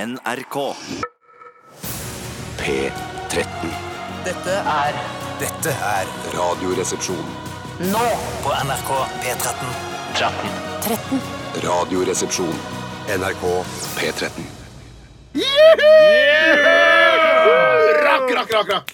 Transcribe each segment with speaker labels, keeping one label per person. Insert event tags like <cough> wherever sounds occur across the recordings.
Speaker 1: NRK.
Speaker 2: P13.
Speaker 3: Dette er Dette er
Speaker 2: Radioresepsjon.
Speaker 3: Nå på NRK P13
Speaker 2: Radioresepsjon. NRK P13.
Speaker 4: Rakk, rakk, rakk, rakk.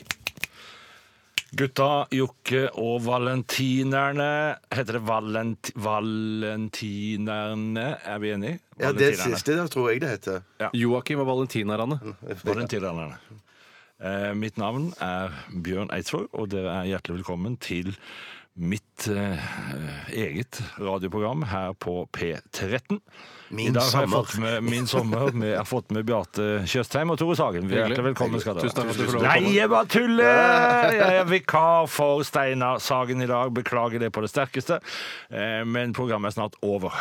Speaker 5: Gutta, Jokke og Valentinerne Heter det valent, Valentinerne? Er vi enige?
Speaker 4: Ja, det siste der tror jeg det heter.
Speaker 6: Joakim og Valentinarane.
Speaker 4: Mm.
Speaker 5: Valentinerne. Eh, mitt navn er Bjørn Eidsvåg, og dere er hjertelig velkommen til mitt eh, eget radioprogram her på P13.
Speaker 4: Min
Speaker 5: I dag har jeg
Speaker 4: sommer.
Speaker 5: fått med Min sommer. Med, jeg har fått med Bjarte Tjøstheim og Tore Sagen. Vi er
Speaker 6: Hyggelig.
Speaker 5: Hjertelig velkommen skal dere
Speaker 6: Tusen takk for at du
Speaker 5: være.
Speaker 6: fikk lov å
Speaker 5: Nei,
Speaker 6: komme.
Speaker 5: jeg bare tuller! Jeg er vikar for Steinar Sagen i dag. Beklager det på det sterkeste. Eh, Men programmet er snart over.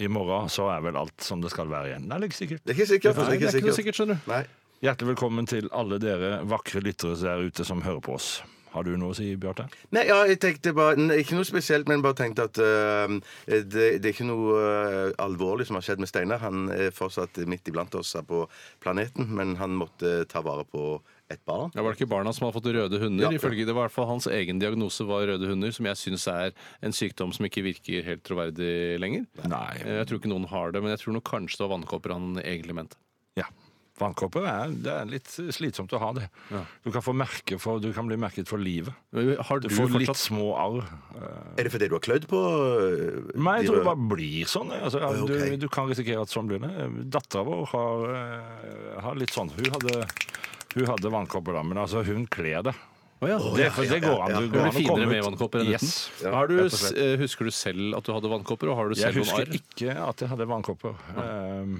Speaker 5: I morgen så er vel alt som det skal være igjen. Nei, det er ikke sikkert.
Speaker 4: Det er ikke sikkert.
Speaker 6: Nei, det er ikke noe
Speaker 4: sikkert.
Speaker 6: sikkert, skjønner du.
Speaker 4: Nei.
Speaker 5: Hjertelig velkommen til alle dere vakre lyttere der ute som hører på oss. Har du noe å si, Bjarte?
Speaker 4: Nei, ja, jeg tenkte bare nei, Ikke noe spesielt, men bare tenkte at øhm, det, det er ikke noe øh, alvorlig som har skjedd med Steinar. Han er fortsatt midt iblant oss her på planeten, men han måtte ta vare på et barn.
Speaker 6: Ja, var det ikke barna som har fått røde hunder?
Speaker 4: Ja.
Speaker 6: Ifølge det var i hvert fall hans egen diagnose var røde hunder, som jeg syns er en sykdom som ikke virker helt troverdig lenger.
Speaker 5: Nei.
Speaker 6: Eh, Jeg tror ikke noen har det, men jeg tror nok kanskje det var vannkopper han egentlig mente.
Speaker 5: Ja. Vannkopper er, det er litt slitsomt å ha det. Du kan få merke for, du kan bli merket for livet.
Speaker 6: Men Har
Speaker 5: Du
Speaker 6: du,
Speaker 5: får litt
Speaker 6: fortsatt
Speaker 5: små arr.
Speaker 4: Er det fordi du har klødd på øh,
Speaker 5: Nei, jeg
Speaker 4: de
Speaker 5: tror det
Speaker 4: røde-
Speaker 5: bare blir sånn. jeg. Altså, ja,
Speaker 4: ok.
Speaker 5: du, du kan risikere at sånn blir det. Dattera vår har, eh, har litt sånn. Hun hadde, hun hadde vannkopper da, men altså, hun kler det.
Speaker 6: Å ja.
Speaker 5: Det, for det går an.
Speaker 4: ja, ja.
Speaker 5: Det
Speaker 6: Du
Speaker 5: går an
Speaker 6: blir
Speaker 5: å komme
Speaker 6: finere med
Speaker 5: ut.
Speaker 6: vannkopper enn
Speaker 5: yes.
Speaker 6: uten. Har du, eh, husker du selv at du hadde vannkopper, og har du
Speaker 5: Jeg
Speaker 6: selv noen
Speaker 5: husker
Speaker 6: arr?
Speaker 5: ikke at jeg hadde vannkopper. Ehm,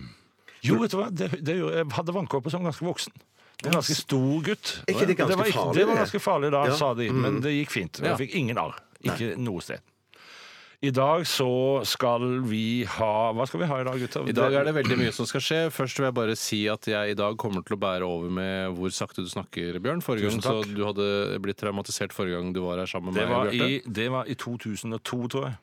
Speaker 5: jo, vet du hva? Det, det, gjorde- jeg hadde vannkopper som ganske voksen. En ganske stor gutt.
Speaker 4: Er ikke det ganske
Speaker 5: var,
Speaker 4: farlig,
Speaker 5: det var
Speaker 4: det?
Speaker 5: ganske farlig da,
Speaker 4: Ja.
Speaker 5: sa de. Men det gikk fint.
Speaker 6: Ja.
Speaker 5: Jeg fikk ingen arr. Ikke noe sted. I dag så skal vi ha Hva skal vi ha i dag, gutter?
Speaker 6: I dag er det veldig mye som skal skje. Først vil jeg bare si at jeg i dag kommer til å bære over med hvor sakte du snakker, Bjørn. Forrige
Speaker 5: Tusen
Speaker 6: gang så
Speaker 5: takk.
Speaker 6: du hadde blitt traumatisert forrige gang du var her sammen med
Speaker 5: Det
Speaker 6: meg.
Speaker 5: var,
Speaker 6: Bjarte.
Speaker 5: i, det var i 2002, tror jeg.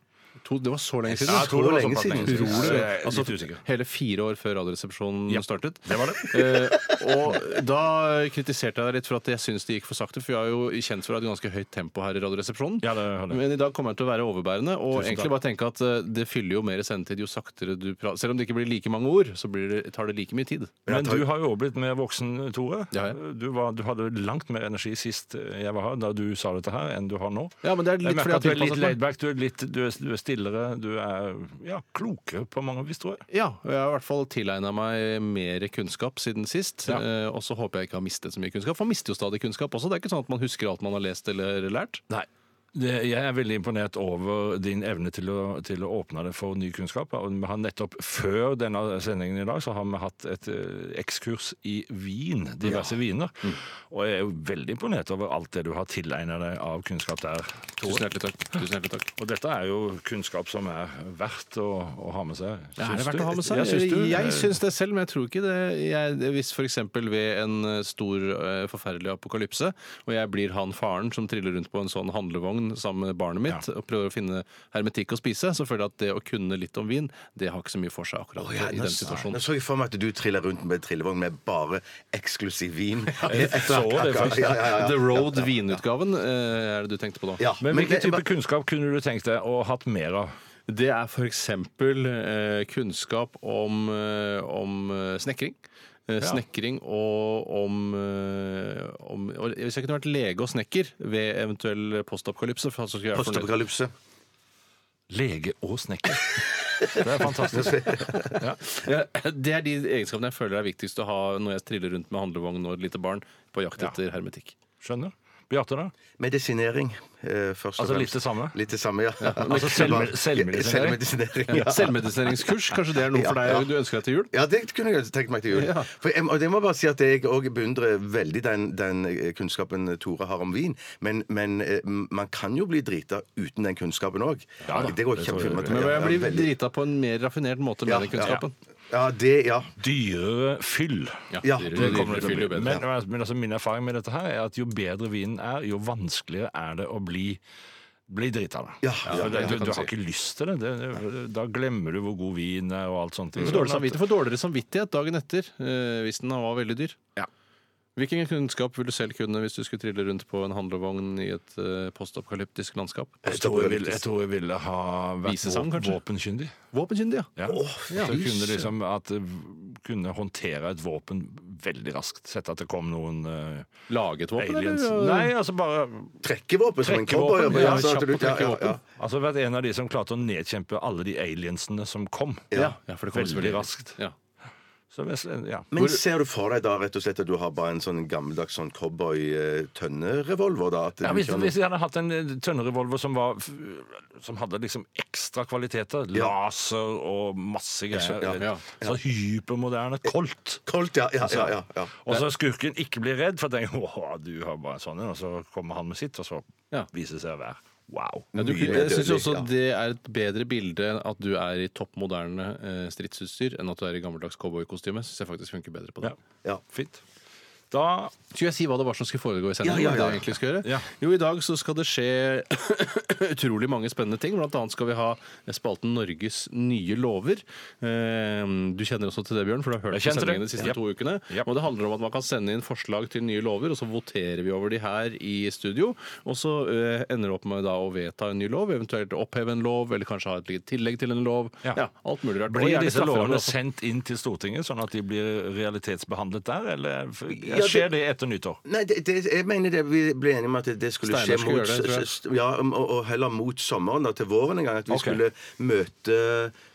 Speaker 6: to, det var så lenge siden.
Speaker 4: Ja, jeg tror det var lenge siden.
Speaker 5: Tror
Speaker 6: Tror du
Speaker 5: du Jeg
Speaker 6: det?
Speaker 5: er
Speaker 6: Altså,
Speaker 5: litt usikker.
Speaker 6: hele fire år før Radioresepsjonen startet.
Speaker 5: Det var det.
Speaker 6: Eh, og da kritiserte jeg deg litt for at jeg syns det gikk for sakte, for vi er jo kjent for å ha et ganske høyt tempo her i Radioresepsjonen.
Speaker 5: Ja, det har det.
Speaker 6: Men i dag kommer jeg til å være overbærende og
Speaker 5: Tusen
Speaker 6: egentlig
Speaker 5: takk.
Speaker 6: bare tenke at eh, det fyller jo mer sendetid jo saktere du prater. Selv om det ikke blir like mange ord, så blir det, tar det like mye tid.
Speaker 5: Men du har jo også blitt mer voksen, Tore.
Speaker 6: Ja, ja.
Speaker 5: Du, var, du hadde langt mer energi sist eh, jeg var her, da du sa dette her, enn du har nå.
Speaker 6: Ja, men det er
Speaker 5: Jeg
Speaker 6: litt
Speaker 5: merker
Speaker 6: fordi
Speaker 5: at du er
Speaker 6: jeg har
Speaker 5: litt
Speaker 6: tilpasset meg.
Speaker 5: laidback, du, er litt- du, er- du er stillere, du er ja, klokere på mange vis, tror jeg.
Speaker 6: Ja, og jeg har i hvert fall tilegna meg mer kunnskap siden sist.
Speaker 5: Ja.
Speaker 6: eh, Og så håper jeg ikke har mistet så mye kunnskap. For man mister jo stadig kunnskap også. Det er ikke sånn at man husker alt man har lest eller lært.
Speaker 5: Nei. Jeg er veldig imponert over din evne til å, til å åpne det for ny kunnskap. Og Vi har nettopp før denne sendingen i dag så har vi hatt et eh, ekskurs i vin, diverse viner.
Speaker 6: Mm.
Speaker 5: Og jeg er jo veldig imponert over alt det du har tilegnet deg av kunnskap der. Tore.
Speaker 6: Tusen hjertelig takk. Tusen hjertelig takk.
Speaker 5: Og dette er jo kunnskap som er verdt å, å ha med seg. Syns du? Ja,
Speaker 6: Jeg
Speaker 5: syns
Speaker 6: syns,
Speaker 5: du?
Speaker 6: det selv, men jeg tror ikke det. Jeg, hvis f.eks. ved en eh, stor, eh, forferdelig apokalypse, og jeg blir han faren som triller rundt på en sånn handlevogn sammen med barnet mitt og prøver å finne hermetikk å spise, så føler jeg at det å kunne litt om vin, det har ikke så mye for seg akkurat i den
Speaker 4: Nå
Speaker 6: situasjonen.
Speaker 4: så jeg for meg at du triller rundt med trillevogn med bare eksklusiv vin.
Speaker 5: jeg så det faktisk.
Speaker 4: <laughs> Ja, ja, ja.
Speaker 6: The Road vinutgaven eh, er det du tenkte på nå?
Speaker 4: Ja,
Speaker 5: Men hvilken type
Speaker 4: men-
Speaker 5: kunnskap kunne du tenkt deg å hatt mer av?
Speaker 6: Det er f.eks. Eh, kunnskap om, eh, om eh, snekring. Eh, Snekring og om, eh, om og Hvis jeg kunne vært lege og snekker ved eventuell postapokalypse for så skulle jeg vært fornøyd.
Speaker 4: Postapokalypse.
Speaker 5: Lege og snekker. Det er fantastisk.
Speaker 6: Ja, <laughs> Det er de egenskapene jeg føler er viktigst å ha når jeg triller rundt med handlevogn og et lite barn på jakt
Speaker 5: Ja.
Speaker 6: etter hermetikk.
Speaker 5: Skjønner. Bjarte, da?
Speaker 4: Medisinering, eh, først
Speaker 5: Altså
Speaker 4: og fremst.
Speaker 5: litt det samme?
Speaker 4: Litt det samme, ja.
Speaker 5: altså selv- selvmedisinering?
Speaker 4: Selvmedisinering, ja.
Speaker 6: Selvmedisineringskurs, kanskje det er noe for
Speaker 4: Ja, ja.
Speaker 6: deg du ønsker deg til jul?
Speaker 4: Ja, det kunne jeg tenkt meg til jul. For jeg, og det må jeg bare si at jeg òg beundrer veldig den, den eh, kunnskapen Tore har om vin. Men, men eh, man kan jo bli drita uten den kunnskapen òg.
Speaker 5: Ja da,
Speaker 4: det går
Speaker 5: det tror
Speaker 4: ikke an å
Speaker 5: jeg.
Speaker 4: filme til.
Speaker 6: Men
Speaker 4: Ja,
Speaker 6: jeg
Speaker 4: ja,
Speaker 6: blir
Speaker 4: veldig.
Speaker 6: drita på en mer raffinert måte med
Speaker 4: Ja,
Speaker 6: den
Speaker 4: ja, ja.
Speaker 6: kunnskapen.
Speaker 4: Ja, det, ja.
Speaker 5: Dyrere fyll.
Speaker 4: Ja,
Speaker 6: dyrere-
Speaker 5: Det
Speaker 6: dyrere
Speaker 5: kommer det til å
Speaker 6: fyller jo
Speaker 5: bli.
Speaker 6: bedre.
Speaker 5: Men, men altså, min erfaring med dette her er at jo bedre vinen er, jo vanskeligere er det å bli bli drita, da.
Speaker 4: Ja, ja,
Speaker 5: for det,
Speaker 6: det
Speaker 5: du,
Speaker 6: kan
Speaker 5: du
Speaker 6: du
Speaker 5: har
Speaker 6: si.
Speaker 5: ikke lyst til det. det, det da glemmer du hvor god vin er og alt sånt.
Speaker 6: Du får Dårlig samvittighet, får dårligere samvittighet dagen etter eh, hvis den var veldig dyr.
Speaker 5: Ja.
Speaker 6: Hvilken kunnskap ville du selv kunne hvis du skulle trille rundt på en handlevogn i et eh, postapokalyptisk landskap?
Speaker 4: Eh,
Speaker 5: Jeg tror jeg, ville, jeg tror jeg ville ha vært
Speaker 6: Visesang,
Speaker 5: vå-
Speaker 6: kanskje?
Speaker 5: våpenkyndig.
Speaker 6: Våpenkyndig,
Speaker 5: Ja.
Speaker 6: ja.
Speaker 5: Så kunne liksom at eh, kunne håndtere et våpen veldig raskt. Sett at det kom noen eh,
Speaker 6: Laget våpen,
Speaker 5: aliens.
Speaker 6: eller? øh,
Speaker 5: Nei, altså bare
Speaker 4: Trekkevåpen som en
Speaker 5: Trekkevåpen, ja,
Speaker 4: cowboy. ja, sånn at
Speaker 6: kjapp
Speaker 4: du-
Speaker 6: å trekke
Speaker 4: ja, ja, ja.
Speaker 6: våpen.
Speaker 5: Altså vært en av de som klarte å nedkjempe alle de aliensene som kom.
Speaker 6: Ja, ja, for det kommer
Speaker 5: veldig
Speaker 6: selvfølgelig-
Speaker 5: raskt.
Speaker 6: Ja.
Speaker 5: Så, hvis- ja.
Speaker 4: Men ser du for deg da rett og slett at du har bare en sånn gammeldags sånn cowboy-tønnerevolver? da? At
Speaker 5: Ja,
Speaker 4: du
Speaker 5: hvis,
Speaker 4: kan-
Speaker 5: hvis jeg hadde hatt en eh, tønnerevolver som, var, f- som hadde liksom ekstra kvaliteter, laser og masse greier,
Speaker 4: ja,
Speaker 6: ja.
Speaker 5: så hypermoderne kolt
Speaker 4: Kolt, ja. ja, ja, ja, ja.
Speaker 5: Og så skurken ikke blir redd, for tenker åh, du har bare en sånn en, og så kommer han med sitt, og så
Speaker 6: Ja.
Speaker 5: viser det seg å være wow.
Speaker 6: Ja, du,
Speaker 4: Mye mer
Speaker 6: jeg syns
Speaker 4: dødelig,
Speaker 6: også
Speaker 4: ja.
Speaker 6: det er et bedre bilde at du er i topp moderne eh, stridsutstyr enn at du er i gammeldags cowboykostyme. Syns jeg faktisk funker bedre på det.
Speaker 5: Ja.
Speaker 4: Ja.
Speaker 5: Fint. Da
Speaker 6: Skulle jeg si hva det var som skulle foregå i sendingen?
Speaker 4: Ja, ja, ja,
Speaker 6: hva det
Speaker 4: ja.
Speaker 6: egentlig skulle gjøre?
Speaker 5: Ja.
Speaker 6: Jo, i dag så skal det skje <coughs> utrolig mange spennende ting. Blant annet skal vi ha spalten Norges nye lover. Eh, Du kjenner også til det, Bjørn, for du har hørt
Speaker 5: Jeg
Speaker 6: på
Speaker 5: kjenner
Speaker 6: sendingen
Speaker 5: det.
Speaker 6: de siste
Speaker 5: Yep.
Speaker 6: to ukene.
Speaker 5: Yep.
Speaker 6: Og det handler om at man kan sende inn forslag til nye lover, og så voterer vi over de her i studio. Og så eh, ender det opp med da å vedta en ny lov, eventuelt oppheve en lov, eller kanskje ha et lite tillegg til en lov.
Speaker 5: Ja.
Speaker 6: Ja, alt mulig rart. Og
Speaker 5: blir
Speaker 6: gjerne
Speaker 5: disse
Speaker 6: strafferammer
Speaker 5: lovene
Speaker 6: også.
Speaker 5: sendt inn til Stortinget, sånn at de blir realitetsbehandlet der, eller f-
Speaker 4: det-
Speaker 5: skjer det etter nyttår?
Speaker 4: Nei, det, det, jeg mener det, vi ble enige om at det skulle
Speaker 6: Steinar
Speaker 4: skje
Speaker 6: skulle
Speaker 4: mot,
Speaker 6: gjøre det, tror jeg.
Speaker 4: s- s- ja, og, og heller mot sommeren, da, til våren en gang. At vi
Speaker 5: Ok.
Speaker 4: skulle møte,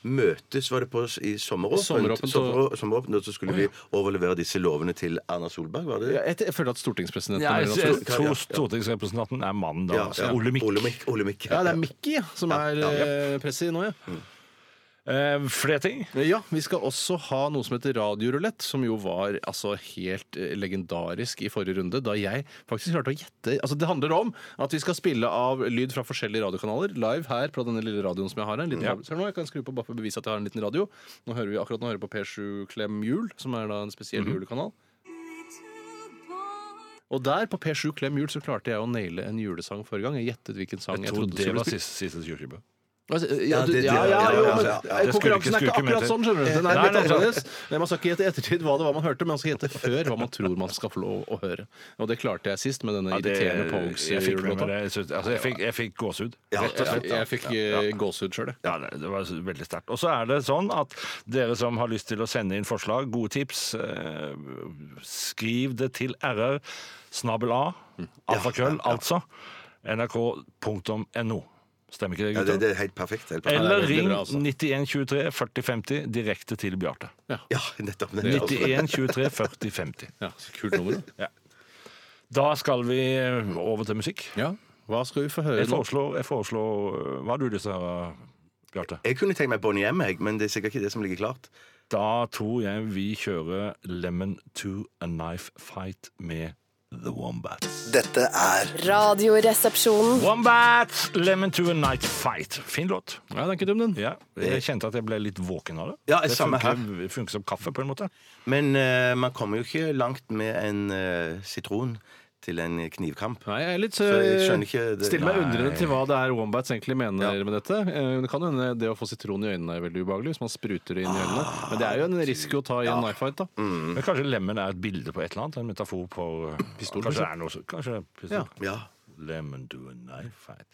Speaker 4: møtes var det på, s- i sommeråpent.
Speaker 6: Sommeråpent og-
Speaker 4: Sommerå- sommeråpent, og så skulle vi overlevere disse lovene til Erna Solberg, var det?
Speaker 6: Ja, jeg, jeg føler at stortingspresidenten
Speaker 5: Ja,
Speaker 6: er
Speaker 5: jeg,
Speaker 6: ganske
Speaker 5: jeg
Speaker 4: ja, ja.
Speaker 5: tror stortingsrepresentanten er mannen da. altså. Ole Mikk.
Speaker 4: Olemikk. Olemikk.
Speaker 6: Ja, det er Mickey ja, som er
Speaker 4: ja.
Speaker 6: eh, presset nå, ja.
Speaker 5: Eh, flere ting?
Speaker 6: Ja, vi skal også ha noe som heter radiorulett, som jo var altså, helt eh, legendarisk i forrige runde, da jeg faktisk klarte å gjette Altså, det handler om at vi skal spille av lyd fra forskjellige radiokanaler live her på denne lille radioen som jeg har her. En liten radio. Se her nå, jeg kan skru på bare for å bevise at jeg har en liten radio. Nå hører vi akkurat nå hører vi på P7 Klem Jul, som er da en spesiell julekanal. Og der, på P7 Klem Jul, så klarte jeg å naile en julesang forrige gang. Jeg gjettet hvilken sang jeg,
Speaker 5: Jeg tror
Speaker 6: trodde
Speaker 5: det
Speaker 6: skulle
Speaker 5: var
Speaker 6: spille.
Speaker 5: siste, siste jordskjelv.
Speaker 6: Altså,
Speaker 4: Ja,
Speaker 6: ja, du-
Speaker 4: det- det-
Speaker 6: ja,
Speaker 4: ja,
Speaker 6: ja,
Speaker 4: ja,
Speaker 6: jo,
Speaker 4: ja,
Speaker 6: men eh,
Speaker 4: ja, ja.
Speaker 5: Det skulle ikke-
Speaker 6: Konkurransen er ikke
Speaker 5: skulle ikke
Speaker 6: akkurat
Speaker 5: mente.
Speaker 6: sånn, skjønner du. Den er
Speaker 5: Nei,
Speaker 6: litt sånn-
Speaker 5: nei, nei.
Speaker 6: annerledes. Men Man skal ikke gjette i ettertid hva det var man hørte, men man skal gjette før hva man tror man skal få lov å høre. Og det klarte jeg sist med denne
Speaker 5: Ja, det-
Speaker 6: irriterende Pogues
Speaker 5: jeg fikk med meg
Speaker 6: julelåta.
Speaker 5: det. Jeg synes- Altså, jeg fikk, jeg fikk gåsehud.
Speaker 4: Ja,
Speaker 5: Rett og slett.
Speaker 6: Jeg fikk eh, gåsehud sjøl, jeg.
Speaker 5: Ja, det det var veldig sterkt. Og så er det sånn at dere som har lyst til å sende inn forslag, gode tips, eh, skriv det til rr, snabel a,
Speaker 6: Mm.
Speaker 5: alfakrøll, altså, nrk.no. Stemmer ikke det,
Speaker 4: Ja, det,
Speaker 5: gutter?
Speaker 4: det er helt perfekt. Helt perfekt.
Speaker 5: Eller
Speaker 6: det er veldig
Speaker 5: ring
Speaker 6: bra, altså.
Speaker 5: 9123 4050 direkte til Bjarte.
Speaker 4: Ja, nettopp. nettopp.
Speaker 5: 9123 4050.
Speaker 6: Ja, så kult nummer, da.
Speaker 5: Da skal vi over til musikk.
Speaker 6: Ja. Hva skal vi få høre
Speaker 5: Jeg
Speaker 6: nå?
Speaker 5: foreslår, jeg foreslår øh, Hva har du lyst til å høre, Bjarte?
Speaker 4: Jeg kunne tenkt meg Bonnie M, jeg, men det er sikkert ikke det som ligger klart.
Speaker 5: Da tror jeg vi kjører Lemon to a Knife Fight med The Wombats.
Speaker 3: Dette er
Speaker 1: Radioresepsjonen.
Speaker 5: Wombats! Lemon to a Knife Fight. Fin låt.
Speaker 6: Ja, den er ikke dum, den.
Speaker 5: Ja, jeg kjente at jeg ble litt våken av det.
Speaker 4: Ja,
Speaker 5: det
Speaker 4: samme
Speaker 5: funker, funker som kaffe, på en måte.
Speaker 4: Men eh, man kommer jo ikke langt med en eh, sitron til en knivkamp.
Speaker 6: Nei, jeg er litt
Speaker 4: Så jeg
Speaker 6: eh,
Speaker 4: skjønner ikke det.
Speaker 6: Stiller meg
Speaker 5: Nei.
Speaker 6: undrende til hva det er Wombats egentlig mener
Speaker 4: Ja.
Speaker 6: med dette. Eh, Det kan hende det å få sitron i øynene er veldig ubehagelig hvis man spruter det inn i øynene. Men det er jo en risiko å ta i en knife fight, da.
Speaker 5: Men kanskje lemon er et bilde på et eller annet? En metafor på øh, <clears throat>
Speaker 6: Pistol,
Speaker 5: Kanskje det er noe så- Kanskje det er pistol.
Speaker 6: Ja.
Speaker 4: Ja.
Speaker 5: Lemon to a Knife Fight.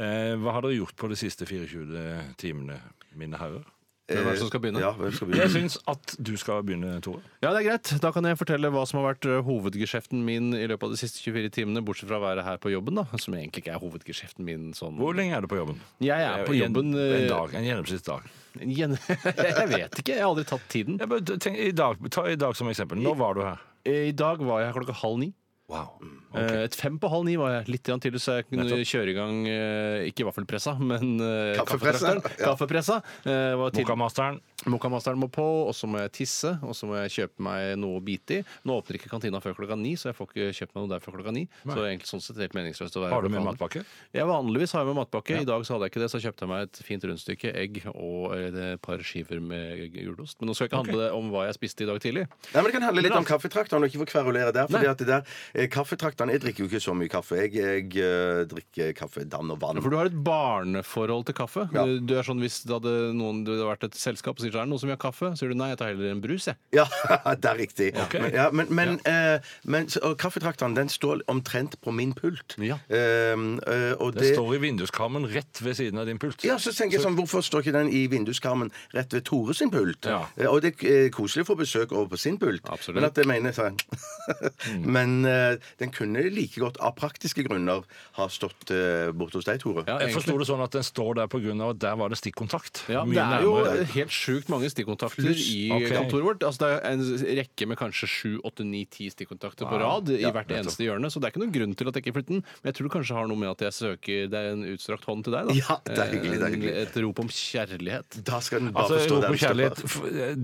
Speaker 5: Eh, hva har dere gjort på de siste 24 timene, mine herrer?
Speaker 6: Hvem er det som skal begynne?
Speaker 4: eh, Ja, hvem skal
Speaker 5: Jeg
Speaker 4: begynne?
Speaker 5: syns at du skal begynne, Tore.
Speaker 6: Ja, det er greit. Da kan jeg fortelle hva som har vært ø, hovedgeskjeften min i løpet av de siste 24 timene, bortsett fra å være her på jobben, da. Som egentlig ikke er hovedgeskjeften min sånn.
Speaker 5: Hvor lenge er du på jobben?
Speaker 6: Jeg er på
Speaker 5: En-
Speaker 6: jobben eh, ø,
Speaker 5: En dag, en gjennomsnittsdag.
Speaker 6: Gjen... <laughs> jeg vet ikke. Jeg har aldri tatt tiden.
Speaker 5: Jeg bare tenk, i dag, ta i dag som eksempel. Nå var du her.
Speaker 6: Eh, I dag var jeg her klokka halv ni.
Speaker 5: Wow. Mm,
Speaker 6: Eh, Et fem på halv ni var jeg. Litt grann tidlig, så jeg kunne
Speaker 5: Nettopp.
Speaker 6: kjøre i gang eh, ikke vaffelpressa, men eh,
Speaker 4: Kaffepressa.
Speaker 6: kaffetrakteren. Kaffepressa. eh, var tidlig.
Speaker 5: Mokamasteren.
Speaker 6: Mokamasteren må på, og så må jeg tisse, og så må jeg kjøpe meg noe å bite i. Nå åpner ikke kantina før klokka ni, så jeg får ikke kjøpt meg noe der før klokka ni. Så det er egentlig sånn sett helt meningsløst å være
Speaker 5: Har du med
Speaker 6: forhandler.
Speaker 5: matpakke?
Speaker 6: Ja, vanligvis har jeg med matpakke. I dag så hadde jeg ikke det, så jeg kjøpte meg et fint rundstykke, egg og eh, et par skiver med gulost. Men nå skal jeg ikke handle om hva jeg spiste i dag tidlig.
Speaker 4: Nei, men Det kan handle litt om kaffetrakteren, og ikke få kverulere der. Fordi at det der eh, kaffetrakteren, Jeg drikker jo ikke så mye kaffe. Jeg, jeg eh, drikker kaffe, dann og vann.
Speaker 6: For du har et barneforhold til kaffe.
Speaker 4: Ja.
Speaker 6: Du, du er sånn Hvis det hadde, noen, det hadde vært et selskap og sier det er det noen som vil ha kaffe, så sier du nei, jeg tar heller en brus, jeg.
Speaker 4: Ja, <laughs> det er riktig.
Speaker 5: Ok.
Speaker 4: Men, ja, men, men, eh, men så- og kaffetrakteren den står omtrent på min pult.
Speaker 6: Ja.
Speaker 4: Ehm, eh, og
Speaker 5: Det står i vinduskarmen rett ved siden av din pult.
Speaker 4: Ja, så tenker jeg sånn, Hvorfor står ikke den i vinduskarmen rett ved Tore sin pult?
Speaker 5: Ja.
Speaker 4: Eh, Og det er koselig å få besøk over på sin pult,
Speaker 6: Absolutt. Mm.
Speaker 4: men at jeg mener sånn <laughs> Men eh, den kunne like godt av praktiske grunner ha stått eh, borte hos deg, Tore.
Speaker 6: Ja,
Speaker 5: Jeg
Speaker 6: egentlig.
Speaker 5: forsto det sånn at den står der pga. at der var det stikkontakt.
Speaker 6: Ja,
Speaker 5: Mye
Speaker 6: det er jo
Speaker 5: nærmere.
Speaker 6: helt sjukt mange stikkontakter i
Speaker 5: Ok.
Speaker 6: kontoret vårt. Altså, det er en rekke med kanskje sju, åtte, ni, ti stikkontakter på rad i hvert eneste hjørne. Så det er ikke noen grunn til at jeg ikke flytter den. Men jeg tror det kanskje har noe med at jeg søker Det er en utstrakt hånd til deg, da. Eh,
Speaker 4: Ja, det er hyggelig, det er hyggelig.
Speaker 6: Et rop om kjærlighet.
Speaker 4: Da skal den bare
Speaker 5: Altså, jeg
Speaker 4: stå der.
Speaker 5: roper
Speaker 4: den står
Speaker 5: kjærlighet.
Speaker 4: på.
Speaker 5: F-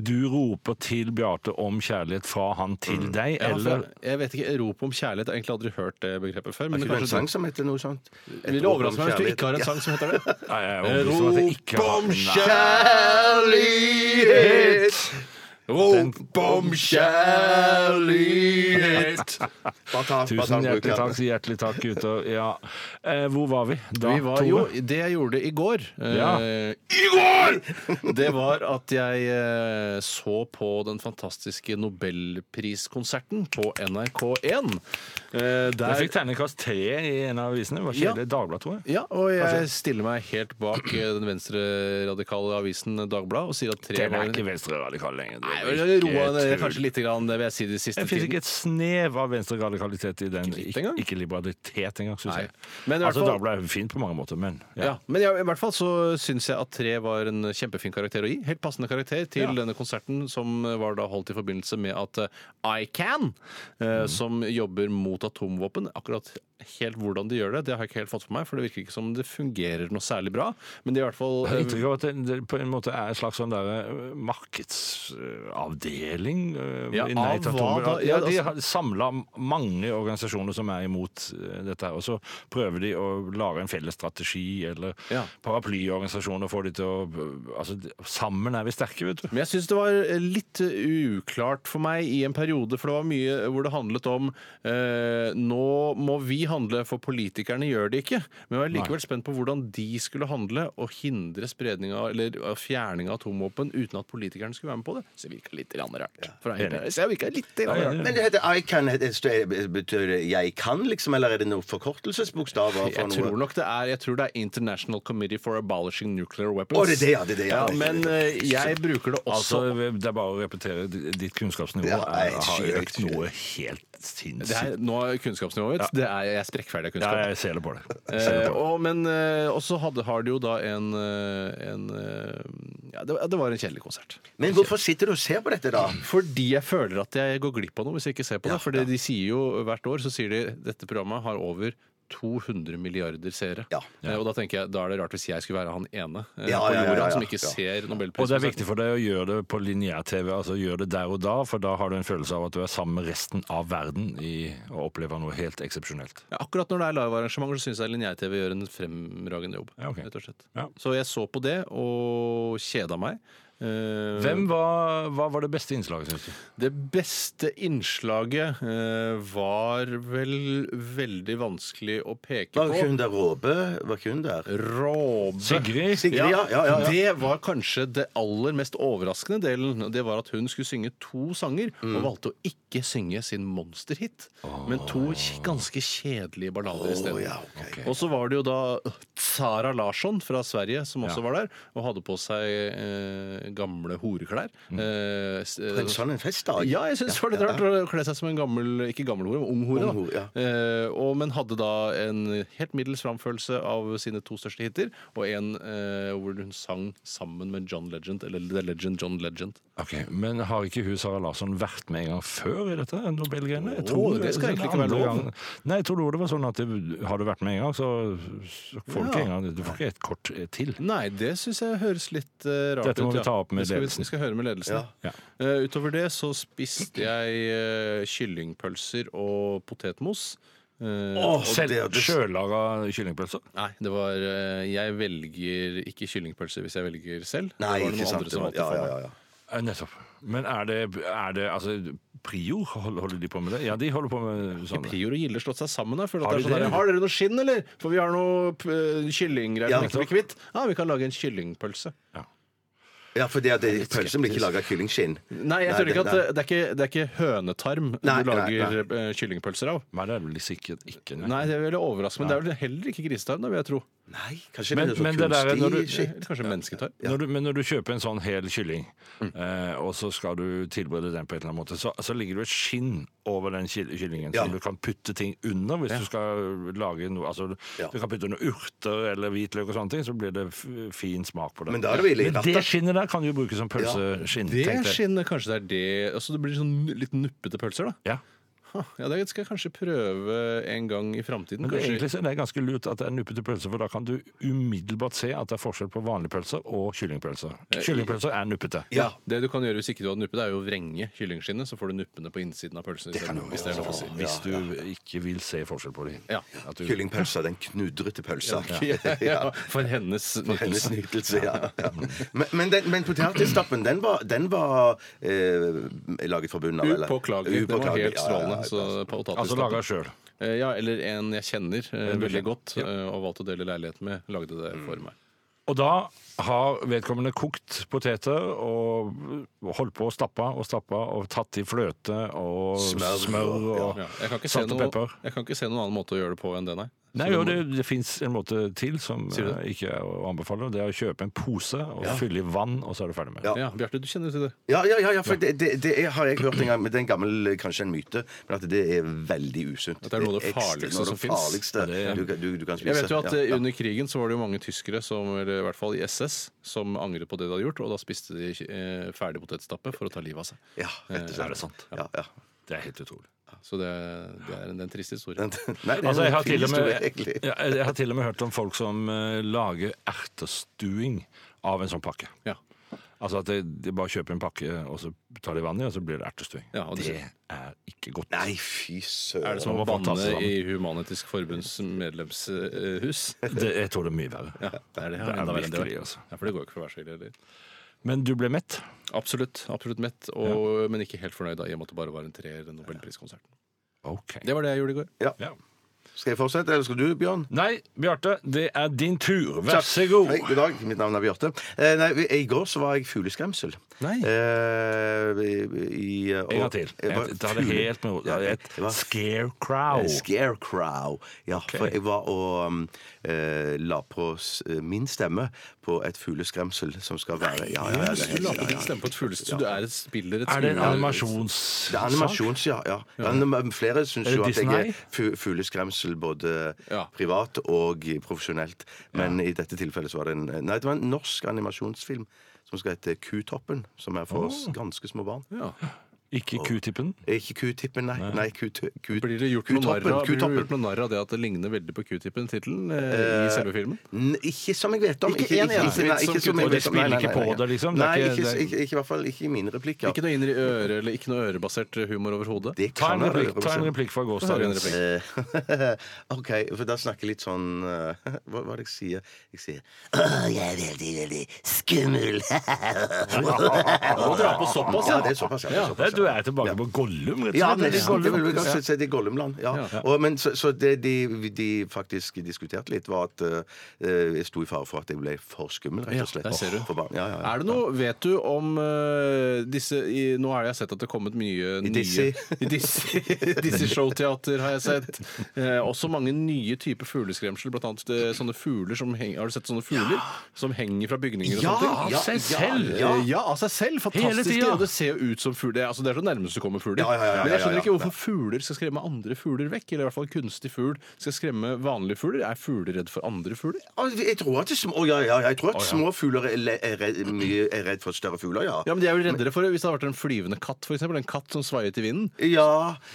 Speaker 5: Du roper til Bjarte om kjærlighet fra han til deg,
Speaker 6: Mm. Ja, for
Speaker 5: eller
Speaker 6: Jeg vet ikke, Rop om kjærlighet. Jeg har egentlig aldri hørt det begrepet før.
Speaker 4: Har
Speaker 6: Men
Speaker 4: ikke du en
Speaker 6: kanskje
Speaker 4: sang som heter noe sånt?
Speaker 6: du vil det overraske meg hvis du ikke har en sang som heter det?
Speaker 5: Nei, jeg er overbevist om at jeg ikke har- Nei.
Speaker 4: Kjærlighet!
Speaker 6: Rop
Speaker 4: om kjærlighet! Bare ta, bare ta
Speaker 5: Tusen
Speaker 4: den
Speaker 5: hjertelig
Speaker 4: bruken.
Speaker 5: takk, hjertelig takk, gutter. Ja. Eh, hvor var vi da,
Speaker 6: Vi var,
Speaker 5: Tore?
Speaker 6: jo, det jeg gjorde i går eh,
Speaker 5: Ja.
Speaker 6: I går! Det var at jeg eh, så på den fantastiske nobelpriskonserten på NRK1. Eh, der-
Speaker 5: Jeg fikk terningkast tre i en av avisene. Det var
Speaker 6: Ja.
Speaker 5: kjedelig. Dagbladet, tror jeg.
Speaker 6: ja, og jeg stiller meg helt bak eh, den venstreradikale avisen Dagbladet og sier at tre
Speaker 5: Den er
Speaker 6: var
Speaker 5: ikke venstreradikal lenger. Det
Speaker 6: Nei,
Speaker 5: er
Speaker 6: vel,
Speaker 5: ikke
Speaker 6: roa ned
Speaker 5: tull.
Speaker 6: kanskje litt, grann, det vil jeg si de siste
Speaker 5: Det fins ikke et snev av venstreradikalitet i den.
Speaker 6: Ikke litt
Speaker 5: Ikke,
Speaker 6: engang?
Speaker 5: ikke liberalitet engang, syns
Speaker 6: Nei.
Speaker 5: jeg.
Speaker 6: Men i hvert
Speaker 5: altså,
Speaker 6: fall-
Speaker 5: Dagbladet er jo fint på mange måter, men
Speaker 6: Ja, men jeg, i hvert fall så syns jeg at tre var en kjempefin karakter å gi. Helt passende karakter til
Speaker 5: Ja.
Speaker 6: denne konserten som eh, var da holdt i forbindelse med at eh, ICAN, eh, som jobber mot atomvåpen Akkurat helt hvordan de gjør det, det har jeg ikke helt fått for meg, for det virker ikke som det fungerer noe særlig bra. Men det er i hvert fall
Speaker 5: Jeg har inntrykk av at det, det på en måte er en slags sånn der, eh, markedsavdeling eh,
Speaker 6: Ja,
Speaker 5: i Nei
Speaker 6: av
Speaker 5: til
Speaker 6: hva
Speaker 5: atomer.
Speaker 6: da?
Speaker 5: Ja,
Speaker 6: Ja,
Speaker 5: de
Speaker 6: altså-
Speaker 5: har samla mange organisasjoner som er imot eh, dette, her, og så prøver de å lage en felles strategi, eller
Speaker 6: Ja.
Speaker 5: paraplyorganisasjoner får de til å altså, de- Sammen er vi sterke, vet du.
Speaker 6: Men jeg syns det var eh, litt uklart for meg i en periode, for det var mye hvor det handlet om eh, Nå må vi handle, for politikerne gjør det ikke. Men jeg var likevel spent på hvordan de skulle handle og hindre spredning av, eller eh, fjerning av atomvåpen uten at politikerne skulle være med på det. Så det virka litt grann rart. For å være helt ærlig. Så jeg virka litt
Speaker 5: Ja,
Speaker 6: grann
Speaker 5: ja,
Speaker 6: rart.
Speaker 5: ja.
Speaker 4: Men det heter I can, heter- står- betyr det 'jeg kan', liksom? Eller er det noen forkortelsesbokstaver? for
Speaker 6: Jeg tror
Speaker 4: noe?
Speaker 6: nok det er jeg tror det er International Committee for Abolishing Nuclear Weapons.
Speaker 4: Å, det er det, ja, det er det, ja. Det er
Speaker 6: men eh, jeg bruker det
Speaker 5: Altså,
Speaker 6: også
Speaker 5: Det er bare å repetere. Ditt kunnskapsnivå
Speaker 4: Ja, nei,
Speaker 5: er, har
Speaker 4: skyt,
Speaker 5: økt
Speaker 4: skyt.
Speaker 5: noe helt sinnssykt.
Speaker 6: det er, nå er kunnskapsnivået mitt. Det er, jeg er sprekkferdig av
Speaker 5: Ja,
Speaker 6: kunnskap.
Speaker 5: jeg ser det på det.
Speaker 6: Eh, og, men eh, også hadde, har de jo da en, eh, en eh, ja, det, det var en kjedelig konsert.
Speaker 4: Men hvorfor sitter du og ser på dette,
Speaker 6: Mm.
Speaker 4: da?
Speaker 6: Fordi jeg føler at jeg går glipp av noe hvis jeg ikke ser på det.
Speaker 4: Ja,
Speaker 6: for
Speaker 4: ja.
Speaker 6: de sier jo hvert år så sier de dette programmet har over 200 milliarder seere.
Speaker 4: Ja.
Speaker 6: Eh, og da tenker jeg, da er det rart hvis jeg skulle være han ene eh,
Speaker 4: Ja, ja,
Speaker 6: på
Speaker 4: ja,
Speaker 6: jorda
Speaker 4: ja,
Speaker 6: som ikke
Speaker 4: ja.
Speaker 6: ser
Speaker 5: Og det er
Speaker 6: Nobelprisen.
Speaker 5: viktig for deg å gjøre det på lineær-TV, altså gjøre det der og da, for da har du en følelse av at du er sammen med resten av verden i å oppleve noe helt eksepsjonelt.
Speaker 6: Ja, Akkurat når det er livearrangementer, så syns jeg Linjær-TV gjør en fremragende jobb.
Speaker 5: Ja, ok.
Speaker 6: rett og slett.
Speaker 5: Ja.
Speaker 6: Så jeg så på det og kjeda meg. Eh,
Speaker 5: Hvem var, hva var det beste innslaget, syns du?
Speaker 6: Det beste innslaget eh, var vel veldig vanskelig å peke
Speaker 4: Var ikke
Speaker 6: på.
Speaker 4: hun der Råbe? Var ikke hun der?
Speaker 6: Råbe.
Speaker 5: Sigrid?
Speaker 4: Sigrid, ja. ja, ja, ja.
Speaker 6: Det var kanskje det aller mest overraskende delen. og Det var at hun skulle synge to sanger,
Speaker 4: Mm.
Speaker 6: og valgte å ikke synge sin monsterhit, men to k- ganske kjedelige ballader
Speaker 4: Å,
Speaker 6: isteden.
Speaker 4: ja, ok.
Speaker 6: Og så var det jo da Sara Larsson fra Sverige som også
Speaker 5: Ja.
Speaker 6: var der, og hadde på seg eh, gamle horeklær.
Speaker 4: Mm.
Speaker 6: Eh, s-
Speaker 4: For en sånn en festdag.
Speaker 6: Ja, jeg syns det var litt rart å kle seg som en gammel Ikke gammel hore, men ung hore. da.
Speaker 4: Ung hore, ja.
Speaker 6: Eh, og, men hadde da en helt middels framførelse av sine to største hiter, og en eh, hvor hun sang sammen med John Legend, eller The Legend John Legend.
Speaker 5: Ok, Men har ikke hun Sara Larsson vært med en gang før i dette Nobelgreiene? Jeg
Speaker 6: Åh,
Speaker 5: tror
Speaker 6: det skal
Speaker 5: er den
Speaker 6: egentlig ikke være
Speaker 5: andre
Speaker 6: lov.
Speaker 5: gangen. Nei, jeg tror det var sånn at det, har du vært med en gang, så så får du
Speaker 6: Ja.
Speaker 5: ikke en gang, du får ikke et kort eh, til.
Speaker 6: Nei, det syns jeg høres litt eh, rart
Speaker 5: Dette må
Speaker 6: ut.
Speaker 5: vi ta opp med
Speaker 6: Det skal
Speaker 5: ledelsen.
Speaker 6: Vi, vi skal høre med ledelsen.
Speaker 5: Ja.
Speaker 6: Eh, utover det så spiste jeg eh, kyllingpølser og potetmos. Eh,
Speaker 5: Åh,
Speaker 6: og-
Speaker 5: selv
Speaker 4: det-
Speaker 5: Sjølaga kyllingpølser?
Speaker 6: Nei, det var eh, Jeg velger ikke kyllingpølser hvis jeg velger selv.
Speaker 4: Nei,
Speaker 6: det var
Speaker 4: ikke sant.
Speaker 6: andre som
Speaker 4: det var-
Speaker 6: valgte
Speaker 4: Ja,
Speaker 6: for
Speaker 4: ja,
Speaker 6: meg.
Speaker 4: ja, ja.
Speaker 5: Eh, Nettopp. Men er det, er det altså, Prior, hold- holder de på med det? Ja, de holder på med sånne.
Speaker 6: Prior og Gilde slått seg sammen? Da, for
Speaker 5: Har
Speaker 6: Sånn, har, det
Speaker 5: de
Speaker 6: er sånn
Speaker 5: det?
Speaker 6: der, har dere noe skinn, eller? For vi har noe uh, kyllinggreier
Speaker 4: Ja.
Speaker 6: som ikke blir kvitt. Ja, vi kan lage en kyllingpølse.
Speaker 4: Ja, for det, at det, pølsen blir ikke laga av kyllingskinn.
Speaker 6: Nei, jeg tror
Speaker 4: det-
Speaker 6: ikke at
Speaker 4: nei.
Speaker 6: det, det, er ikke, det er ikke hønetarm
Speaker 4: Nei,
Speaker 6: du
Speaker 4: nei,
Speaker 6: lager eh, kyllingpølser av.
Speaker 5: Nei, det er vel sikkert ikke. nei.
Speaker 6: Nei, det er veldig overraskende, men det er vel heller ikke grisetarm, da, vil jeg tro.
Speaker 4: Nei, kanskje
Speaker 5: Men-
Speaker 4: det er
Speaker 5: men
Speaker 4: sånn
Speaker 5: det der er når du-
Speaker 4: kunstig skitt.
Speaker 6: Eller Kanskje mennesketarm.
Speaker 5: Når du, men når du kjøper en sånn hel kylling,
Speaker 4: Mm.
Speaker 5: eh, og så skal du tilberede den på en eller annen måte, så, så ligger det et skinn over den kyll- kyllingen
Speaker 4: Ja.
Speaker 5: som du kan putte ting under hvis du skal lage noe altså,
Speaker 4: Ja.
Speaker 5: Du kan putte noe urter eller hvitløk og sånne ting, så blir det f fin smak på det.
Speaker 4: Men da er det vel i
Speaker 5: Men
Speaker 4: rattet.
Speaker 5: det skinnet der kan du jo bruke som pølseskinn.
Speaker 6: Det
Speaker 5: tenkte jeg.
Speaker 6: skinnet, kanskje det er det Altså det blir sånn litt nuppete pølser, da.
Speaker 5: Ja.
Speaker 6: Huh, Ja, det skal jeg kanskje prøve en gang i framtiden.
Speaker 5: Men det,
Speaker 6: kanskje.
Speaker 5: egentlig så er det ganske lurt at det er nuppete pølser, for da kan du umiddelbart se at det er forskjell på vanlige pølser og kyllingpølser.
Speaker 6: Eh,
Speaker 5: Kyllingpølser er nuppete.
Speaker 6: Ja, Det du kan gjøre hvis ikke du har nuppe, det er jo å vrenge kyllingskinnet, så får du nuppene på innsiden av pølsen. Det kan hvis det er lov å si.
Speaker 5: Hvis du ikke vil se forskjell på dem.
Speaker 6: Ja.
Speaker 5: At du
Speaker 4: Kyllingpølsa, den knudrete pølsa. <laughs>
Speaker 6: Ja, ja, for hennes
Speaker 4: Hennes
Speaker 6: nytelse.
Speaker 4: nytelse, ja. ja. Men, men, den- men potetstappen, den var, den var eh, laget fra bunnen av, eller?
Speaker 6: Upåklagelig. Det var
Speaker 4: ja,
Speaker 6: helt
Speaker 4: ja, ja.
Speaker 6: strålende. Så potetstappen.
Speaker 5: Altså laga sjøl.
Speaker 6: Eh, Ja, eller en jeg kjenner eh,
Speaker 5: du
Speaker 6: veldig
Speaker 5: kjenner.
Speaker 6: godt, eh, og valgte å dele leilighet med, lagde
Speaker 4: Mm.
Speaker 6: det for meg.
Speaker 5: Og da har vedkommende kokt poteter og holdt på å stappe og stappe og tatt i fløte og smør,
Speaker 4: Smør,
Speaker 5: og
Speaker 6: Ja, jeg, kan ikke se
Speaker 5: salt og
Speaker 6: noe,
Speaker 5: pepper.
Speaker 6: jeg kan ikke se noen annen måte å gjøre det på enn det, nei. Så
Speaker 5: Nei,
Speaker 6: det
Speaker 5: jo,
Speaker 6: må-
Speaker 5: det, det fins en måte til som
Speaker 6: Sier du det?
Speaker 5: eh, ikke er å anbefale. og Det er å kjøpe en pose og fylle i vann, og så er du ferdig med det.
Speaker 4: Ja.
Speaker 6: Ja, Bjarte, du kjenner jo til det.
Speaker 4: Ja, ja, ja, ja, for det, det, det er- har jeg hørt en gang, men det er en gammel, kanskje en myte, men at det er veldig usunt.
Speaker 6: At det er noe av det
Speaker 4: ekstra- noe
Speaker 6: farligste
Speaker 4: av det
Speaker 6: som finnes.
Speaker 4: farligste du, kan- du, du kan spise.
Speaker 6: Jeg vet jo at
Speaker 4: Ja,
Speaker 6: eh,
Speaker 4: ja.
Speaker 6: Under krigen så var det jo mange tyskere, som, eller i hvert fall i SS, som angret på det de hadde gjort, og da spiste de eh, ferdig potetstappe for å ta livet av seg.
Speaker 4: Ja, rett og slett.
Speaker 5: Er det sant?
Speaker 4: Ja, <laughs> ja.
Speaker 5: Det er helt utrolig.
Speaker 6: Så det, det er en, det er en trist historie.
Speaker 4: Den, nei, det er
Speaker 5: Altså, jeg, har
Speaker 4: en fin
Speaker 5: til og med,
Speaker 4: historie, egentlig.
Speaker 5: ja, jeg har til og med hørt om folk som eh, lager ertestuing av en sånn pakke.
Speaker 6: Ja.
Speaker 5: Altså at de, de bare kjøper en pakke, og så tar de vann i, og så blir det ertestuing.
Speaker 6: Ja, og det-
Speaker 5: det er ikke godt.
Speaker 4: Nei, fy søren.
Speaker 6: Er det som
Speaker 5: Nå
Speaker 6: å
Speaker 5: må man ta
Speaker 6: banne
Speaker 5: seg sammen.
Speaker 6: i Human-Etisk Forbunds medlemshus?
Speaker 5: Det, jeg tror det er mye verre.
Speaker 6: <laughs> Ja, det er det.
Speaker 5: Det er
Speaker 6: enda verre enn det
Speaker 5: virkelig,
Speaker 6: var.
Speaker 5: altså.
Speaker 6: Ja, for det går jo ikke for å være så ille. heller.
Speaker 5: Men du ble mett?
Speaker 6: Absolutt. Absolutt mett, og, men ikke helt fornøyd, da, i og med at det bare var en treer i nobelpriskonserten.
Speaker 5: Ok.
Speaker 6: Det var det jeg gjorde i går.
Speaker 5: Ja.
Speaker 4: Skal jeg fortsette, eller skal du, Bjørn?
Speaker 5: Nei, Bjarte, det er din tur. Vær så god.
Speaker 4: Hei, god dag. Mitt navn er Bjarte. Eh, nei, vi- I går så var jeg fugleskremsel.
Speaker 6: Nei.
Speaker 4: Eh, i, i, og-
Speaker 5: En gang til.
Speaker 4: Jeg var
Speaker 5: Jeg tar det
Speaker 4: fugle-
Speaker 5: helt med hodet.
Speaker 4: Ja, jeg-
Speaker 5: Et
Speaker 4: jeg var-
Speaker 5: scarecrow.
Speaker 4: Eh, Scarecrow. Ja, for jeg var og um, eh, la på s- eh, min stemme på et fugleskremsel som skal være Ja, ja, ja, det er helt-
Speaker 6: Du la på
Speaker 4: ja, ja.
Speaker 6: din stemme på et fuglestue. Du er et spiller, et
Speaker 5: Er det en
Speaker 6: skuespiller.
Speaker 5: animasjonssak?
Speaker 4: Det er animasjons, ja. ja. ja. men Flere syns
Speaker 5: Er det
Speaker 4: jo at jeg
Speaker 5: Disney?
Speaker 4: er fu- fugleskremsel både
Speaker 6: Ja.
Speaker 4: privat og profesjonelt. Men i dette tilfellet så var det en eh, Nei, det var en norsk animasjonsfilm som skal hete Kutoppen. Som er for oss ganske små barn. Eh,
Speaker 6: Ja.
Speaker 5: Ikke Q-tippen?
Speaker 4: Ikke Q-tippen, nei. nei. Q-t- Q-
Speaker 6: Blir det gjort noe
Speaker 4: Q-toppen.
Speaker 6: narr av- blir det gjort
Speaker 4: Q-toppen.
Speaker 6: noe narr av det at det ligner veldig på Q-tippen, tittelen, eh, i selve filmen?
Speaker 4: N- Ikke som jeg vet om.
Speaker 6: Ikke en eneste
Speaker 4: nei,
Speaker 6: vits som
Speaker 4: som
Speaker 5: Q-toppen. Og de
Speaker 4: jeg vet om. Nei, nei,
Speaker 5: spiller ikke
Speaker 4: nei,
Speaker 5: på
Speaker 4: nei.
Speaker 5: det, liksom? Det er
Speaker 4: Nei,
Speaker 5: ikke-
Speaker 4: ikke,
Speaker 5: det er-
Speaker 4: ikke, ikke i hvert fall ikke i mine replikker.
Speaker 6: Ikke noe inn i øret, eller ikke noe ørerbasert humor overhodet?
Speaker 4: det
Speaker 5: Ta
Speaker 4: kan
Speaker 5: en
Speaker 4: jeg
Speaker 5: replikk,
Speaker 4: være
Speaker 5: ta en
Speaker 4: revolusjon.
Speaker 5: replikk fra
Speaker 6: Få høre en
Speaker 5: gårsdagens.
Speaker 6: replikk.
Speaker 4: Eh, <laughs> OK, for da snakker jeg litt sånn eh, <laughs> Hva hva er det jeg sier? Jeg sier Åh, jeg er veldig, veldig skummel. <laughs>
Speaker 6: Må dra på såpass,
Speaker 4: ja, det er såpass. Ja, det er såpass,
Speaker 5: Nei,
Speaker 4: ja.
Speaker 5: Du er tilbake på Gollum, rett og slett.
Speaker 4: Ja,
Speaker 5: Det er
Speaker 4: nesten. Det
Speaker 5: Gollum.
Speaker 4: vil vi kanskje si til Gollumland. Ja. Og, men, så, så det de, de faktisk diskuterte litt, var at eh, jeg sto i fare for at jeg ble for skummel, rett
Speaker 6: Ja,
Speaker 4: og slett.
Speaker 6: der ser du.
Speaker 4: For barn. Ja, ja, ja.
Speaker 6: Er det noe, Vet du om eh, disse i, Nå har jeg sett at det er kommet mye nye
Speaker 4: Dizzy.
Speaker 6: i Dizzy, Dizzy Showteater har jeg sett. Eh, også mange nye typer fugleskremsel, blant annet eh, sånne fugler som henger Har du sett sånne fugler som henger fra bygninger og
Speaker 4: Ja,
Speaker 6: sånne ting?
Speaker 5: Av seg selv!
Speaker 6: Eh, Ja, av seg selv. Fantastisk.
Speaker 5: Hele tida.
Speaker 6: Og det ser jo ut som fugl. Det, er- altså, det er så nærmest du kommer fugler.
Speaker 4: Ja, ja, ja, ja,
Speaker 6: Men jeg skjønner
Speaker 4: ja, ja.
Speaker 6: ikke hvorfor fugler skal skremme andre fugler vekk. Eller i hvert fall kunstig fugl skal skremme vanlige fugler. Er fugler redd for andre fugler?
Speaker 4: Å, Jeg tror at, små, ja, ja, jeg tror at små fugler er, le- er, redd, mye, er redd for større fugler, ja.
Speaker 6: Ja, men De er jo reddere for det hvis det hadde vært en flyvende katt, for eksempel, En katt som svaiet i vinden.
Speaker 4: Ja,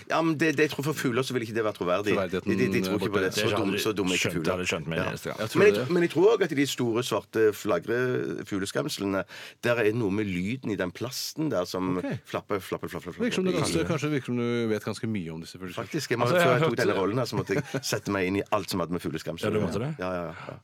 Speaker 4: ja men det, det, jeg tror For fugler så ville ikke det vært troverdig. De,
Speaker 6: Troverdigheten
Speaker 4: de, de tror ikke på
Speaker 6: borte.
Speaker 4: det. Så
Speaker 5: Det
Speaker 4: dumme så dumme er ikke
Speaker 5: skjønte-
Speaker 4: fugler.
Speaker 5: hadde skjønt med en eneste gang.
Speaker 6: Jeg tror
Speaker 4: Men
Speaker 6: det.
Speaker 4: jeg, men jeg tror òg at i de store, svarte flagrefugleskremslene Der er noe med lyden i den plasten der som
Speaker 6: Ok.
Speaker 4: flapper, flapper, flapper. flapper.
Speaker 6: Virker som du,
Speaker 4: Kanskje-
Speaker 6: kanskje, kanskje virker som du vet ganske mye om disse fuglene.
Speaker 4: Faktisk, jeg må,
Speaker 5: Altså, jeg
Speaker 4: Før
Speaker 5: har
Speaker 4: jeg tok
Speaker 5: hørt-
Speaker 4: denne rollen, her, så måtte jeg sette meg inn i alt som hadde med fugleskremsel
Speaker 5: Ja, du måtte det?
Speaker 4: Ja, ja, ja.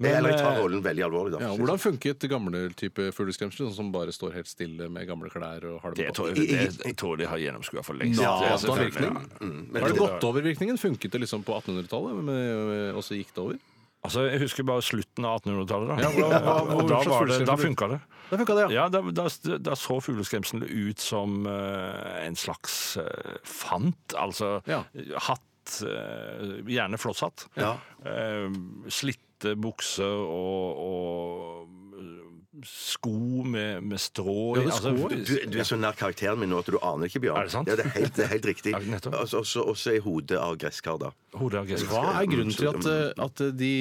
Speaker 5: Men,
Speaker 4: Eller jeg tar
Speaker 5: eh,
Speaker 4: rollen veldig alvorlig, da.
Speaker 6: Ja, hvordan funket gamle type fugleskremsler, sånn som bare står helt stille med gamle klær og har
Speaker 5: Det
Speaker 6: det på?
Speaker 5: tror jeg, det, jeg tror de har gjennomskua for lengst.
Speaker 6: Ja,
Speaker 5: Det er
Speaker 6: da
Speaker 5: selvfølgelig-
Speaker 6: virkelig.
Speaker 4: Mm, Men-
Speaker 6: Har det gått over virkningen? Funket det liksom på 1800-tallet, med- med- og så gikk det over?
Speaker 5: Altså, Jeg husker bare slutten av 1800-tallet. Da,
Speaker 6: Ja, hva- hva-
Speaker 5: Og
Speaker 6: hvor
Speaker 5: da,
Speaker 6: slags
Speaker 5: var det- da
Speaker 6: fugleskremsel-
Speaker 5: funka det.
Speaker 6: Da funka det,
Speaker 5: Ja, Da, da, da så fugleskremselet ut som eh, en slags eh, fant. Altså
Speaker 6: Ja.
Speaker 5: hatt, eh, gjerne flosshatt.
Speaker 4: Ja.
Speaker 5: Eh, slitte bukser og, og eh, sko med, med strå i. Altså,
Speaker 6: Ja, det er sko, ja.
Speaker 4: Du, du er så nær karakteren min nå at du aner ikke, Bjørn.
Speaker 5: Er det sant?
Speaker 4: Ja, det er helt, det er helt
Speaker 5: <laughs>
Speaker 4: riktig.
Speaker 5: Ja, nettopp.
Speaker 4: Altså, Også, også i hodet av gresskar, da.
Speaker 5: Hodet av gresset.
Speaker 6: Hva er grunnen til at, eh, at de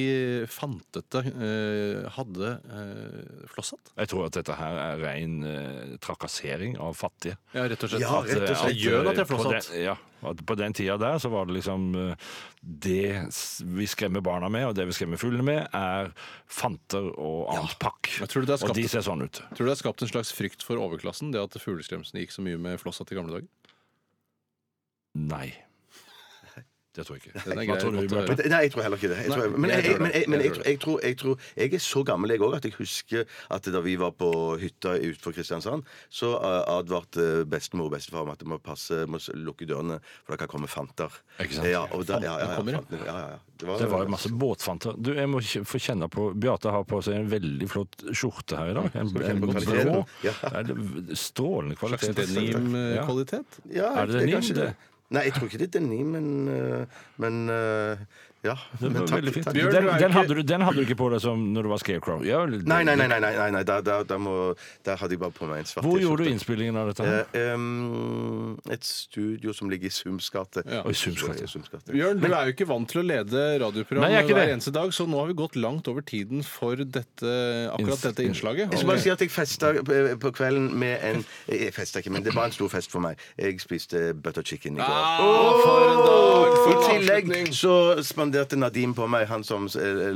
Speaker 6: fantete eh, hadde eh, flosshatt?
Speaker 5: Jeg tror at dette her er ren eh, trakassering av fattige.
Speaker 6: Ja, rett og slett.
Speaker 4: Ja, rett og
Speaker 5: At, eh,
Speaker 4: slett.
Speaker 5: at,
Speaker 6: Gjør at jeg
Speaker 5: eh, på
Speaker 6: flosshatt.
Speaker 5: den- Ja, at på den tida der så var det liksom eh, Det s- vi skremmer barna med, og det vi skremmer fuglene med, er fanter og annet pakk.
Speaker 6: Jeg tror det er
Speaker 5: og
Speaker 6: skapt-
Speaker 5: de ser sånn ut.
Speaker 6: Tror du det er skapt en slags frykt for overklassen, det at fugleskremsene gikk så mye med flosshatt i gamle dager?
Speaker 5: Nei. Det tror jeg ikke.
Speaker 6: Den er
Speaker 5: Hva
Speaker 6: grei,
Speaker 5: tror du,
Speaker 6: godt å
Speaker 5: Bjarte?
Speaker 6: høre.
Speaker 4: Nei, jeg tror heller ikke det. Jeg tror,
Speaker 6: Nei,
Speaker 4: men
Speaker 6: jeg
Speaker 4: jeg,
Speaker 6: tror det.
Speaker 4: men jeg, men
Speaker 6: Jeg
Speaker 4: jeg,
Speaker 6: tror
Speaker 4: tror- jeg, tror, jeg, tror, jeg er så gammel jeg òg at jeg husker at da vi var på hytta utenfor Kristiansand, så eh, advarte bestemor og bestefar om at du må passe, må s- lukke dørene, for det kan komme fanter.
Speaker 5: Ikke sant?
Speaker 4: Ja, og da, ja, ja, ja,
Speaker 6: Fantene kommer, ja.
Speaker 4: fantene, ja, ja, ja.
Speaker 5: Det var jo masse båtfanter. Du, jeg må kj- få kjenne på Beate har på seg en veldig flott skjorte her i dag. En, en
Speaker 4: kjenne på
Speaker 5: blå.
Speaker 4: kvaliteten? Ja. eh,
Speaker 5: Nei, det er Strålende kvalitet. Ja.
Speaker 6: Denim-kvalitet?
Speaker 4: ja,
Speaker 5: Er det denim,
Speaker 4: kanskje
Speaker 5: det?
Speaker 4: Nei, jeg tror ikke det er denim, men, eh, men eh, Ja.
Speaker 5: Den,
Speaker 4: Men
Speaker 5: var
Speaker 4: takk,
Speaker 5: veldig fin.
Speaker 4: takk.
Speaker 6: Bjørn,
Speaker 5: den,
Speaker 6: du er
Speaker 5: den,
Speaker 6: ikke-
Speaker 5: hadde du, den hadde du ikke på deg som når du var Scarecrow? Ja, vel,
Speaker 4: Nei, nei, nei, nei, nei, nei, nei. Der, der, der, må, der hadde jeg bare på meg en svart
Speaker 5: Hvor gjorde du innspillingen av dette? her?
Speaker 4: Eh, em, et studio som ligger i Sums gate.
Speaker 6: Ja.
Speaker 5: Oi, Sums gate.
Speaker 4: I Sums gate.
Speaker 6: Bjørn, du er jo ikke vant til å lede radioprogram
Speaker 5: Nei, jeg er ikke
Speaker 6: hver
Speaker 5: det.
Speaker 6: eneste dag, så nå har vi gått langt over tiden for dette,
Speaker 5: Ins-
Speaker 6: akkurat dette innslaget.
Speaker 4: Jeg skal bare si at jeg festa eh, på kvelden med en eh, Jeg festa ikke, men det var en stor fest for meg. Jeg spiste butter chicken i går.
Speaker 5: Ah,
Speaker 6: for en dag!
Speaker 4: I tillegg så spanderte Nadim på meg, han som eh,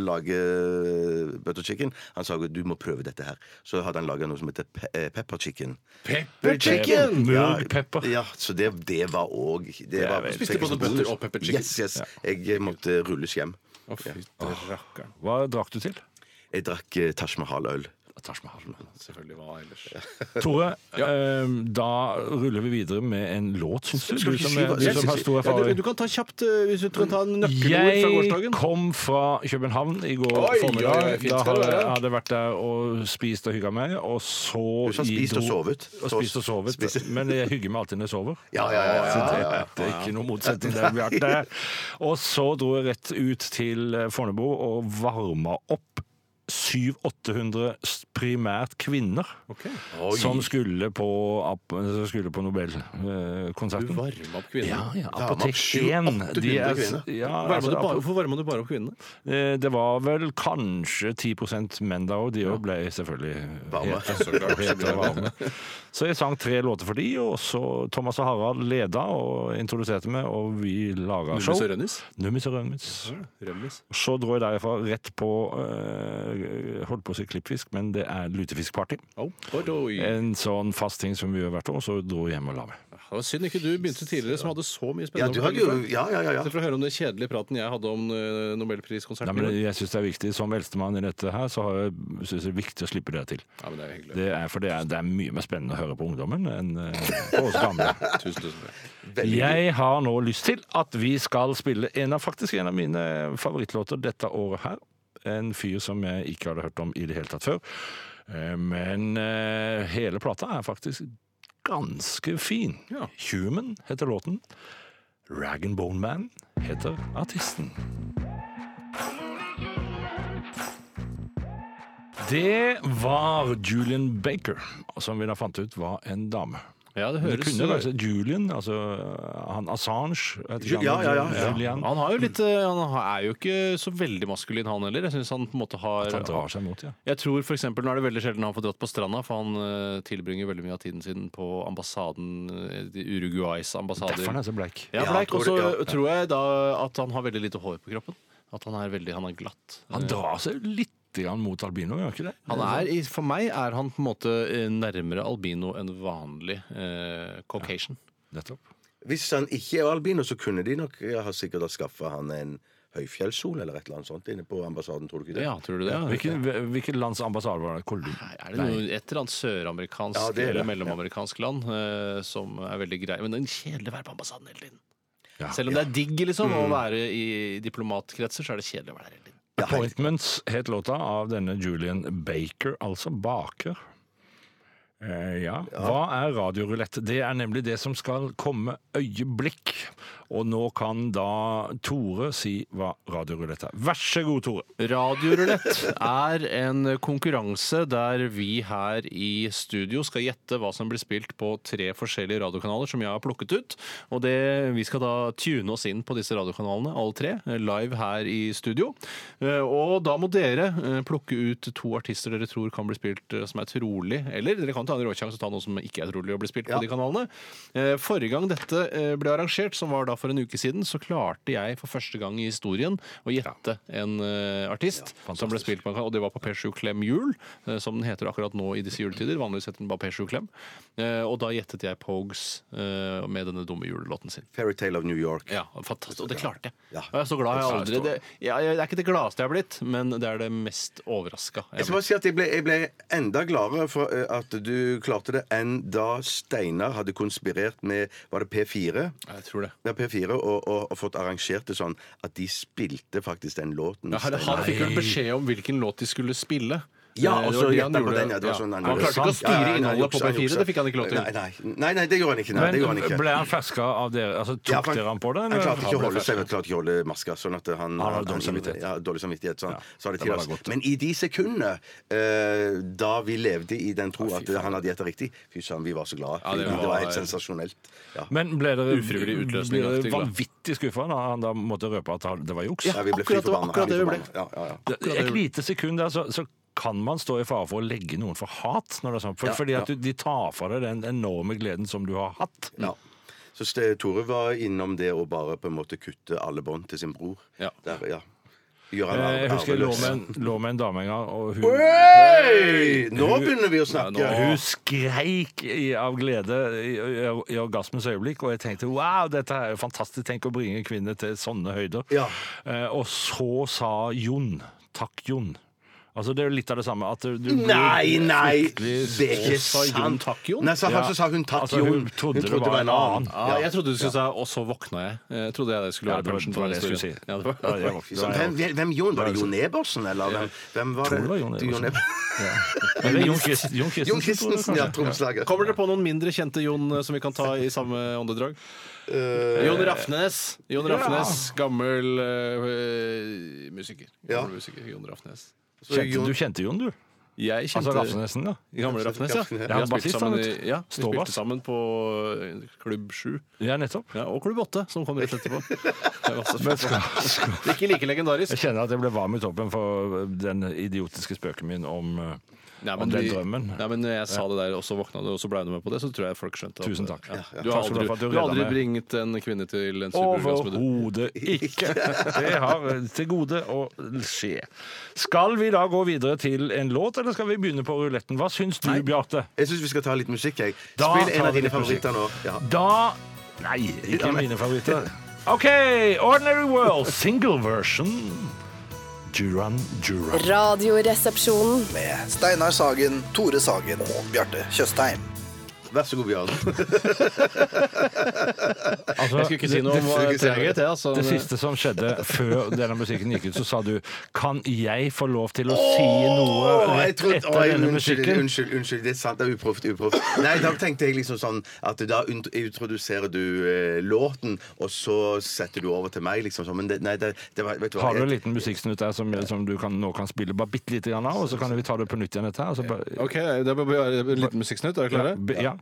Speaker 4: lager butter chicken. Han sa du må prøve dette her. Så hadde han laga noe som heter pe eh, pepper chicken.
Speaker 6: Pepper chicken!
Speaker 4: Ja,
Speaker 5: Mørk pepper.
Speaker 4: Ja, så det, det var òg det var-
Speaker 5: vel-
Speaker 6: Spiste både butter og pepper chicken.
Speaker 4: Yes, yes. Jeg eh, måtte rulles hjem.
Speaker 6: Å, fy rakkeren.
Speaker 5: Hva drakk du til?
Speaker 4: Jeg drakk eh, Taj Mahal-øl.
Speaker 5: Taj Mahal.
Speaker 6: Selvfølgelig hva ellers.
Speaker 5: Tore, eh, da ruller vi videre med en låt, syns du?
Speaker 4: Skal
Speaker 5: Du
Speaker 4: vi ikke
Speaker 5: som,
Speaker 4: si
Speaker 5: er,
Speaker 4: hva-
Speaker 5: du som har stor
Speaker 6: Ja, du,
Speaker 5: erfaring.
Speaker 6: du kan ta kjapt eh, hvis du kan ta en nøkkelord fra
Speaker 5: Jeg
Speaker 6: gårsdagen.
Speaker 5: kom fra København i går
Speaker 6: Oi, oi, oi,
Speaker 5: formiddag.
Speaker 6: fint
Speaker 5: Da
Speaker 6: skal det
Speaker 5: hadde-
Speaker 6: være.
Speaker 5: hadde jeg vært der og spist og hygga meg, og så
Speaker 4: Du sa
Speaker 5: i
Speaker 4: spist
Speaker 5: do-
Speaker 4: og sovet.
Speaker 5: Og spist og sovet.
Speaker 4: Spist-
Speaker 5: Men jeg hygger meg alltid når jeg sover.
Speaker 4: <laughs> Ja, ja, ja, ja,
Speaker 5: Så det,
Speaker 4: ja, ja.
Speaker 5: det er ikke noe motsetning der, Bjarte.
Speaker 4: <laughs>
Speaker 5: Og så dro jeg rett ut til eh, Fornebu og varma opp 700-800 primært kvinner som skulle på, ap- som skulle på Nobelkonserten.
Speaker 6: Varme opp kvinnene.
Speaker 5: Ja, ja.
Speaker 4: Varma opp
Speaker 5: Apotek
Speaker 4: 700-800
Speaker 5: 1. de er-
Speaker 4: kvinner.
Speaker 5: Ja,
Speaker 6: Varma
Speaker 5: altså,
Speaker 6: du bare,
Speaker 5: apo-
Speaker 6: hvorfor varma du bare opp kvinnene?
Speaker 5: eh, det var vel kanskje 10 menn der, og de òg ble selvfølgelig
Speaker 4: Varme.
Speaker 5: hete- hete og varme. Så jeg sang tre låter for de, og så Thomas og Harald leda og introduserte meg, og vi laga show.
Speaker 6: Rønnis?
Speaker 5: Nummis og rømmis.
Speaker 6: Rønnis.
Speaker 5: Så dro jeg derfra rett på eh, Holdt på å si klippfisk, men det er lutefiskparty.
Speaker 6: Oh, oi, oi.
Speaker 5: En sånn fast ting som vi gjør hvert år, så dro jeg hjem og la meg.
Speaker 6: Det var synd ikke du begynte tidligere, som hadde så mye
Speaker 4: Ja,
Speaker 6: spennende
Speaker 4: du
Speaker 6: å
Speaker 4: hadde jo
Speaker 6: fortelle fra.
Speaker 4: Ja, ja, ja. ja.
Speaker 6: Etter å høre om den kjedelige praten jeg hadde om eh,
Speaker 5: Nei,
Speaker 6: nobelpriskonserten.
Speaker 5: men jeg syns det er viktig, Som eldstemann i dette her, så har jeg, synes det er viktig å slippe dere til.
Speaker 6: ja, men det er hyggelig.
Speaker 5: Det er, for det er, det er mye mer spennende å høre på ungdommen enn eh, på oss gamle.
Speaker 6: Tusen, tusen takk.
Speaker 5: Jeg har nå lyst til at vi skal spille en av, faktisk en av mine favorittlåter dette året her. En fyr som jeg ikke hadde hørt om i det hele tatt før. Eh, Men eh, hele plata er faktisk ganske fin.
Speaker 6: Ja.
Speaker 5: Human heter låten. Rag and Bone Man heter artisten. Det var Julian Baker, som vi da fant ut var en dame.
Speaker 6: Ja, det
Speaker 5: Men det
Speaker 6: høres
Speaker 5: kunne vært Julian, altså han Assange. jeg vet ikke,
Speaker 4: Ja,
Speaker 5: han-
Speaker 4: ja, ja, ja.
Speaker 5: Julian.
Speaker 6: Han, har jo litt, eh, han er jo ikke så veldig maskulin, han heller. Jeg synes han på en måte har
Speaker 5: At han drar seg mot, ja.
Speaker 6: Jeg tror for eksempel, Nå er det veldig sjelden han får dratt på stranda, for han eh, tilbringer veldig mye av tiden sin på ambassaden, eh, de Uruguays ambassader.
Speaker 5: Derfor er han så bleik.
Speaker 6: Ja,
Speaker 4: Ja,
Speaker 6: bleik.
Speaker 4: tror
Speaker 6: Og så
Speaker 4: det, ja.
Speaker 6: tror jeg da at han har veldig lite hår på kroppen. At han er veldig, han er glatt.
Speaker 5: Han drar seg litt grann mot albino, gjør Eh. han ikke det?
Speaker 6: Han er, i- for meg er han på en måte eh, nærmere albino enn vanlig eh, caucasian.
Speaker 5: Nettopp.
Speaker 4: Hvis han ikke er albino, så kunne de nok ja, ha sikkert ha skaffa han en høyfjellssol eller et eller annet sånt inne på ambassaden, tror du ikke det?
Speaker 6: Ja, tror du det?
Speaker 5: Hvilken, hvilket lands ambassade var det? Kolum?
Speaker 6: Nei, Er det noe, et eller annet søramerikansk
Speaker 4: Ja, det er det.
Speaker 6: eller mellomamerikansk land eh, som er veldig grei. Men det er kjedelig å være på ambassaden hele tiden.
Speaker 5: Ja.
Speaker 6: Selv om det er digg liksom, å være i diplomatkretser, så er det kjedelig å være der hele tiden.
Speaker 5: Appointments het låta av denne Julian Baker, altså baker. Eh, ja. Hva er radiorulett? Det er nemlig det som skal komme øyeblikk. Og nå kan da Tore si hva radiorulett er. Vær så god, Tore.
Speaker 6: Radiorulett er en konkurranse der vi her i studio skal gjette hva som blir spilt på tre forskjellige radiokanaler som jeg har plukket ut. Og det, vi skal da tune oss inn på disse radiokanalene, alle tre, live her i studio. Eh, Og da må dere eh, plukke ut to artister dere tror kan bli spilt eh, som er trolig, eller dere kan ta en råsjanse og ta noe som ikke er trolig å bli spilt på de kanalene. Eh, Forrige gang dette eh, ble arrangert, som var da for en uke siden, så klarte jeg for første gang i historien å gjette en eh, artist som ble spilt på en kanal, og det var på P7 Klem Jul, eh, som den heter akkurat nå i disse juletider. Vanligvis heter den bare P7 Klem. Eh, Og da gjettet jeg Pogues eh, med denne dumme julelåten sin.
Speaker 4: Fairytale of New York.
Speaker 6: Ja, fantastisk. Og det klarte jeg.
Speaker 4: Ja.
Speaker 6: Og jeg er så glad jeg aldri det, ja, jeg, det er ikke det gladeste jeg er blitt, men det er det mest overraska.
Speaker 4: Jeg skal bare si at jeg ble, jeg ble enda gladere for eh, at du klarte det, enn da Steinar hadde konspirert med Var det P4?
Speaker 6: Jeg tror det.
Speaker 4: Ja, P4, og, og, og fått arrangert det sånn at de spilte faktisk den låten.
Speaker 6: Ja, han han fikk vel beskjed om hvilken låt de skulle spille.
Speaker 4: Ja,
Speaker 6: Eh,
Speaker 4: og
Speaker 6: det
Speaker 4: så
Speaker 6: var det
Speaker 4: gjetta på
Speaker 6: gjorde.
Speaker 4: den. Ja, det var sånn
Speaker 6: han klarte ikke å
Speaker 4: Ja,
Speaker 6: styre
Speaker 4: ja, nei,
Speaker 6: innholdet på
Speaker 4: juksa,
Speaker 6: P4.
Speaker 4: juksa.
Speaker 6: Det fikk han ikke lov til.
Speaker 4: Nei, nei, nei, nei det gjorde han ikke. Nei, det gjorde han ikke.
Speaker 5: ble han ferska av dere? Altså, tok
Speaker 4: Ja, for
Speaker 5: dere han på det?
Speaker 4: Han
Speaker 5: eller?
Speaker 4: klarte ikke å
Speaker 5: ble
Speaker 4: holde
Speaker 5: ferska.
Speaker 4: seg vet, klarte ikke å holde maska. Sånn at han,
Speaker 5: Han hadde dårlig samvittighet.
Speaker 4: Ja, dårlig samvittighet sånn. så han,
Speaker 5: Ja,
Speaker 4: så hadde
Speaker 5: det var
Speaker 4: tillatt.
Speaker 5: da godt.
Speaker 4: Men i de sekundene eh, da vi levde i den tro at han hadde gjetta riktig Fy søren, vi var så glade.
Speaker 6: Ja, det
Speaker 4: det, var,
Speaker 6: var-
Speaker 4: helt sensasjonelt. Ja.
Speaker 5: Men ble dere
Speaker 6: Ufrivillig
Speaker 5: ble
Speaker 6: utløsning,
Speaker 5: dere
Speaker 6: aktig glad.
Speaker 5: vanvittig skuffa da han da måtte røpe at det var juks?
Speaker 4: Ja, vi ble fly
Speaker 6: akkurat-
Speaker 4: forbanna.
Speaker 6: akkurat det vi ble.
Speaker 4: Forbanna. Ja, ja, ja.
Speaker 5: Det- Et lite sekund der, så, så kan man stå i fare for å legge noen for hat. Når det er sånn. for, fordi at du, de tar fra deg den enorme gleden som du har hatt.
Speaker 4: Ja. Så Ste- Tore var innom det å bare på en måte kutte alle bånd til sin bror.
Speaker 6: Ja.
Speaker 4: Der, ja. Gjør han
Speaker 5: Eh, Jeg
Speaker 4: arve-
Speaker 5: husker jeg lå
Speaker 4: arveløs.
Speaker 5: med en, lå med en dame en gang, og hun
Speaker 4: Hei! Nå begynner vi å snakke!
Speaker 5: Ja, Hun skreik i, av glede i, i, i orgasmens øyeblikk, og jeg tenkte wow, dette er jo fantastisk. Tenk å bringe kvinner til sånne høyder.
Speaker 4: Ja.
Speaker 5: Eh, og så sa Jon takk, Jon. Altså Det er jo litt av det samme. At du du blir
Speaker 4: Nei, nei!
Speaker 5: fryktelig-
Speaker 4: Det er ikke
Speaker 6: sa Jon
Speaker 4: sant!
Speaker 6: takk, Jon?
Speaker 4: Nei, så,
Speaker 5: Ja.
Speaker 4: han, så sa hun takk,
Speaker 5: Altså,
Speaker 4: Jon.
Speaker 5: hun trodde det var en annen.
Speaker 6: Ja, jeg trodde du skulle si 'og så våkna jeg'. Jeg trodde jeg det skulle
Speaker 5: Ja,
Speaker 6: være
Speaker 5: det var-
Speaker 6: punchen
Speaker 5: det
Speaker 6: på
Speaker 5: var
Speaker 6: den
Speaker 5: det jeg skulle
Speaker 6: historien.
Speaker 5: si. Ja,
Speaker 6: Ja, det var-
Speaker 5: det var- det
Speaker 4: Så
Speaker 5: var-
Speaker 4: Hvem, hvem Jon? Var det Jon Ebersen, eller? Hvem, hvem var det?
Speaker 5: Tror det var Jon Ebersen.
Speaker 4: Ebersen.
Speaker 5: Eller Jon Christ- Jon Christensen, tror
Speaker 4: Jon
Speaker 5: jeg,
Speaker 4: Christensen,
Speaker 5: kanskje.
Speaker 4: ja. Tromslager.
Speaker 6: Kommer dere på noen mindre kjente Jon eh, som vi kan ta i samme åndedrag? Jon Rafnes. Jon Rafnes, Gammel eh, musiker.
Speaker 4: Ja.
Speaker 6: Gammel musiker, Jon Rafnes.
Speaker 4: Så
Speaker 5: Kjente,
Speaker 4: Jon-
Speaker 5: du kjente Jon, du?
Speaker 6: Jeg
Speaker 5: Altså
Speaker 6: kjente
Speaker 5: Rafsenesen, ja.
Speaker 6: Gamle Rafnes, ja. Vi
Speaker 4: Ja,
Speaker 5: han
Speaker 6: har spilt
Speaker 5: bassist,
Speaker 6: sammen,
Speaker 5: han, vet
Speaker 6: i-
Speaker 5: du.
Speaker 6: ja, vi spilte
Speaker 5: Ståbass.
Speaker 6: sammen på eh, Klubb 7.
Speaker 5: Ja, nettopp.
Speaker 6: Ja, og Klubb 8, som kom rett
Speaker 5: <laughs>
Speaker 6: etterpå. Det var også- Ikke like
Speaker 5: Jeg
Speaker 6: legendarisk.
Speaker 5: kjenner at jeg ble varm i toppen for den idiotiske spøken min om, eh,
Speaker 6: Nei,
Speaker 5: om den
Speaker 6: vi-
Speaker 5: drømmen.
Speaker 6: Nei, men jeg sa det der, og så våkna du, og så ble du med på det. Så tror jeg folk skjønte at-
Speaker 5: Tusen takk.
Speaker 6: Ja.
Speaker 5: Ja, ja.
Speaker 6: Du har
Speaker 5: Takk skal du ha
Speaker 6: aldri,
Speaker 5: for at du
Speaker 6: du har aldri
Speaker 5: redda meg.
Speaker 6: bringet en kvinne til en superorgasme. du.
Speaker 5: Overhodet ikke. <laughs> Det har eh, til gode å skje. Skal vi da gå videre til en låt, eller skal vi begynne på ruletten? Hva syns du, Bjarte?
Speaker 4: Jeg syns vi skal ta litt musikk, jeg.
Speaker 5: Da
Speaker 4: Spill en
Speaker 5: tar
Speaker 4: av
Speaker 5: vi
Speaker 4: dine
Speaker 5: litt musikk.
Speaker 4: favoritter nå. Ja.
Speaker 5: Da Nei, ikke mine favoritter. OK, Ordinary World, single version. Duran Duran.
Speaker 1: Radioresepsjonen.
Speaker 7: med Steinar Sagen, Tore Sagen og Bjarte Tjøstheim.
Speaker 4: Vær så god, Bjørn.
Speaker 5: Altså,
Speaker 6: Jeg skulle ikke si noe om
Speaker 4: skulle
Speaker 6: eh,
Speaker 4: ikke si noe.
Speaker 6: treghet, jeg. Altså,
Speaker 5: Det siste som skjedde før denne musikken gikk ut, så sa du Kan jeg få lov til å si noe
Speaker 4: Åh, jeg
Speaker 5: rett
Speaker 4: trodde-
Speaker 5: etter
Speaker 4: åh, jeg-
Speaker 5: denne
Speaker 4: unnskyld,
Speaker 5: musikken?
Speaker 4: Unnskyld, unnskyld, det er sant. Det er uproft. uproft. Nei, da tenkte jeg liksom sånn at da unt- introduserer du eh, låten, og så setter du over til meg, liksom. sånn. Men det, nei, det, det var, vet du hva
Speaker 5: Har du en
Speaker 4: jeg-
Speaker 5: liten musikksnutt der som, som du kan, nå kan spille bare bitte lite grann av, og så kan vi ta det på nytt igjen etter? her, og så bare-
Speaker 6: Ok, det blir bare en liten musikksnutt. Er dere klare?
Speaker 5: Be- Ja.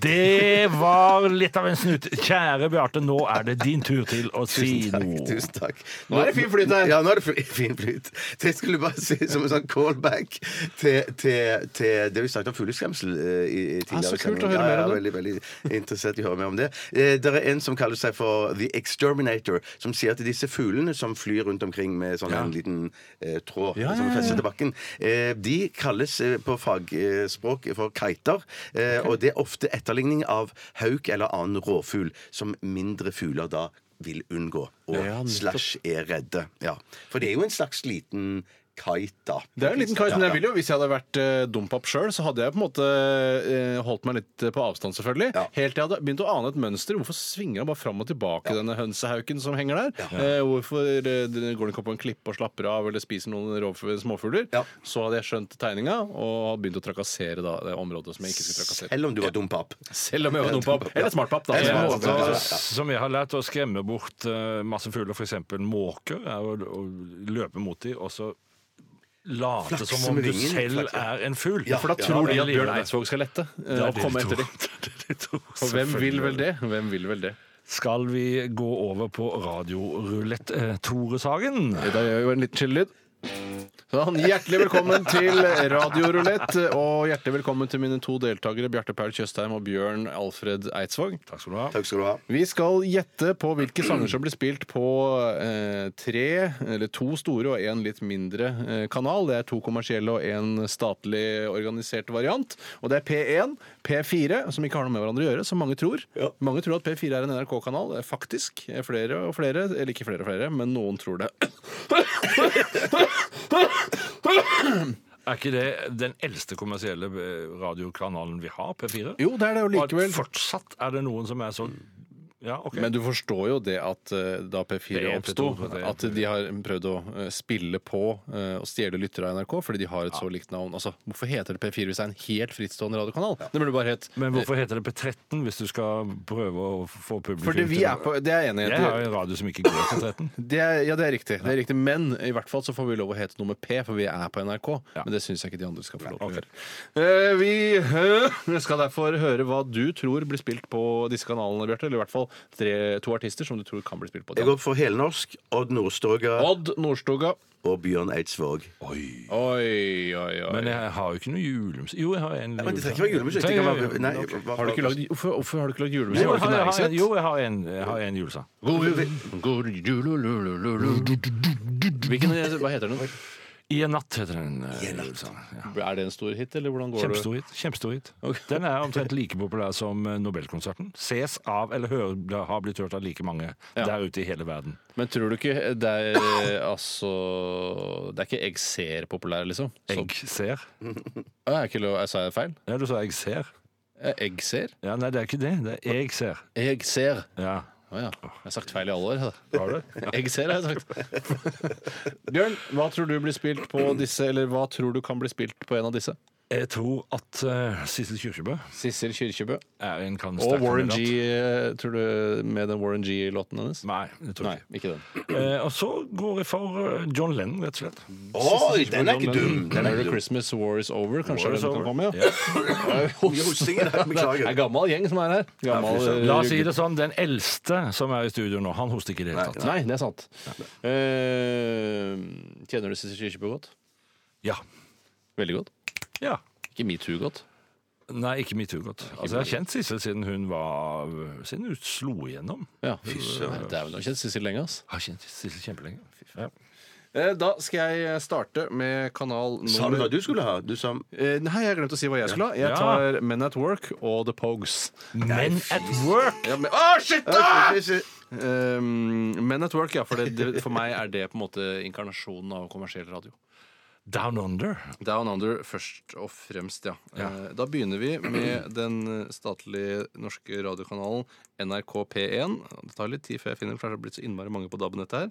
Speaker 5: Det var litt av en snut. Kjære Bjarte, nå er det din tur til å si
Speaker 4: Tusen takk.
Speaker 5: noe.
Speaker 4: tusen takk
Speaker 6: Nå er det fin flyt her.
Speaker 4: Ja, nå er det fri- <laughs> fin flyt. Det skulle jeg bare si som en sånn callback til, til, til det vi snakket om fugleskremsel eh, i, i
Speaker 6: Ah, så
Speaker 4: tidligere.
Speaker 6: kult å
Speaker 4: sending. ja,
Speaker 6: høre mer om
Speaker 4: ja,
Speaker 6: det.
Speaker 4: veldig, veldig interessert i å høre mer om det. Eh, det er en som kaller seg for The Exterminator, som sier at disse fuglene som flyr rundt omkring med sånn en liten eh, tråd
Speaker 5: Ja, ja,
Speaker 4: som
Speaker 5: ja,
Speaker 4: er festet
Speaker 5: ja.
Speaker 4: til bakken, eh, de kalles eh, på fagspråk for kiter. Eh, og det er ofte etterligning av hauk eller annen rovfugl, som mindre fugler da vil unngå. Og
Speaker 6: Ja, nettopp.
Speaker 4: slash er redde. Ja. For det er jo en slags liten kite, da.
Speaker 6: Det er jo en liten kite,
Speaker 4: Ja,
Speaker 6: men jeg
Speaker 4: ja.
Speaker 6: vil jo, hvis jeg hadde vært eh, dumpap sjøl, så hadde jeg på en måte eh, holdt meg litt eh, på avstand, selvfølgelig.
Speaker 4: Ja.
Speaker 6: Helt til jeg hadde begynt å ane et mønster. Hvorfor svinger han bare fram og tilbake, denne hønsehauken som henger der? Eh, hvorfor eh, den- går den ikke opp på en klippe og slapper av, eller spiser noen rovfu- småfugler?
Speaker 4: Ja.
Speaker 6: Så hadde jeg skjønt tegninga, og hadde begynt å trakassere da, det området som jeg ikke
Speaker 4: <laughs>
Speaker 6: skulle trakassere.
Speaker 4: Selv om du var dum papp.
Speaker 6: Selv om
Speaker 4: <laughs>
Speaker 6: jeg var dumpap. Eller smartpap, da.
Speaker 4: Eller
Speaker 6: som jeg
Speaker 4: smartpapp,
Speaker 6: måtte-
Speaker 4: ja.
Speaker 5: Måter Altså, som jeg har lært å skremme bort eh, masse fugler, f.eks. måker, er å, å løpe mot dem og så late
Speaker 4: Flakse
Speaker 5: som om
Speaker 4: med
Speaker 5: du
Speaker 4: vingen,
Speaker 5: selv
Speaker 4: flakse.
Speaker 5: er en fugl.
Speaker 4: Ja,
Speaker 6: For da
Speaker 4: Ja,
Speaker 6: tror de
Speaker 5: det
Speaker 6: at
Speaker 5: liker
Speaker 6: Bjørn
Speaker 5: jeg.
Speaker 6: Eidsvåg skal lette
Speaker 5: Det
Speaker 6: eh,
Speaker 5: er
Speaker 6: og
Speaker 5: det
Speaker 6: komme
Speaker 5: de
Speaker 6: etter
Speaker 5: tror. <laughs> Det er
Speaker 6: dem.
Speaker 5: det de tror,
Speaker 6: Og hvem vil vel
Speaker 5: selvfølgelig.
Speaker 6: det? Hvem vil vel det?
Speaker 5: Skal vi gå over på radiorulett eh, Tore Sagen?
Speaker 6: I dag gjør vi jo en liten chillelyd. Sånn, hjertelig velkommen til Radio Rulett, og hjertelig velkommen til mine to deltakere Bjarte Paul Tjøstheim og Bjørn Alfred Eidsvåg.
Speaker 5: Takk skal du ha.
Speaker 4: Takk skal du ha.
Speaker 6: Vi skal gjette på hvilke sanger som blir spilt på eh, tre, eller to store og én litt mindre eh, kanal. Det er to kommersielle og én statlig organisert variant. Og det er P1, P4, som ikke har noe med hverandre å gjøre, som mange tror. Mange tror at P4 er en NRK-kanal. Faktisk. Eh, Flere og flere, eller ikke flere og flere, men noen tror det.
Speaker 5: Er ikke det den eldste kommersielle eh, radiokanalen vi har, P4?
Speaker 6: Jo, det er det jo
Speaker 5: Og at
Speaker 6: likevel. Mm.
Speaker 5: Fortsatt er det noen som er sånn Ja, OK.
Speaker 6: Men du forstår jo det at eh, da
Speaker 5: Det
Speaker 6: P4
Speaker 5: er
Speaker 6: oppsto,
Speaker 5: P2, det er
Speaker 6: at de har prøvd å eh, spille på eh, og stjele lyttere av NRK fordi de har et så likt navn. Altså, Hvorfor heter det P4 hvis det er en helt frittstående radiokanal? Det burde bare hett
Speaker 5: Men hvorfor heter det P13 hvis du skal prøve å få publikum
Speaker 6: Fordi vi
Speaker 5: til å-
Speaker 6: er på Det er jeg enig i.
Speaker 5: Jeg har jo en radio som ikke går til 13.
Speaker 6: Det er, ja, det er riktig. det er riktig Men i hvert fall så får vi lov å hete noe med P, for vi er på NRK.
Speaker 5: Ja.
Speaker 6: Men det syns jeg ikke de andre skal få lov til å
Speaker 5: ok.
Speaker 6: gjøre. Eh, vi eh, skal derfor høre hva du tror blir spilt på disse kanalene, Bjarte. Eller i hvert fall tre, to artister som du tror kan bli spilt på.
Speaker 4: Jeg går for helnorsk, Odd Nordstoga
Speaker 6: Odd Nordstoga.
Speaker 4: og Bjørn Eidsvåg.
Speaker 6: <laughs> Oi, oi, oi.
Speaker 5: Men jeg har jo ikke noe julemusikk Jo, jeg har en
Speaker 4: Men det trenger ikke være julemusikk. Det
Speaker 5: Trenger
Speaker 4: kan
Speaker 5: ikke være
Speaker 4: være, nei, hva-
Speaker 6: har du ikke lagd, hvorfor, hvorfor har du ikke lagd julemusikk?
Speaker 5: Jo, jeg
Speaker 6: Har du
Speaker 5: har,
Speaker 6: ikke
Speaker 5: jeg har,
Speaker 6: næringsrett?
Speaker 5: en- jo, jeg har en, jeg har en julesang.
Speaker 6: God jul, god jul, lu, lu, lu, lu, lu. Hvilken, hva heter den?
Speaker 5: I en natt heter den eh, julesangen. Ja.
Speaker 6: Er det en stor hit, eller hvordan går det?
Speaker 5: Kjempestor hit. Kjempestor hit. Den er omtrent like populær som eh, Nobelkonserten. Ses av, eller hører, det har blitt hørt av like mange der ute i hele verden.
Speaker 6: Men tror du ikke det er altså Det er ikke egg ser populær, liksom? Så,
Speaker 5: Egg ser.
Speaker 6: Å, er ikke lov, jeg sa jeg feil?
Speaker 5: Ja, du sa egg ser.
Speaker 6: Eh, Egg ser?
Speaker 5: Ja, nei, det er ikke det. Det er jeg ser.
Speaker 6: Egg ser.
Speaker 5: Ja.
Speaker 6: Å ja. Jeg har sagt feil i alle år. da.
Speaker 5: Har
Speaker 6: <laughs>
Speaker 5: du?
Speaker 6: Egg ser, har jeg sagt. <laughs> Bjørn, hva tror du blir spilt på disse, eller hva tror du kan bli spilt på en av disse?
Speaker 5: Jeg tror at eh, Sissel Kyrkjebø
Speaker 6: Sissel Kyrkjebø.
Speaker 5: er en kan
Speaker 6: Og
Speaker 5: sterk
Speaker 6: Warren
Speaker 5: kandidat.
Speaker 6: G, eh, tror du, med den Warren G-låten hennes?
Speaker 5: Nei, det tror
Speaker 6: Nei,
Speaker 5: jeg ikke.
Speaker 6: ikke den.
Speaker 5: Eh, og så går jeg for eh, John Lennon, rett og slett.
Speaker 4: Oi, den er ikke dum! Den er
Speaker 6: Merry
Speaker 4: ikke dum.
Speaker 6: Christmas, War is over. Kanskje
Speaker 5: War is
Speaker 6: er det den som
Speaker 5: over.
Speaker 6: kan komme, ja.
Speaker 5: Ja.
Speaker 4: Mye hosting i dag,
Speaker 6: <laughs> Det er
Speaker 4: beklager.
Speaker 6: gammal gjeng som er her. Gammel, eh,
Speaker 5: La oss si det sånn, den eldste som er i studio nå, han hoster ikke i det hele tatt.
Speaker 6: Nei, det er sant. Eh, tjener du Sissel Kyrkjebø godt?
Speaker 5: Ja.
Speaker 6: Veldig godt.
Speaker 5: ja.
Speaker 6: Ikke metoo godt.
Speaker 5: Nei, ikke metoo godt. Altså, jeg har kjent Sissel siden hun var Siden hun slo igjennom.
Speaker 6: Ja. Nei, Dæven, du har kjent Sissel lenge, ass.
Speaker 5: Har kjent Sissel kjempelenge. Ja.
Speaker 6: Eh, Da skal jeg starte med kanal
Speaker 4: Sa du hva
Speaker 6: nummer
Speaker 4: du skulle ha? Du sa
Speaker 6: Eh, Nei, jeg glemte å si hva jeg skulle ha. Jeg
Speaker 5: Ja.
Speaker 6: tar Men at Work og The Pogues.
Speaker 5: Men at work!
Speaker 6: Ja, men,
Speaker 4: shit,
Speaker 6: Eh, men at Work, ja. For, det- det, for meg er det på en måte inkarnasjonen av kommersiell radio.
Speaker 5: Down under.
Speaker 6: Down Under først og fremst, ja. Eh, Da begynner vi med den statlige norske radiokanalen NRK P1. Det tar litt tid før jeg finner den, for det har blitt så innmari mange på DAB-nettet her.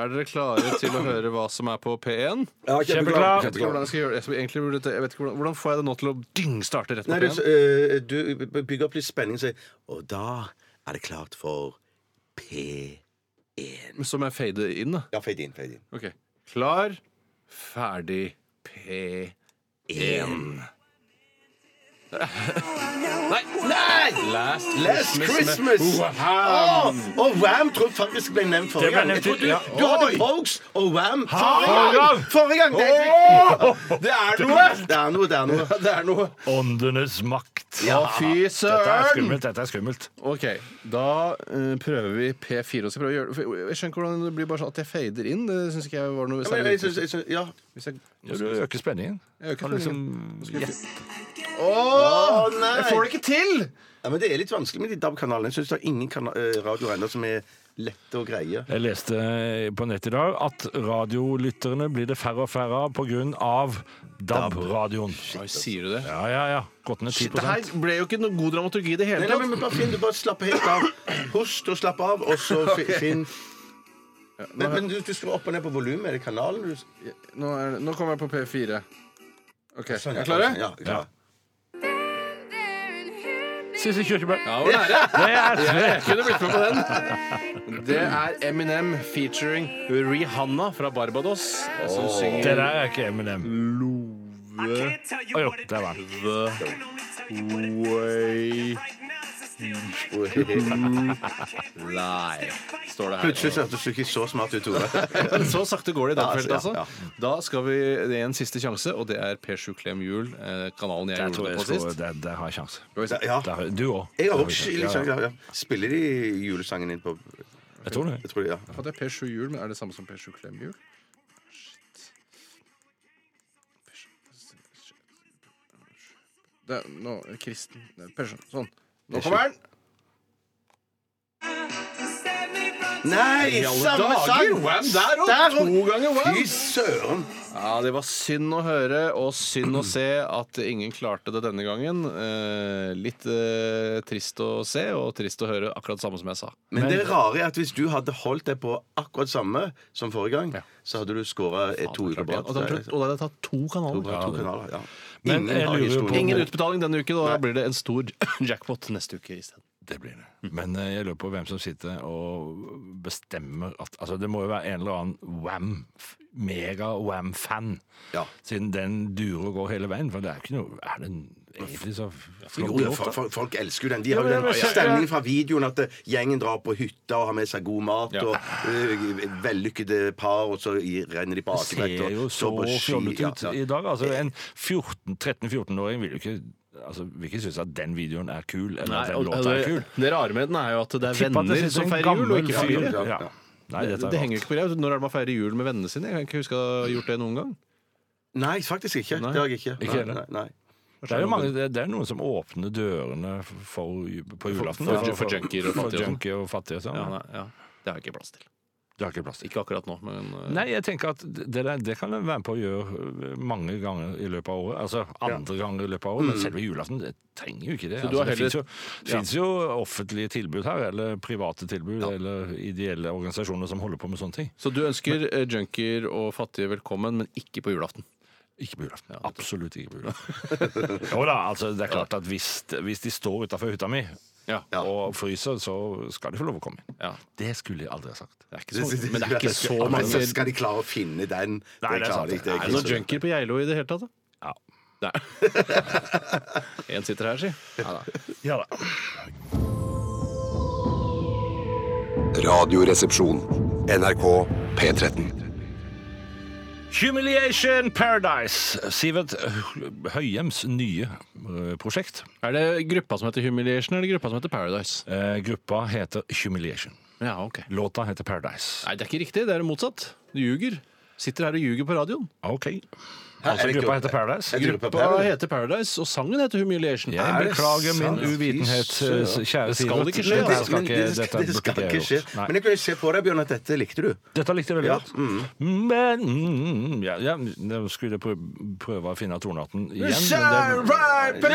Speaker 6: Er dere klare til å høre hva som er på P1?
Speaker 5: Kjempeklar.
Speaker 6: Jeg vet ikke hvordan jeg skal gjøre det. Jeg skal egentlig burde- jeg vet ikke hvordan, hvordan får jeg det nå til å ding starte rett på
Speaker 4: Nei, du,
Speaker 6: P1?
Speaker 4: eh, du bygger opp litt spenning og sier Og da er det klart for P1.
Speaker 6: Så må jeg fade inn, da.
Speaker 4: Ja, fade inn, fade inn.
Speaker 6: Ok. Klar, ferdig, P1.
Speaker 4: Nei! Nei!
Speaker 6: Last,
Speaker 4: Last Christmas! Åh, og Wham tror jeg faktisk ble nevnt forrige
Speaker 5: Det ble
Speaker 4: gang. Jeg
Speaker 5: nevnt,
Speaker 4: tror du,
Speaker 5: ja.
Speaker 4: du hadde Pogues og Wham
Speaker 5: Forrige
Speaker 4: forrige
Speaker 5: gang!
Speaker 4: gang! Forrige gang! Det, er- det er noe! Det er noe, det er noe. Det er noe.
Speaker 5: Åndenes makt.
Speaker 6: Å, fy
Speaker 5: Dette er
Speaker 6: søren!
Speaker 5: skummelt. Dette er skummelt.
Speaker 6: OK, da eh, prøver vi P4. Og så prøver jeg, å gjøre, for jeg skjønner ikke hvordan det blir bare sånn at jeg fader inn. Det syns ikke jeg var noe
Speaker 4: Men
Speaker 6: særlig.
Speaker 4: jeg synes, jeg synes, ja.
Speaker 6: Hvis jeg,
Speaker 5: Ja, Du øker spenningen.
Speaker 6: jeg, øker
Speaker 5: Kan liksom,
Speaker 4: Å,
Speaker 6: jeg
Speaker 4: nei!
Speaker 6: får det ikke til!
Speaker 4: Ja, men det er litt vanskelig med de DAB-kanalene. Jeg syns det er ingen kana- eh, radioer ennå som er lette å greie.
Speaker 5: jeg leste på nett i dag at radiolytterne blir det færre og færre av pga. DAB-radioen.
Speaker 6: Oi, sier du det?
Speaker 5: Ja, ja, ja. Gått ned 10
Speaker 6: Shit, det her ble jo ikke noe god dramaturgi i det hele
Speaker 4: Nei, nei, men
Speaker 6: tatt.
Speaker 4: men bare finn, du bare slapp helt av. Host og slapp av, og så fi- finn Men, men du, du skrur opp og ned på volumet. Er det kanalen du
Speaker 6: Nå, er, det- nå kommer jeg på P4. OK,
Speaker 4: Sånn,
Speaker 6: er du klare?
Speaker 4: Ja, klar.
Speaker 5: Sissy Kyrkjebø.
Speaker 6: Ja, hvor nære?
Speaker 5: Det er
Speaker 6: Jeg kunne blitt med på den. Det er Eminem featuring Rihanna fra Barbados som
Speaker 5: Det
Speaker 6: synger
Speaker 5: der er ikke Eminem.
Speaker 6: Love
Speaker 5: Å jo, der var den.
Speaker 6: Way Lie, står det her.
Speaker 4: Plutselig så hørtes du ikke så smart ut, Tore.
Speaker 6: <laughs> Så sakte går det i
Speaker 4: Ja,
Speaker 6: dagfeltet,
Speaker 4: altså,
Speaker 6: altså.
Speaker 4: ja,
Speaker 6: Da skal vi Det er en siste sjanse, og det er Per7 Klem Hjul, eh, kanalen jeg
Speaker 5: Jeg
Speaker 6: gjorde
Speaker 5: tror
Speaker 6: det
Speaker 5: jeg
Speaker 6: på
Speaker 5: skal,
Speaker 6: sist.
Speaker 5: der, der har jeg sjanse.
Speaker 4: Ja.
Speaker 5: Der, du òg.
Speaker 4: Jeg har også liksom, ja, ja. Spiller de julesangen din på
Speaker 5: Jeg tror det.
Speaker 4: Jeg tror de, ja.
Speaker 6: Jeg fant P7 Hjul, men er det samme som Per7 Klem Hjul? Shit. Det er nå Kristen det er Per7 Sånn. Nå kommer den!
Speaker 4: Nei, samme sang!
Speaker 6: der
Speaker 4: Der
Speaker 6: To
Speaker 4: og-
Speaker 6: ganger
Speaker 4: Fy søren!
Speaker 6: Ja, det var synd å høre og synd å se at ingen klarte det denne gangen. Eh, litt eh, trist å se og trist å høre, akkurat samme som jeg sa.
Speaker 4: Men det rare er at hvis du hadde holdt deg på akkurat samme som forrige gang, så hadde du skåra to uker på
Speaker 6: Og da hadde
Speaker 4: rad.
Speaker 6: jeg tatt to
Speaker 4: liksom- To
Speaker 6: kanaler.
Speaker 4: kanaler, ja.
Speaker 5: Men jeg
Speaker 4: har
Speaker 5: lurer jo
Speaker 4: historie.
Speaker 5: på-
Speaker 6: Ingen utbetaling denne uken, og da blir det en stor <laughs> jackpot neste uke isteden.
Speaker 5: Det blir det. Men eh, jeg lurer på hvem som sitter og bestemmer at altså, Det må jo være en eller annen Wham, mega-Wham-fan,
Speaker 4: Ja.
Speaker 5: siden den durer og går hele veien. For det er jo ikke noe Er den egentlig så
Speaker 4: Jo,
Speaker 5: flott
Speaker 4: jo,
Speaker 5: låt?
Speaker 4: folk,
Speaker 5: da?
Speaker 4: folk- folk elsker jo den. De har jo
Speaker 5: men-
Speaker 4: den
Speaker 5: men-
Speaker 4: stemningen fra videoen at eh, gjengen drar på hytta og har med seg god mat og eh, vellykkede par, og så i- renner de på
Speaker 5: Det
Speaker 4: akebrett
Speaker 5: ser
Speaker 4: og
Speaker 5: jo så
Speaker 4: står på ski.
Speaker 5: fjollete
Speaker 4: Ja,
Speaker 5: ut
Speaker 4: ja.
Speaker 5: i dag. Altså, en 14 13-14-åring vil jo ikke Altså, vil ikke synes at den videoen er kul, eller at den låta er kul.
Speaker 6: det, det rare med den er jo at det er
Speaker 5: Tipper at det
Speaker 6: venner
Speaker 5: sitter
Speaker 6: som
Speaker 5: en
Speaker 6: feirer jul, og
Speaker 5: gammel
Speaker 6: ikke
Speaker 5: fyr.
Speaker 6: familie.
Speaker 5: Ja. Nei,
Speaker 6: Det,
Speaker 5: dette
Speaker 6: det
Speaker 5: er
Speaker 6: henger
Speaker 5: rart.
Speaker 6: jo ikke på greip. Når er det man feirer jul med vennene sine? Jeg kan ikke huske å ha gjort det noen gang.
Speaker 4: Nei, faktisk ikke.
Speaker 6: Nei.
Speaker 4: Det har jeg ikke.
Speaker 5: Ikke
Speaker 4: Nei,
Speaker 5: heller.
Speaker 4: nei, nei.
Speaker 5: Det er jo mange, det det er noen som åpner dørene for, på julaften.
Speaker 6: for-
Speaker 5: da.
Speaker 6: for junkier og fattige og
Speaker 5: For
Speaker 6: sånn.
Speaker 5: junkier og fattige og sånn.
Speaker 6: Ja, nei, ja. Det har jeg ikke plass til.
Speaker 5: Det har ikke plass til.
Speaker 6: Ikke akkurat nå, men eh,
Speaker 5: Nei, jeg tenker at det, der, det kan en være med på å gjøre eh, mange ganger i løpet av året. Altså andre ganger i løpet av året, men selve julaften det trenger jo ikke det.
Speaker 6: Mm. du
Speaker 5: Altså,
Speaker 6: har
Speaker 5: det
Speaker 6: heller-
Speaker 5: fins jo, finnes jo offentlige tilbud her, eller private tilbud, eller ideelle organisasjoner som holder på med sånne ting.
Speaker 6: Så du ønsker eh, junkier og fattige velkommen, men ikke på julaften?
Speaker 5: Ikke på julaften. Absolutt ikke på julaften. <laughs> jo da, altså det er klart at hvis, hvis de står utafor hytta mi
Speaker 6: Ja.
Speaker 5: og fryser, så skal de få lov å komme inn.
Speaker 6: Ja.
Speaker 5: Det skulle jeg aldri ha sagt.
Speaker 6: Det er ikke så, men det er ikke så
Speaker 4: Men så
Speaker 6: mange
Speaker 4: skal de klare å finne den.
Speaker 5: Nei, det er sant.
Speaker 4: klarer de ikke. Det
Speaker 6: Er
Speaker 4: er
Speaker 6: det
Speaker 4: ikke
Speaker 6: noen
Speaker 4: så-
Speaker 6: junkier på Geilo i det hele tatt, da?
Speaker 5: Ja.
Speaker 6: Nei. <laughs> En sitter her, si. Ja, da.
Speaker 5: Ja da.
Speaker 2: Radioresepsjon. NRK P13.
Speaker 5: Humiliation Paradise. Sivert Hø- Høyems nye eh, prosjekt.
Speaker 6: Er det gruppa som heter Humiliation, eller gruppa som heter Paradise?
Speaker 5: Eh, gruppa heter Humiliation.
Speaker 6: Ja, ok.
Speaker 5: Låta heter Paradise.
Speaker 6: Nei, det er ikke riktig. Det er det motsatt. Du ljuger. Sitter her og ljuger på radioen.
Speaker 5: OK.
Speaker 4: Her er
Speaker 5: Altså,
Speaker 4: det
Speaker 5: gruppa
Speaker 4: ikke-
Speaker 5: heter Paradise.
Speaker 4: Jeg tror det er på
Speaker 6: Hva
Speaker 4: Paradise.
Speaker 6: heter Paradise, og sangen heter Humiliation.
Speaker 5: Jeg beklager min
Speaker 4: sant?
Speaker 5: uvitenhet,
Speaker 4: Fy søren.
Speaker 5: eh, kjære Sivert.
Speaker 6: skal det ikke skje,
Speaker 4: Men
Speaker 5: Dette
Speaker 4: det,
Speaker 6: altså.
Speaker 5: skal
Speaker 4: men
Speaker 5: ikke,
Speaker 4: det,
Speaker 5: dette
Speaker 4: det
Speaker 5: burde
Speaker 4: skal
Speaker 5: ikke
Speaker 4: ikke
Speaker 5: jeg
Speaker 4: skje.
Speaker 5: gjort. Nei.
Speaker 4: Men jeg kunne se på deg, Bjørn, at dette likte du.
Speaker 5: Dette likte jeg veldig
Speaker 4: Ja,
Speaker 5: godt. Men mm, ja, ja, Nå skulle jeg prø- prøve å finne tonearten igjen. men det-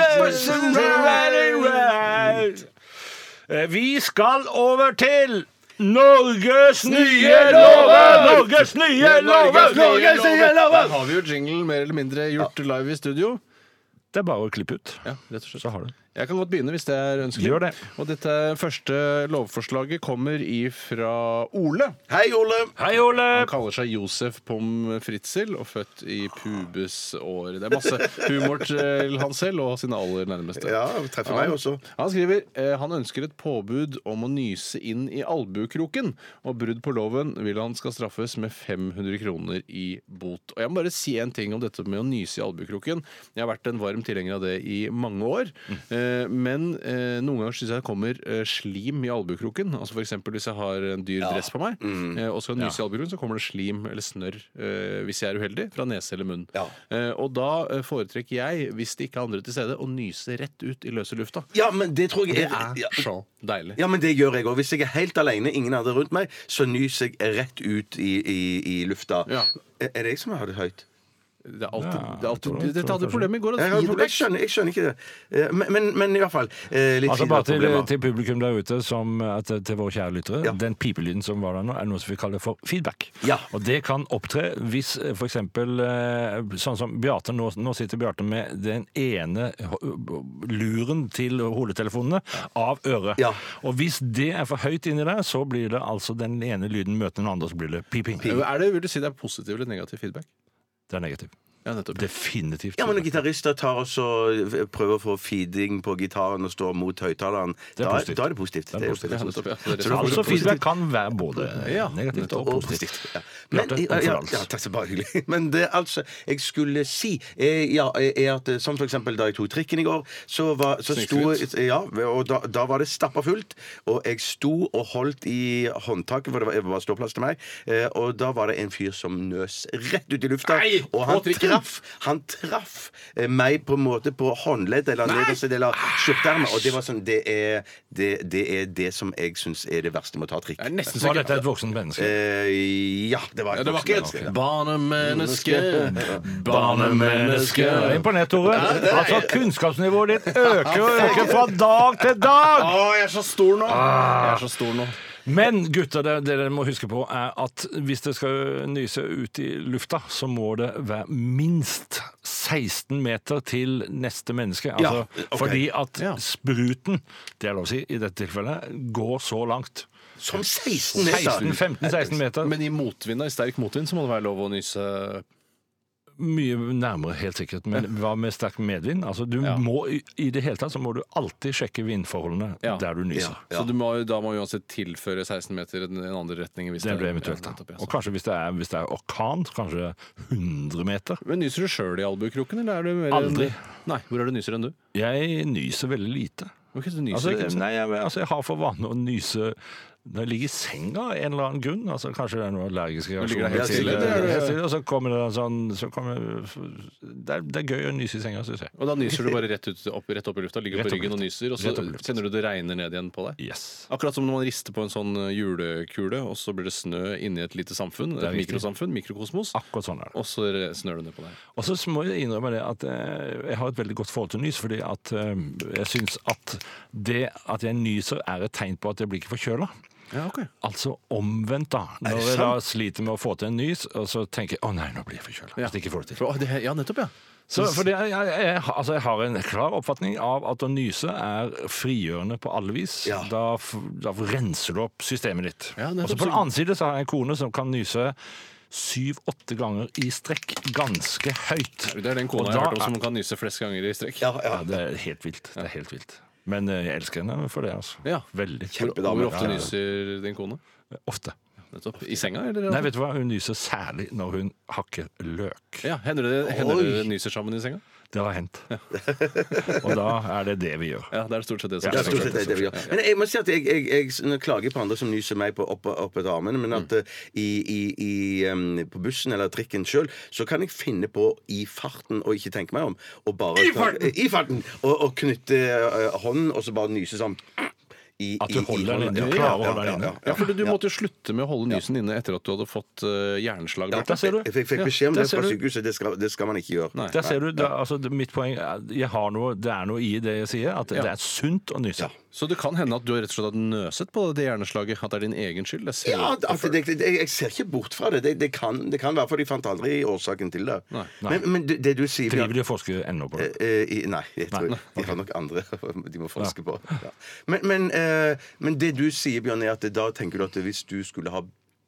Speaker 5: Eh, Vi skal over til Norges nye lover! Norges nye lover! Norges nye
Speaker 6: Der
Speaker 5: lover!
Speaker 6: har vi jo jinglen mer eller mindre gjort live i studio.
Speaker 5: Det er bare å klippe ut.
Speaker 6: Ja, rett og slett.
Speaker 5: Så har du.
Speaker 6: Jeg kan godt begynne hvis det er ønskelig.
Speaker 5: Gjør det.
Speaker 6: Og dette første lovforslaget kommer ifra Ole.
Speaker 4: Hei, Ole!
Speaker 5: Hei, Ole!
Speaker 6: Han kaller seg Josef Pom Fritzl og født i pubesåret. Det er masse humor til han selv og sine aller nærmeste.
Speaker 4: Ja, treffer meg også.
Speaker 6: Han skriver eh, han ønsker et påbud om å nyse inn i albuekroken, og brudd på loven vil han skal straffes med 500 kroner i bot. Og Jeg må bare si en ting om dette med å nyse i albuekroken. Jeg har vært en varm tilhenger av det i mange år, eh, men eh, noen ganger syns jeg det kommer eh, slim i albuekroken. Altså F.eks. hvis jeg har en dyr dress på meg eh, og skal nyse i albuekroken, så kommer det slim eller snørr, eh, hvis jeg er uheldig, fra nese eller munn.
Speaker 4: Ja.
Speaker 6: Eh, og da eh, foretrekker jeg, hvis det ikke er andre til stede, å nyse rett ut i løse lufta.
Speaker 4: Ja, men det tror jeg
Speaker 6: Det er
Speaker 4: ja.
Speaker 6: så deilig.
Speaker 4: Ja, men det gjør jeg òg. Hvis jeg er helt alene, ingen andre rundt meg, så nyser jeg rett ut i, i, i lufta.
Speaker 6: Ja.
Speaker 4: Er er det jeg som har det høyt?
Speaker 6: Det er alltid,
Speaker 5: Ja,
Speaker 6: det er alltid,
Speaker 5: tror jeg-
Speaker 6: dette hadde
Speaker 5: tror jeg
Speaker 6: problemet i går. at
Speaker 4: Jeg, har,
Speaker 6: feedback-
Speaker 4: jeg, skjønner, jeg skjønner ikke det. Eh, Men, men, men i hvert fall eh, Litt
Speaker 5: Altså
Speaker 4: siden
Speaker 5: Bare
Speaker 4: av
Speaker 5: til,
Speaker 4: problemer.
Speaker 5: til publikum der ute, som, at, til våre kjære lyttere.
Speaker 4: Ja.
Speaker 5: Den pipelyden som var der nå, er noe som vi kaller for feedback.
Speaker 4: Ja.
Speaker 5: Og det kan opptre hvis eh, f.eks. sånn som Bjarte nå, nå sitter Bjarte med den ene eh, ho- luren til hodetelefonene av øret.
Speaker 4: Ja.
Speaker 5: Og hvis det er for høyt inni der, så blir det altså den ene lyden møter den andre, så blir det piping.
Speaker 6: Er det, vil du si det er positiv eller negativ feedback?
Speaker 5: Det er negativt.
Speaker 6: Ja, nettopp.
Speaker 5: Definitivt.
Speaker 4: Ja, men når gitarister tar og så prøver å få feeding på gitaren og står mot høyttaleren,
Speaker 5: Det er
Speaker 4: da,
Speaker 5: positivt.
Speaker 4: da er det positivt.
Speaker 5: er
Speaker 4: Det er jo
Speaker 5: positivt.
Speaker 4: veldig
Speaker 6: Ja, nettopp, ja.
Speaker 4: positivt.
Speaker 6: Det er
Speaker 4: Så da får
Speaker 5: altså
Speaker 4: du positivt.
Speaker 5: feedback kan være både
Speaker 6: Ja,
Speaker 5: eh, negativt og
Speaker 4: Og
Speaker 5: positivt.
Speaker 4: positivt. Ja. Men,
Speaker 5: Klart det,
Speaker 4: ja,
Speaker 5: takk for
Speaker 4: ja,
Speaker 5: alt.
Speaker 4: ja, takk, så bare hyggelig. <laughs> Men det altså jeg skulle si, eh, ja, er at eh, som for eksempel da jeg tok trikken i går, så, var, så
Speaker 6: Snikskryt.
Speaker 4: sto eh, Ja, og da, da var det stappa fullt, og jeg sto og holdt i håndtaket, for det var, det var ståplass til meg, eh, og da var det en fyr som nøs rett ut i lufta,
Speaker 6: Nei,
Speaker 4: og
Speaker 6: på
Speaker 4: han
Speaker 6: trikken?
Speaker 4: traff, han traff eh, meg på en måte på håndledd eller nederste del av skjorteermet, og det var sånn det er, det, det er det som jeg syns er det verste med å ta trikk.
Speaker 6: Jeg er nesten
Speaker 5: Var
Speaker 6: sikker.
Speaker 5: dette et voksent menneske?
Speaker 4: Eh, ja, det var
Speaker 6: Ja,
Speaker 4: et
Speaker 6: det var
Speaker 4: voksent
Speaker 6: ikke
Speaker 4: menneske.
Speaker 6: et barnemenneske,
Speaker 5: Barnemenneske.
Speaker 6: barnemenneske
Speaker 5: Imponert, Tore. Altså, kunnskapsnivået ditt øker og øker fra dag til dag!
Speaker 6: Å, jeg er så stor nå! Jeg er så stor nå.
Speaker 5: Men gutter, det, det dere må huske på, er at hvis dere skal nyse ut i lufta, så må det være minst 16 meter til neste menneske. Altså,
Speaker 4: Ja, ok.
Speaker 5: Fordi at
Speaker 6: Ja.
Speaker 5: spruten, det er lov å si i dette tilfellet, går så langt.
Speaker 4: Som 16 meter!
Speaker 5: 15-16 meter.
Speaker 6: Men i motvind, da, i sterk motvind, så må det være lov å nyse
Speaker 5: Mye nærmere, helt sikkert. Men hva med sterk medvind? Altså, du
Speaker 6: Ja.
Speaker 5: må, i- I det hele tatt så må du alltid sjekke vindforholdene
Speaker 6: Ja.
Speaker 5: der du nyser.
Speaker 6: Så du må, da må uansett tilføre 16 meter i den andre retningen. Hvis
Speaker 5: Det blir
Speaker 6: er-
Speaker 5: eventuelt.
Speaker 6: Ja,
Speaker 5: da.
Speaker 6: nettopp, ja,
Speaker 5: Og
Speaker 6: så.
Speaker 5: kanskje hvis det er, hvis det er orkan, så kanskje 100 meter.
Speaker 6: Men nyser du sjøl i albuekroken, eller er du mer
Speaker 5: Aldri.
Speaker 6: Nei, hvor er det nyser enn du?
Speaker 5: Jeg nyser veldig lite.
Speaker 6: Ok, du nyser
Speaker 5: Altså,
Speaker 6: ikke,
Speaker 5: nei, jeg, altså, jeg har for vane å nyse når jeg ligger i senga av en eller annen grunn. Altså, kanskje det er noen allergiske
Speaker 6: ligger
Speaker 5: reaksjoner.
Speaker 6: det helt
Speaker 5: til-
Speaker 6: stille, det er det.
Speaker 5: Helt stille, Og så kommer det en sånn så kommer, det, er, det er gøy å nyse i senga, syns jeg.
Speaker 6: Og da nyser du bare rett, ut, opp, rett opp i lufta, ligger
Speaker 5: Rett opp
Speaker 6: på
Speaker 5: i
Speaker 6: ryggen og
Speaker 5: lufta.
Speaker 6: nyser, og så
Speaker 5: Rett opp i lufta.
Speaker 6: kjenner du det regner ned igjen på deg.
Speaker 5: Yes.
Speaker 6: Akkurat som når man rister på en sånn eh, julekule, og så blir det snø inni et lite samfunn, et
Speaker 5: riktig.
Speaker 6: mikrosamfunn, mikrokosmos,
Speaker 5: Akkurat sånn er det.
Speaker 6: og så re- snør det ned på deg.
Speaker 5: Og så må jeg innrømme det at eh, jeg har et veldig godt forhold til nys, fordi at eh, jeg syns at det at jeg nyser er et tegn på at jeg blir ikke forkjøla.
Speaker 6: Ja, ok.
Speaker 5: Altså omvendt, da. Når jeg da sliter med å få til en nys, og så tenker jeg å nei, nå blir jeg forkjøla. Hvis jeg ikke får det til.
Speaker 6: For- å, det, ja, nettopp, ja.
Speaker 5: Så, fordi jeg, jeg, jeg, altså jeg har en klar oppfatning av at å nyse er frigjørende på alle vis.
Speaker 4: Ja.
Speaker 5: Da, f- da renser du opp systemet ditt.
Speaker 6: Ja, nettopp. sånn.
Speaker 5: og så på den annen side så har jeg en kone som kan nyse syv-åtte ganger i strekk, ganske høyt.
Speaker 6: Det er den
Speaker 5: Og
Speaker 6: kona jeg har
Speaker 5: da
Speaker 6: hørt om
Speaker 5: er-
Speaker 6: som kan nyse flest ganger i strekk.
Speaker 4: Ja, ja.
Speaker 5: Ja, det er helt vilt. Det er helt vilt. Men eh, jeg elsker henne for det, altså.
Speaker 6: Ja.
Speaker 5: Veldig.
Speaker 6: Hvor,
Speaker 4: Kjempedame.
Speaker 6: hvor ofte
Speaker 5: Ja, ja.
Speaker 6: nyser din kone?
Speaker 5: Ofte.
Speaker 6: Nettopp. I senga, eller?
Speaker 5: Nei, vet du hva? Hun nyser særlig når hun hakker løk.
Speaker 6: ja, hender det hender dere nyser sammen i senga?
Speaker 5: Det har hendt. <laughs> Og da er det det vi gjør.
Speaker 6: Ja, det er stort sett det som
Speaker 4: Ja, stort sett det er det vi gjør. Men jeg må si at jeg, jeg, jeg, nå klager jeg på andre som nyser meg på opp, opp etter armene, men at eh, i, i, i, em, på bussen eller trikken sjøl, så kan jeg finne på i farten og ikke tenke meg om og bare I farten! I farten og, og knytte eh, hånden, og så bare nyse sånn. I,
Speaker 5: At du
Speaker 4: i- i
Speaker 5: holder den
Speaker 4: hånden.
Speaker 5: inne,
Speaker 4: Ja,
Speaker 5: klarer å
Speaker 4: ja,
Speaker 5: holde den
Speaker 4: ja,
Speaker 5: inne.
Speaker 4: ja,
Speaker 6: Ja,
Speaker 4: ja.
Speaker 6: for du, du måtte jo slutte med å holde nysen inne etter at du hadde fått eh, hjerneslag.
Speaker 4: Ja,
Speaker 6: Bjarte.
Speaker 5: ser du.
Speaker 4: Jeg fikk- fikk beskjed om
Speaker 5: der
Speaker 4: det
Speaker 5: ser
Speaker 4: fra
Speaker 5: du.
Speaker 4: sykehuset. Det skal, det skal man ikke gjøre.
Speaker 6: Nei.
Speaker 5: Der ser du, da, altså, det- Mitt poeng er jeg har noe, det er noe i det jeg sier, at det er sunt å nyse.
Speaker 6: Så det kan hende at du har rett og slett hatt nøset på det hjerneslaget? At det er din egen skyld? Jeg ser
Speaker 4: Ja,
Speaker 6: det.
Speaker 4: altså, det, det, jeg ser ikke bort fra det. Det, det, kan, det kan være, for de fant aldri årsaken til det.
Speaker 6: Nei.
Speaker 4: Men, men det, det du sier
Speaker 5: Driver de og forsker ennå på det?
Speaker 4: Eh, i- nei, jeg tror
Speaker 5: Nei.
Speaker 4: de har nok andre <laughs> de må forske på. Ja. Men, men, eh, men det du sier, Bjørn, er at da tenker du at hvis du skulle ha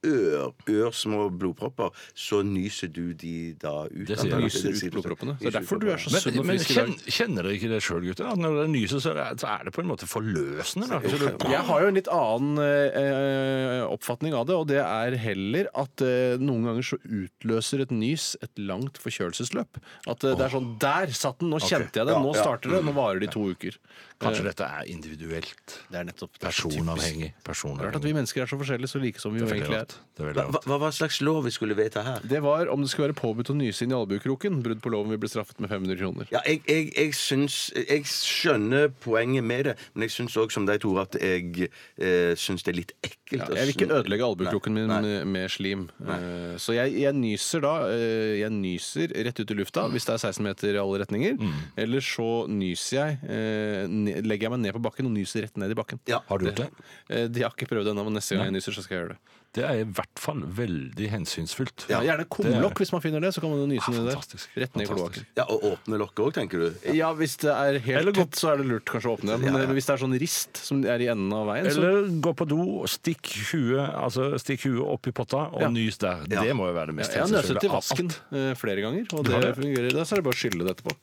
Speaker 4: ør, ørsmå blodpropper, så nyser du de da ut?
Speaker 5: Det sier jeg.
Speaker 4: antageligvis.
Speaker 6: Nyser ut
Speaker 4: sier du.
Speaker 6: blodproppene.
Speaker 4: Nyser
Speaker 6: Det er
Speaker 4: ut
Speaker 6: derfor du er så
Speaker 4: blodproppene.
Speaker 6: sunn
Speaker 5: Men,
Speaker 6: og
Speaker 5: men
Speaker 6: frisk i dag.
Speaker 5: kjenner, kjenner dere ikke det sjøl, gutter? At når det nyser, så er, det- så er det på en måte forløsende. Da.
Speaker 6: Jeg har jo en litt annen eh, oppfatning av det, og det er heller at eh, noen ganger så utløser et nys et langt forkjølelsesløp. At eh, det er sånn Der satt den! Nå kjente jeg det!
Speaker 4: Ja,
Speaker 6: Nå
Speaker 4: ja.
Speaker 6: starter det! Nå varer det i to uker.
Speaker 5: Kanskje dette er individuelt.
Speaker 6: Det er nettopp det er så typisk.
Speaker 5: Personavhengig.
Speaker 6: Rart at vi
Speaker 5: Personavhengig.
Speaker 6: mennesker er så forskjellige, så like som
Speaker 5: Det
Speaker 6: vi jo
Speaker 5: er veldig
Speaker 6: egentlig er.
Speaker 5: rart. Det er veldig
Speaker 4: Hva,
Speaker 5: rart.
Speaker 4: hva- hva var slags lov vi skulle vedta her?
Speaker 6: Det var om det skulle være påbudt å nyse inn i albuekroken. Brudd på loven vil bli straffet med 500 kroner.
Speaker 4: Ja, jeg, jeg, jeg, syns, jeg skjønner poenget med det, men jeg syns òg, som deg, Tore, at jeg eh, syns det er litt ekkelt.
Speaker 6: Ja,
Speaker 4: å
Speaker 6: jeg vil
Speaker 4: sn-
Speaker 6: ikke ødelegge albuekroken min eh,
Speaker 4: Nei, nei.
Speaker 6: med- med slim. Eh, Så jeg, jeg nyser da eh, Jeg nyser rett ut i lufta hvis det er 16 meter i alle retninger. Eller så nyser jeg eh, ne- Legger jeg meg ned på bakken og nyser rett ned i bakken.
Speaker 4: Ja.
Speaker 5: Har du gjort det?
Speaker 6: Eh, De har ikke prøvd det ennå, men neste gang jeg nyser, så skal jeg gjøre det.
Speaker 5: Det er i hvert fall veldig hensynsfullt.
Speaker 6: Ja, gjerne kumlokk hvis man finner det. Så kan man jo nyse
Speaker 5: Ja,
Speaker 6: ned der.
Speaker 5: Ah, fantastisk.
Speaker 6: Rett ned i
Speaker 5: Fantastisk.
Speaker 6: kloakken.
Speaker 4: Ja, Og åpne lokket òg, tenker du?
Speaker 6: Ja, hvis det er helt
Speaker 5: Eller gå-
Speaker 6: tett, så er det lurt kanskje å åpne det. Men eh, hvis det er sånn rist som er i enden av veien, så
Speaker 5: Eller gå på do, og stikk huet altså stikk huet opp i potta og
Speaker 6: Ja.
Speaker 5: nys der.
Speaker 4: Ja.
Speaker 5: Det må jo være det mest
Speaker 6: jeg har nøset i
Speaker 5: av alt.
Speaker 6: vasken eh, flere ganger, og
Speaker 5: Du har
Speaker 6: det
Speaker 5: det?
Speaker 6: fungerer. Da så er det bare å skylle det etterpå.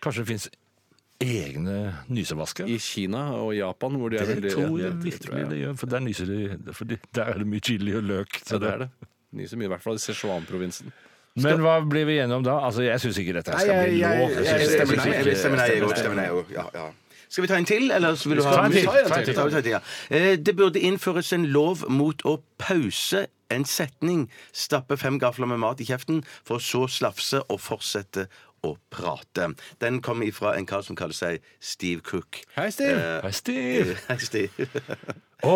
Speaker 5: Kanskje det fins egne nysevasker?
Speaker 6: I Kina og Japan, hvor de er
Speaker 5: Det
Speaker 6: veldig
Speaker 5: tror
Speaker 6: ja,
Speaker 5: jeg
Speaker 6: det tror
Speaker 5: virkelig
Speaker 6: jeg,
Speaker 5: det gjør, for der nyser de for de- Der er det mye chili og løk. så
Speaker 6: Ja, det er det. Nyser mye, i hvert fall i Sichuan-provinsen.
Speaker 5: Men hva blir vi enige om da? Altså, Jeg syns ikke dette her skal
Speaker 6: Nei,
Speaker 5: bli
Speaker 6: jeg-
Speaker 5: lov.
Speaker 6: jeg-
Speaker 5: synes
Speaker 4: Jeg
Speaker 5: det skal
Speaker 4: stemmer nei,
Speaker 5: ikke-
Speaker 4: jeg stemmer nei, jeg også, stemmer nei, jeg også. Ja, ja. Skal vi ta en til, eller så vil du
Speaker 5: Vi
Speaker 4: ha
Speaker 5: skal ta en til,
Speaker 4: Ta
Speaker 5: ta en til.
Speaker 4: ta- ta en til, ja. Eh, Det burde innføres en lov mot å pause en setning, stappe fem gafler med mat i kjeften, for så å slafse og fortsette å prate. Den kommer ifra en kar som kaller seg Steve Cook.
Speaker 6: Hei, Steve!
Speaker 4: Eh,
Speaker 5: Hei, Stiv.
Speaker 4: Hei, Steve.
Speaker 5: Å,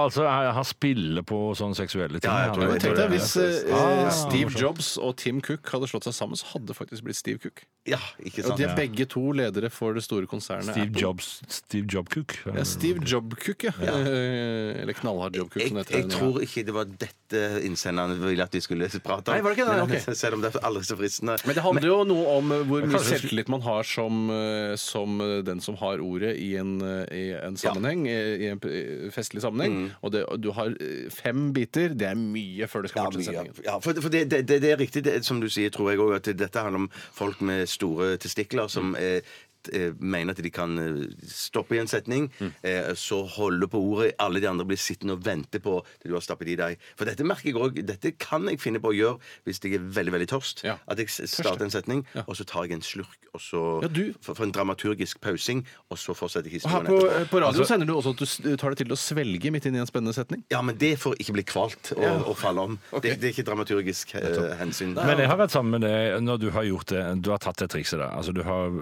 Speaker 5: altså, han han spiller på sånne seksuelle ting.
Speaker 4: Ja, jeg
Speaker 5: Han
Speaker 4: tror
Speaker 5: er-
Speaker 4: det.
Speaker 6: Tenk deg hvis eh,
Speaker 5: Ah,
Speaker 6: eh, Steve Jobs og Tim Cook hadde slått seg sammen, så hadde det faktisk blitt Steve Cook.
Speaker 4: Ja, ikke
Speaker 6: Og
Speaker 4: sant?
Speaker 6: de er begge to ledere for det store konsernet.
Speaker 5: Steve
Speaker 6: Apple.
Speaker 5: Jobs, Steve Jobcook.
Speaker 6: Ja, Steve Jobcook, ja. Eh, <laughs> Eller Knallhard Jobcook,
Speaker 4: Jeg,
Speaker 6: som det heter.
Speaker 4: jeg tror ikke det var dette innsenderen ville at vi skulle prate om.
Speaker 6: Nei, var det ikke det?
Speaker 4: Men, <laughs>
Speaker 6: Ok.
Speaker 4: Selv om det er aldri så fristende.
Speaker 6: Men det handler jo noe om
Speaker 4: eh,
Speaker 6: hvor mye
Speaker 5: kanskje-
Speaker 6: selvtillit man har som, eh, som eh, den som har ordet i en, eh, i en sammenheng, eh, i en eh, festlig sammenheng.
Speaker 4: Mm.
Speaker 6: Og det, og du har eh, fem biter, det er mye før det skal
Speaker 4: Ja,
Speaker 6: fortsette
Speaker 4: mye,
Speaker 6: sendingen.
Speaker 4: ja, for, for det, det, det det er riktig, det, som du sier, tror jeg òg, at dette handler om folk med store testikler som
Speaker 6: Mm.
Speaker 4: eh, t- eh, mener at de kan eh, stoppe i en setning,
Speaker 6: Mm.
Speaker 4: eh, så holde på ordet. Alle de andre blir sittende og vente på til du har stappet i deg. For dette merker jeg òg. Dette kan jeg finne på å gjøre hvis jeg er veldig veldig tørst.
Speaker 6: Ja.
Speaker 4: At jeg s- starter en setning, og så tar jeg en slurk, og så
Speaker 6: Ja, du-
Speaker 4: for, for en dramaturgisk pausing, og så fortsetter
Speaker 6: Og her
Speaker 4: historien
Speaker 6: på, eh,
Speaker 4: etterpå.
Speaker 6: på radio sender du også at du s- tar det til å svelge midt inn i en spennende setning.
Speaker 4: Ja, men det får ikke bli kvalt og, og falle om. Det, det er ikke dramaturgisk eh, hensyn.
Speaker 5: Men jeg har vært sammen med deg når du har gjort det Du har tatt det trikset der. Altså, du har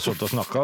Speaker 5: sittet og snakka,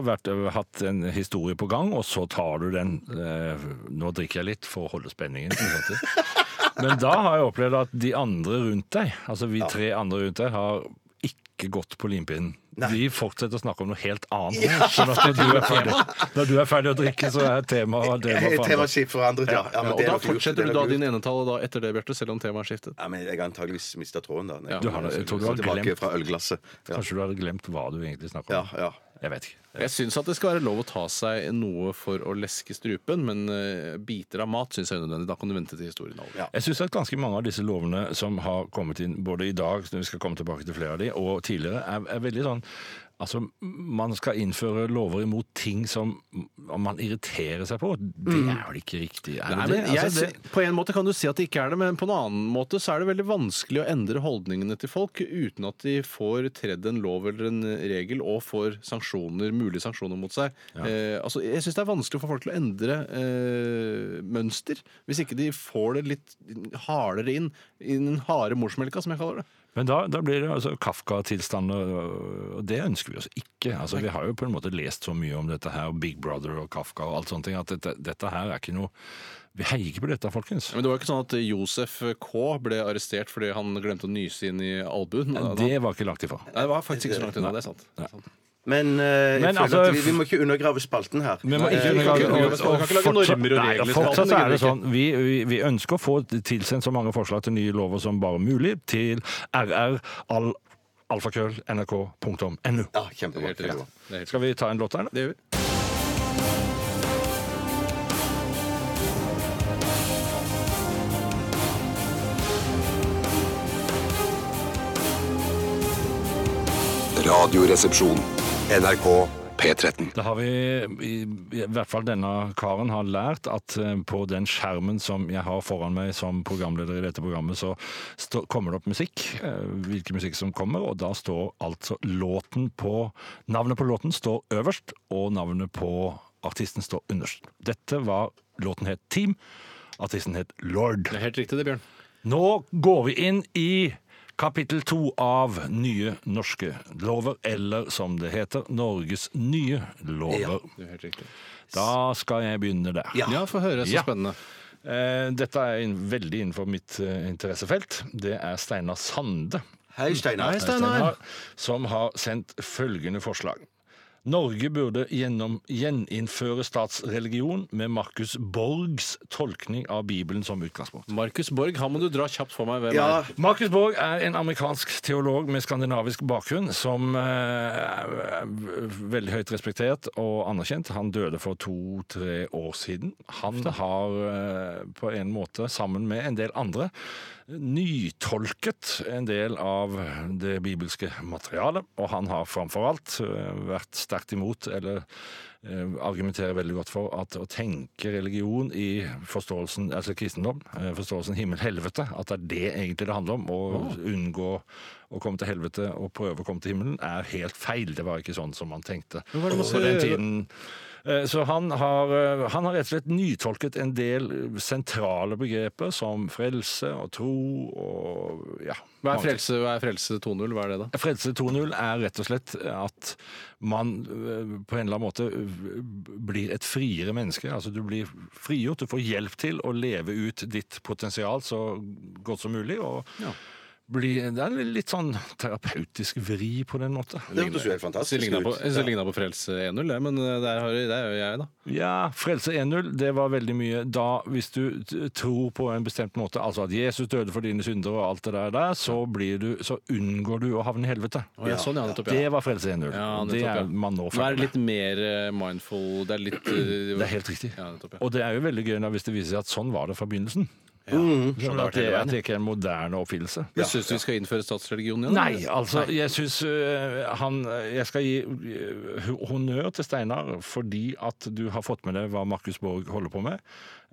Speaker 5: hatt en historie på gang, og så tar du den eh, Nå drikker jeg litt for å holde spenningen. som det heter. Men da har jeg opplevd at de andre rundt deg, altså vi tre andre rundt deg, har ikke gått på limpinnen. De fortsetter å snakke om noe helt annet. Sånn at når du er ferdig, når du er ferdig å drikke, så er temaet det
Speaker 4: Eh, Temaet skift forandret, ja. ja, men
Speaker 6: Ja, og
Speaker 4: det er
Speaker 6: da
Speaker 4: nok lurt,
Speaker 6: fortsetter
Speaker 4: det
Speaker 6: du
Speaker 4: er
Speaker 6: da
Speaker 4: nok lurt.
Speaker 6: din enetall da etter det, Bjarte, selv om temaet har skiftet.
Speaker 4: Ja, men Jeg har antageligvis mista tråden, da. når
Speaker 6: Ja,
Speaker 5: Du har, jeg tror du har
Speaker 4: kom tilbake
Speaker 5: glemt,
Speaker 4: fra ølglasset. Ja,
Speaker 5: kanskje du har glemt hva du egentlig snakker
Speaker 4: ja.
Speaker 5: om.
Speaker 4: ja.
Speaker 5: Jeg vet ikke.
Speaker 6: Jeg syns at det skal være lov å ta seg noe for å leske strupen, men eh, biter av mat syns jeg er unødvendig. Da kan du vente til historien er over.
Speaker 4: Ja.
Speaker 5: Jeg syns at ganske mange av disse lovene som har kommet inn både i dag, når vi skal komme tilbake til flere av de, og tidligere, er, er veldig sånn Altså, Man skal innføre lover imot ting som man irriterer seg på. Det er vel ikke riktig? Er
Speaker 6: Mm. Nei,
Speaker 5: det
Speaker 6: men
Speaker 5: det?
Speaker 6: jeg,
Speaker 5: Altså, det-
Speaker 6: sy- på en måte kan du si at det ikke er det, men på en annen måte så er det veldig vanskelig å endre holdningene til folk uten at de får tredd en lov eller en regel og får sanksjoner, mulige sanksjoner mot seg. Eh, altså, jeg syns det er vanskelig for folk til å endre eh, mønster hvis ikke de får det litt hardere inn i den harde morsmelka, som jeg kaller det.
Speaker 5: Men da, da blir det altså Kafka-tilstander, og det ønsker vi oss ikke. Altså, vi har jo på en måte lest så mye om dette her, og Big Brother og Kafka og alt sånne ting, at dette, dette her er ikke noe Vi heier ikke på dette, folkens.
Speaker 6: Men det var jo ikke sånn at Josef K ble arrestert fordi han glemte å nyse inn i albuen.
Speaker 5: Det var ikke langt ifra.
Speaker 6: Nei, det var faktisk ikke så langt unna. Det er sant. Det er sant.
Speaker 4: Men, eh, jeg
Speaker 5: Men
Speaker 4: føler
Speaker 5: altså,
Speaker 4: at vi, vi må ikke undergrave spalten her.
Speaker 5: Men man
Speaker 4: Eh,
Speaker 5: ikke,
Speaker 6: vi kan ikke-
Speaker 5: og-
Speaker 6: vi kan
Speaker 5: og
Speaker 6: ikke lage normer og
Speaker 5: fortsatt-
Speaker 6: regler
Speaker 5: Nei,
Speaker 6: i spalten,
Speaker 5: Fortsatt så er det
Speaker 6: det
Speaker 5: sånn vi, vi, vi ønsker å få tilsendt så mange forslag til nye lover som bare mulig til rralfakrøll.nrk.no.
Speaker 4: Eh, ja, kjempebra.
Speaker 6: Helt
Speaker 4: kjempebra.
Speaker 6: riktig. Det er helt
Speaker 5: Skal vi ta en låt her, da?
Speaker 6: Det gjør vi.
Speaker 2: Radioresepsjon. NRK P13.
Speaker 5: Da har vi, i, i hvert fall denne karen har lært at eh, på den skjermen som jeg har foran meg som programleder i dette programmet, så stå, kommer det opp musikk. eh, Hvilken musikk som kommer, og da står altså låten på Navnet på låten står øverst, og navnet på artisten står underst. Dette var Låten het Team. Artisten het Lord.
Speaker 6: Det er helt riktig det, Bjørn.
Speaker 5: Nå går vi inn i kapittel to av Nye norske lover, eller som det heter, Norges nye lover.
Speaker 6: Det er helt riktig.
Speaker 5: Da skal jeg begynne der.
Speaker 6: Ja, få høre. Så
Speaker 5: Ja.
Speaker 6: spennende.
Speaker 5: Eh, Dette er inn- veldig innenfor mitt eh, interessefelt. Det er Steinar Sande.
Speaker 4: Hei, Steinar.
Speaker 6: Hei, Steinar.
Speaker 5: Som har sendt følgende forslag. Norge burde gjennom gjeninnføre statsreligion med Markus Borgs tolkning av Bibelen som utgangspunkt.
Speaker 6: Markus Borg, han må du dra kjapt for meg. Hvem
Speaker 4: Ja,
Speaker 6: er
Speaker 5: Marcus Borg er en amerikansk teolog med skandinavisk bakgrunn som eh, er veldig høyt respektert og anerkjent. Han døde for to-tre år siden. Han har eh, på en måte, sammen med en del andre, nytolket en del av det bibelske materialet, og han har framfor alt eh, vært sterkt imot, eller eh, argumenterer veldig godt for at å tenke religion i forståelsen, altså kristendom, eh, forståelsen himmel-helvete, at det er det egentlig det handler om, å
Speaker 6: Ah.
Speaker 5: unngå å komme til helvete og prøve å komme til himmelen, er helt feil. Det var ikke sånn som man tenkte
Speaker 6: hva er det man
Speaker 5: på
Speaker 6: skal
Speaker 5: den
Speaker 6: gjøre?
Speaker 5: tiden. Eh, Så han har, eh, han har rett og slett nytolket en del sentrale begreper som frelse og tro og ja. mange
Speaker 6: Hva er
Speaker 5: ting.
Speaker 6: Frelse, hva er frelse 2.0? Hva er det, da?
Speaker 5: Frelse 2.0 er rett og slett at man øh, på en eller annen måte øh, blir et friere menneske. Altså Du blir frigjort, du får hjelp til å leve ut ditt potensial så godt som mulig. og bli, Det er en litt sånn terapeutisk vri på den måte.
Speaker 4: Det hørtes jo helt
Speaker 6: Det
Speaker 4: fantastisk
Speaker 6: ligna på,
Speaker 4: ut.
Speaker 6: jeg synes det lignet på Frelse 1.0, det, men eh, der har, det er jo jeg, da.
Speaker 5: Ja, Frelse 1.0, det var veldig mye da hvis du t- tror på en bestemt måte, altså at Jesus døde for dine synder og alt det der, der så, blir du, så unngår du å havne i helvete.
Speaker 6: Å, ja, sånn, ja, nettopp,
Speaker 5: Det
Speaker 6: ja.
Speaker 5: var Frelse 1.0.
Speaker 6: Ja, nettopp,
Speaker 5: det
Speaker 6: ja.
Speaker 5: er man nå
Speaker 6: Nå er
Speaker 5: ferdig
Speaker 6: det
Speaker 5: med.
Speaker 6: litt mer eh, mindful Det er litt eh,
Speaker 5: <clears throat> Det er helt riktig.
Speaker 6: Ja, nettopp, ja.
Speaker 5: Og det er jo veldig gøy da hvis det viser seg at sånn var det fra begynnelsen. Sånn at det, at det ikke er en moderne oppfinnelse.
Speaker 6: Men Syns du vi skal innføre statsreligion igjen?
Speaker 5: Nei,
Speaker 6: eller?
Speaker 5: altså, jeg syns han eh, Jeg skal gi øh, honnør til Steinar fordi at du har fått med deg hva Markus Borg holder på med.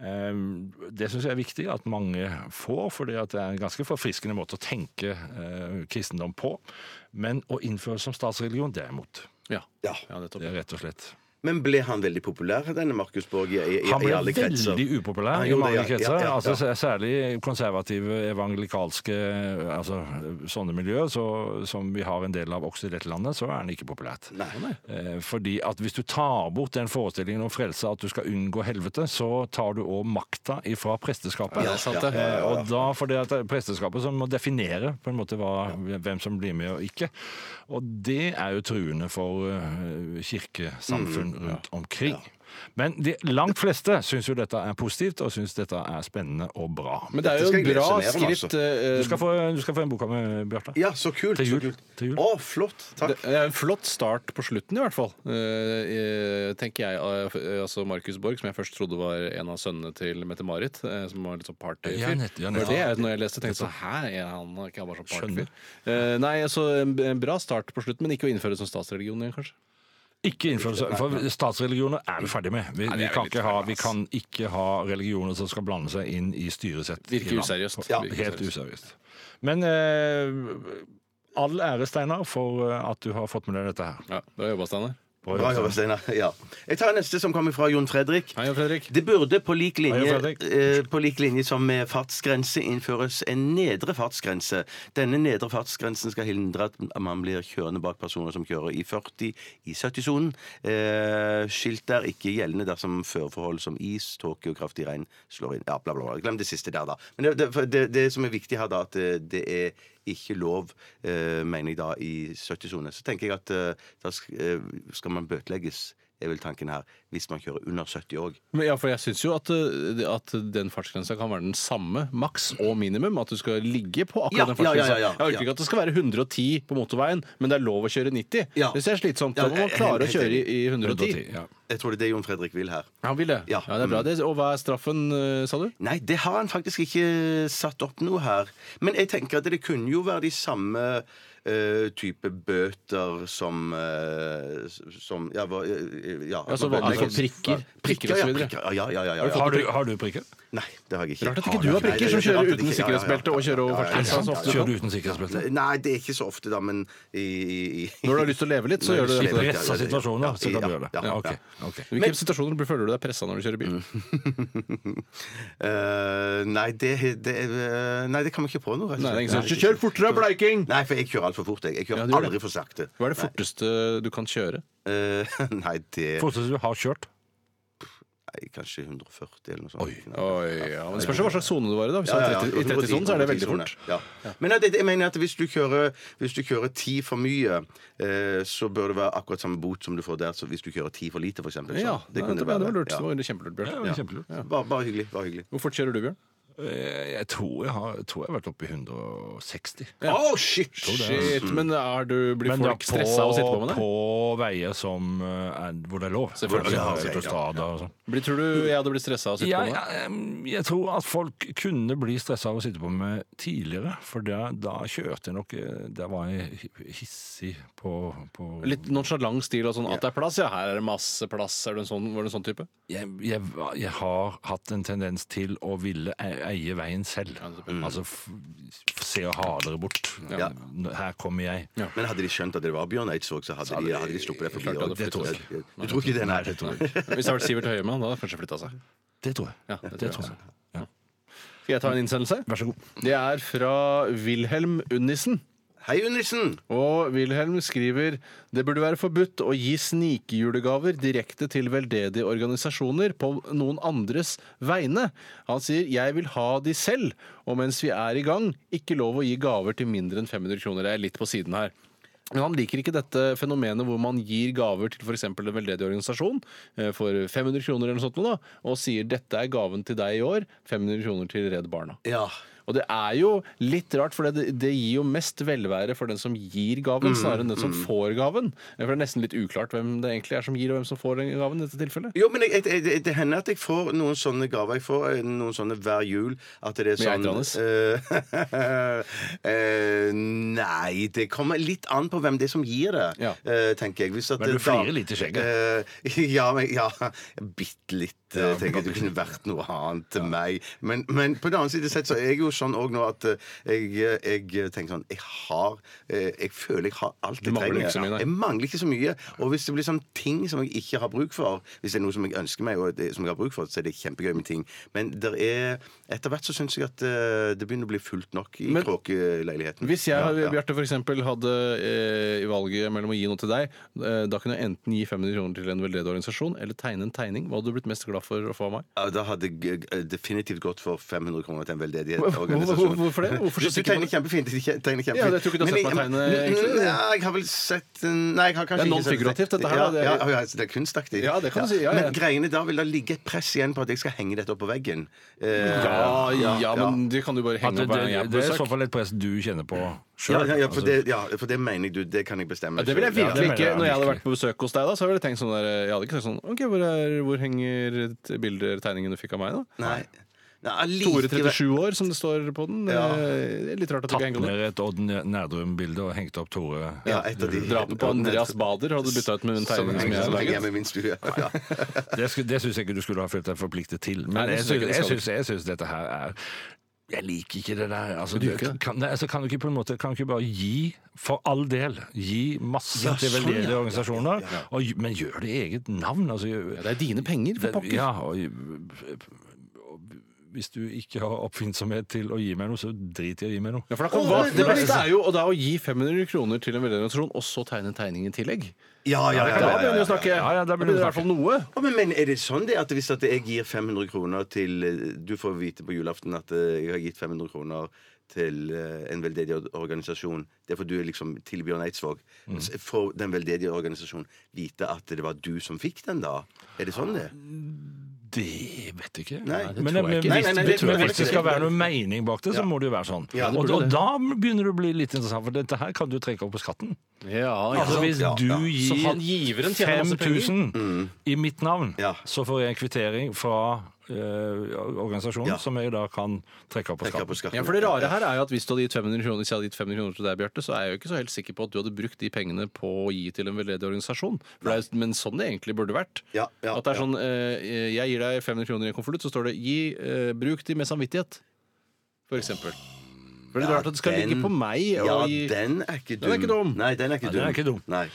Speaker 5: Ehm, Det syns jeg er viktig at mange får, fordi at det er en ganske forfriskende måte å tenke eh, kristendom på. Men å innføre som statsreligion, det er jeg imot.
Speaker 6: Ja.
Speaker 4: Ja.
Speaker 6: ja, nettopp.
Speaker 5: Det er rett og slett.
Speaker 4: Men ble han veldig populær, denne Markus Borg, i, i,
Speaker 5: Han
Speaker 4: i alle
Speaker 5: ble
Speaker 4: kretser?
Speaker 5: veldig upopulær
Speaker 4: Han
Speaker 5: i
Speaker 4: gjorde
Speaker 5: mange
Speaker 4: det, ja.
Speaker 5: kretser.
Speaker 4: Ja, ja, ja.
Speaker 5: Altså, s- særlig konservative, evangelikalske altså, sånne miljøer så, som vi har en del av også i dette landet, så er han ikke populært. Eh, Fordi at hvis du tar bort den forestillingen om frelse, at du skal unngå helvete, så tar du òg makta ifra presteskapet.
Speaker 6: Ja, det er sant, det.
Speaker 5: Eh, Og da for det at det er presteskapet som må definere på en måte hva, hvem som blir med og ikke. Og det er jo truende for eh, kirkesamfunn
Speaker 6: Mm,
Speaker 5: rundt omkring. Men de langt fleste syns jo dette er positivt, og syns dette er spennende og bra.
Speaker 6: Men det er
Speaker 4: Dette
Speaker 6: jo
Speaker 4: skal jeg
Speaker 6: bra
Speaker 4: lese mer om,
Speaker 6: skritt. eh,
Speaker 5: Du skal få, du skal få en bok av meg, Bjarte.
Speaker 4: Ja, så kult.
Speaker 5: Til jul.
Speaker 4: Så kult.
Speaker 5: Til jul.
Speaker 4: Å, flott. Takk.
Speaker 6: Det er en flott start på slutten, i hvert fall. Eh, eh, tenker jeg, eh, f- eh, altså Markus Borg, som jeg først trodde var en av sønnene til Mette-Marit, eh, som var litt sånn partyfyr.
Speaker 5: Ja, nett- ja,
Speaker 6: Det var
Speaker 5: nettopp.
Speaker 6: det jeg, når jeg leste, tenkte jeg hæ, er han er ikke han bare sånn
Speaker 5: Skjønner.
Speaker 6: partyfyr? Eh, nei, altså en, en bra start på slutten, men ikke å innføre det som statsreligion igjen, kanskje.
Speaker 5: Ikke innføre For statsreligioner er vi ferdig med. Vi,
Speaker 6: det
Speaker 5: vi,
Speaker 6: er
Speaker 5: kan
Speaker 6: litt
Speaker 5: ikke ha,
Speaker 6: ferdig,
Speaker 5: vi
Speaker 6: ass.
Speaker 5: kan ikke ha religioner som skal blande seg inn i styresett. i
Speaker 6: Virker
Speaker 5: land.
Speaker 6: useriøst.
Speaker 5: Ja,
Speaker 6: Virker
Speaker 5: helt useriøst. Men eh, all ære, Steinar, for at du har fått med deg dette her.
Speaker 6: Ja, Bra jobba, Steinar.
Speaker 5: Bra
Speaker 4: Bra jobba, Steinar. Ja. Jeg tar neste, som kommer fra Jon Fredrik.
Speaker 6: Hei, Jon Fredrik.
Speaker 4: Det burde på lik
Speaker 5: Hei, Jon
Speaker 4: linje,
Speaker 5: Fredrik.
Speaker 4: eh, på lik linje som med fartsgrense innføres en nedre fartsgrense. Denne nedre fartsgrensen skal hindre at man blir kjørende bak personer som kjører i 40 i 70-sonen. Eh, skilt er ikke gjeldende dersom førforhold som is, tåke og kraftig regn slår inn. Ja, bla, bla, bla. Glem det siste der, da. Men det, det, for det, det som er viktig her, da, at eh, det er ikke lov, eh, mener jeg da, i 70-sone. Så tenker jeg at eh, da sk- eh, skal man bøtelegges, er vel tanken her, hvis man kjører under 70 òg.
Speaker 6: Men ja, for jeg syns jo at, uh, det- at den fartsgrensa kan være den samme, maks og minimum. At du skal ligge på akkurat
Speaker 4: Ja, ja,
Speaker 6: den
Speaker 4: ja,
Speaker 6: fartsgrensa.
Speaker 4: ja, ja.
Speaker 6: Jeg orker ikke at det skal være 110 på motorveien, men det er lov å kjøre 90.
Speaker 4: Ja.
Speaker 6: Det ser slitsomt ut.
Speaker 4: Ja,
Speaker 6: Da må man
Speaker 4: jeg-
Speaker 6: klare å
Speaker 4: helt
Speaker 6: kjøre i i 110.
Speaker 5: 110. Ja.
Speaker 4: Jeg tror det er det Jon Fredrik vil her.
Speaker 6: Han vil det. Ja.
Speaker 4: Ja.
Speaker 6: det er bra. Det, og hva er straffen, uh, sa du?
Speaker 4: Nei, det har han faktisk ikke eh, satt opp noe her. Men jeg tenker at det kunne jo være de samme eh, type bøter som, eh, som Ja, hva eh, ja,
Speaker 6: Ja, så
Speaker 4: hva-
Speaker 6: vanlig
Speaker 4: bøter-
Speaker 6: sånn prikker, prikker og
Speaker 4: ja,
Speaker 6: så videre.
Speaker 4: prikker, ja, ja, ja, ja, ja.
Speaker 5: Har du, har du prikker?
Speaker 4: Nei, det har jeg ikke.
Speaker 6: Rart at ikke du har
Speaker 4: Nei, det
Speaker 6: prikker
Speaker 4: er
Speaker 6: som
Speaker 4: rart
Speaker 6: kjører
Speaker 4: at
Speaker 6: uten
Speaker 4: ikke- ja, ja, ja.
Speaker 6: sikkerhetsbelte og kjører over fartsgrensa. så ofte du
Speaker 5: Kjører
Speaker 6: kan.
Speaker 5: du uten sikkerhetsbelte?
Speaker 4: Nei, det er ikke så ofte, da, men i, i, i
Speaker 6: Når du har lyst til å leve litt, så
Speaker 4: Når
Speaker 6: gjør du
Speaker 4: du
Speaker 5: I
Speaker 6: det.
Speaker 4: slipper.
Speaker 5: pressa situasjoner, så kan du gjøre det.
Speaker 4: Ja, ja, ja.
Speaker 5: ok, ok.
Speaker 6: I hvilke situasjoner blir- føler du deg pressa når du kjører bil?
Speaker 4: Mm. Eh, nei, det, det eh, Nei, det kommer jeg ikke på noe. rett og slett.
Speaker 6: Nei, det er ingen som sier,
Speaker 4: ikke-
Speaker 6: Kjør fortere, bleiking!
Speaker 4: Nei, for jeg kjører altfor fort. Jeg, jeg
Speaker 6: Ja,
Speaker 4: kjører
Speaker 6: du gjør
Speaker 4: aldri
Speaker 6: det.
Speaker 4: for sakte.
Speaker 6: Hva er det forteste du kan kjøre?
Speaker 4: Eh, <laughs> nei, det
Speaker 5: Fortsatt du har kjørt?
Speaker 4: nei, Kanskje 140 eller noe sånt. Nei.
Speaker 6: Oi, ja, men det Spørs jo hva slags sone du var i. da Hvis
Speaker 4: Ja,
Speaker 6: du
Speaker 4: ja,
Speaker 6: er
Speaker 4: ja,
Speaker 6: 30, I 30-sonen så er det veldig fort.
Speaker 4: Ja. Men jeg, jeg mener at hvis du kjører Hvis du kjører ti for mye, eh, så bør det være akkurat samme bot som du får der så hvis du kjører ti for lite, f.eks.
Speaker 6: Ja, det,
Speaker 4: kunne
Speaker 6: det, var- det var lurt.
Speaker 4: Ja.
Speaker 6: Det var kjempelurt, Bjørn.
Speaker 5: Ja. Kjempelurt.
Speaker 4: Bare, bare hyggelig. Bare hyggelig.
Speaker 6: Hvor fort kjører du, Bjørn?
Speaker 5: Eh, Jeg tror jeg har, tror jeg har vært oppe i 160.
Speaker 4: Å, shit!
Speaker 6: Shit, men er du, blir
Speaker 5: Men da
Speaker 6: folk
Speaker 5: på,
Speaker 6: stressa av å sitte på med det?
Speaker 5: på veier som eh, er, hvor det er lov. Altså,
Speaker 6: Selvfølgelig.
Speaker 5: Ja,
Speaker 4: Ja, ja, ja.
Speaker 5: autostrada og sånn.
Speaker 6: Blir, tror du jeg hadde blitt stressa av å sitte
Speaker 5: Ja,
Speaker 6: på med det?
Speaker 5: ja, em, jeg tror at folk kunne bli stressa av å sitte på med tidligere, for da, da kjørte jeg nok eh, Da var jeg hi- hissig på, på
Speaker 6: Litt nonchalant stil og sånn at det er plass? Ja, her er det masse plass. Er du en sånn, var du en sånn type?
Speaker 5: jeg, jeg, var- jeg har hatt en tendens til å ville e- eie veien selv. Altså f f se og ha dere bort.
Speaker 4: Ja.
Speaker 5: N- Her kommer jeg.
Speaker 4: Men hadde de skjønt at det var Bjørn Eidsvåg, så hadde de, hadde de sluppet det forbi.
Speaker 6: Klart
Speaker 4: også.
Speaker 6: det hadde flyttet
Speaker 4: jeg. Du tror ikke det, nei? Det tror jeg.
Speaker 6: <laughs> Hvis det hadde vært Sivert Høyemann, da hadde han kanskje flytta seg.
Speaker 5: Det tror jeg.
Speaker 6: Ja, det tror jeg også.
Speaker 5: jeg.
Speaker 6: Skal jeg ta en innsendelse?
Speaker 5: Vær så god.
Speaker 6: Det er fra Wilhelm Unnissen.
Speaker 4: Hei, Unnissen!
Speaker 6: Og Wilhelm skriver det burde være forbudt å gi snikjulegaver direkte til veldedige organisasjoner på noen andres vegne. Han sier 'jeg vil ha de selv', og mens vi er i gang, ikke lov å gi gaver til mindre enn 500 kroner. Jeg er litt på siden her. Men han liker ikke dette fenomenet hvor man gir gaver til f.eks. en veldedig organisasjon eh, for 500 kroner eller noe sånt, noe da, og sier 'dette er gaven til deg i år', 500 kroner til Redd Barna.
Speaker 4: Ja.
Speaker 6: Og det er jo litt rart, for det, det gir jo mest velvære for den som gir gaven,
Speaker 5: Mm,
Speaker 6: snarere enn den som får gaven. For det er nesten litt uklart hvem det egentlig er som gir, og hvem som får den gaven i dette tilfellet.
Speaker 4: Jo, men jeg, jeg, jeg, det hender at jeg får noen sånne gaver. Jeg får eh, noen sånne hver jul. At det er sånn eh, <laughs> eh, Nei, det kommer litt an på hvem det er som gir det,
Speaker 6: Ja.
Speaker 4: eh, tenker jeg. Hvis at
Speaker 5: Men du
Speaker 4: det da-
Speaker 5: flirer litt i skjegget.
Speaker 4: Eh, <laughs> ja, men ja, bitte litt. eh, tenker jeg Det kunne vært noe annet til meg. Men, men på den annen side sett så er jeg jo sånn òg nå at eh, jeg, jeg tenker sånn Jeg har eh, Jeg føler jeg har alt
Speaker 6: Du
Speaker 4: jeg
Speaker 6: mangler
Speaker 4: trenger.
Speaker 6: ikke så mye, nei.
Speaker 4: Jeg mangler ikke så mye. Og hvis det blir sånn ting som jeg ikke har bruk for, hvis det er noe som jeg ønsker meg, og det, som jeg har bruk for, så er det kjempegøy med ting. Men der er, etter hvert så syns jeg at eh, det begynner å bli fullt nok i
Speaker 6: Men-
Speaker 4: kråkeleiligheten.
Speaker 6: Hvis jeg,
Speaker 4: Ja, ja.
Speaker 6: Bjarte, for eksempel, hadde eh, i valget mellom å gi noe til deg, eh, da kunne jeg enten gi 500 kroner til en veldedig organisasjon eller tegne en tegning. Hva hadde du blitt mest glad for å få av meg?
Speaker 4: Ja, Da hadde jeg eh, definitivt gått for 500 kroner til en
Speaker 6: Hvor- hvor-
Speaker 4: veldedighetsorganisasjon.
Speaker 6: hvorfor det? Hvorfor
Speaker 4: Du,
Speaker 6: synes du
Speaker 4: du
Speaker 6: ikke
Speaker 4: tegner
Speaker 6: man-
Speaker 4: kjempefint. Du tegner kjempefint.
Speaker 6: Ja, jeg tror ikke du har
Speaker 4: Men
Speaker 6: sett meg
Speaker 4: jeg-
Speaker 6: tegne, egentlig.
Speaker 4: Nei, jeg har vel sett en- Nei, jeg har kanskje
Speaker 6: Det er
Speaker 4: ikke sett-
Speaker 6: non-figurativt, dette her,
Speaker 4: Ja,
Speaker 6: da. Det er-
Speaker 4: ja, ja, altså, det er kunstaktig.
Speaker 6: Ja, det kan du si, ja, ja.
Speaker 4: Men greiene da vil det ligge et press igjen på at jeg skal henge dette opp på veggen. Eh,
Speaker 6: Ja, ja, men det kan du bare
Speaker 5: At
Speaker 6: henge
Speaker 5: det,
Speaker 6: opp
Speaker 5: det,
Speaker 6: hver gang jeg er på
Speaker 5: det er i så
Speaker 6: besøk.
Speaker 5: fall et press du kjenner på Altså,
Speaker 4: Ja,
Speaker 5: sjøl.
Speaker 4: ja, ja, for det, ja, for det mener jeg du. Det kan jeg bestemme.
Speaker 6: altså. Ja, det ville jeg
Speaker 4: selv, ja.
Speaker 6: virkelig
Speaker 5: det mener
Speaker 6: ikke
Speaker 5: jeg
Speaker 6: Når jeg hadde
Speaker 5: virkelig.
Speaker 6: vært på besøk hos deg, da, så ville jeg tenkt sånn der Jeg hadde ikke tenkt sånn OK, hvor, er, hvor henger t- bilder, tegningen du fikk av meg, da?
Speaker 4: Nei. Nei,
Speaker 6: Tore
Speaker 4: allikevel-
Speaker 6: 37 år, som det står på den.
Speaker 4: Ja.
Speaker 6: Eh, Det er litt rart at det ikke
Speaker 5: Tatt
Speaker 6: henger opp.
Speaker 5: ned et Odd Nærdrum-bilde og hengt opp Tore.
Speaker 4: Ja, et av de
Speaker 6: Drapet på Andreas Bader hadde du bytta ut med en
Speaker 4: Som
Speaker 6: tegning som jeg
Speaker 4: henger
Speaker 6: har
Speaker 4: som henger
Speaker 6: laget.
Speaker 4: hjemme i min stue. Ja.
Speaker 5: Det, sku- det syns jeg ikke du skulle ha følt deg forpliktet til. Men
Speaker 6: Nei, det
Speaker 5: jeg
Speaker 6: synes
Speaker 5: syns,
Speaker 6: jeg ikke du
Speaker 5: jeg,
Speaker 6: skal.
Speaker 5: syns, jeg syns dette her er Jeg liker ikke det der. Altså,
Speaker 6: du ikke det?
Speaker 5: Kan, nei, altså, kan du ikke på en måte Kan du ikke bare gi, for all del, gi masse
Speaker 6: Ja,
Speaker 5: til
Speaker 6: sånn,
Speaker 5: veldedige
Speaker 6: ja.
Speaker 5: organisasjoner, og gj- men gjør det i eget navn? Altså, gjør-
Speaker 6: Det er dine penger, for pokker.
Speaker 5: ja, og, og hvis du ikke har oppfinnsomhet til å gi meg noe, så drit i å gi meg noe.
Speaker 6: Ja, for da kan,
Speaker 4: Åh,
Speaker 6: hva,
Speaker 4: det-
Speaker 6: det beste er jo å da å gi 500 kroner til en veldedighetsorganisasjon, og så tegne en tegning i tillegg.
Speaker 4: Ja, ja, ja,
Speaker 6: Da
Speaker 4: ja,
Speaker 6: begynner vi å snakke.
Speaker 5: Ja, ja, da
Speaker 6: da
Speaker 5: begynner
Speaker 6: begynner
Speaker 5: vi
Speaker 6: i
Speaker 5: å
Speaker 6: hvert fall noe.
Speaker 4: Å, Men men er det sånn det at hvis at jeg gir 500 kroner til eh, Du får vite på julaften at eh, jeg har gitt 500 kroner til eh, en veldedig or- organisasjon. Derfor du er liksom til Bjørn Eidsvåg.
Speaker 6: Mm.
Speaker 4: Så Får den veldedige organisasjonen vite at det var du som fikk den, da? Er det sånn det?
Speaker 5: Det vet jeg ikke.
Speaker 4: Nei, det
Speaker 5: men,
Speaker 6: tror jeg
Speaker 5: men
Speaker 6: ikke.
Speaker 5: hvis-
Speaker 4: Nei, nei, nei,
Speaker 5: men
Speaker 4: det tror jeg
Speaker 5: hvis det
Speaker 4: faktisk
Speaker 5: skal
Speaker 4: ikke.
Speaker 5: være noe mening bak det, så må det jo være sånn.
Speaker 4: Ja, det
Speaker 5: og,
Speaker 6: burde
Speaker 5: og
Speaker 6: det.
Speaker 5: da begynner det å bli litt interessant, for dette her kan du trekke opp på skatten.
Speaker 6: Ah, Ja,
Speaker 5: Altså Hvis
Speaker 4: Ja, ja.
Speaker 5: du
Speaker 6: Så
Speaker 5: gir
Speaker 6: han giveren tjener masse penger.
Speaker 5: 5000 i mitt navn,
Speaker 4: Ja.
Speaker 5: så får jeg en kvittering fra eh, organisasjonen
Speaker 4: Ja.
Speaker 5: som jeg da kan trekke opp på skatten.
Speaker 4: Tenker jeg på skatten.
Speaker 6: Ja, for det rare her er jo at Hvis du hadde gitt 500 kroner, hvis jeg hadde gitt 500 kroner til deg, Bjarte, så er jeg jo ikke så helt sikker på at du hadde brukt de pengene på å gi til en veldedig organisasjon. For det er, jo- men sånn det egentlig burde vært.
Speaker 4: Ja, ja,
Speaker 6: at det er
Speaker 4: ja.
Speaker 6: sånn eh, Jeg gir deg 500 kroner i en konvolutt, så står det 'gi, eh, bruk de med samvittighet'. For eksempel. For det er
Speaker 4: Ja,
Speaker 6: rart at det skal
Speaker 4: den-
Speaker 6: ligge på meg
Speaker 4: Ja,
Speaker 6: å gi
Speaker 4: den er ikke dum.
Speaker 6: Den er ikke dum.
Speaker 4: Nei, den er ikke
Speaker 5: Nei, den er ikke dum.
Speaker 4: Nei.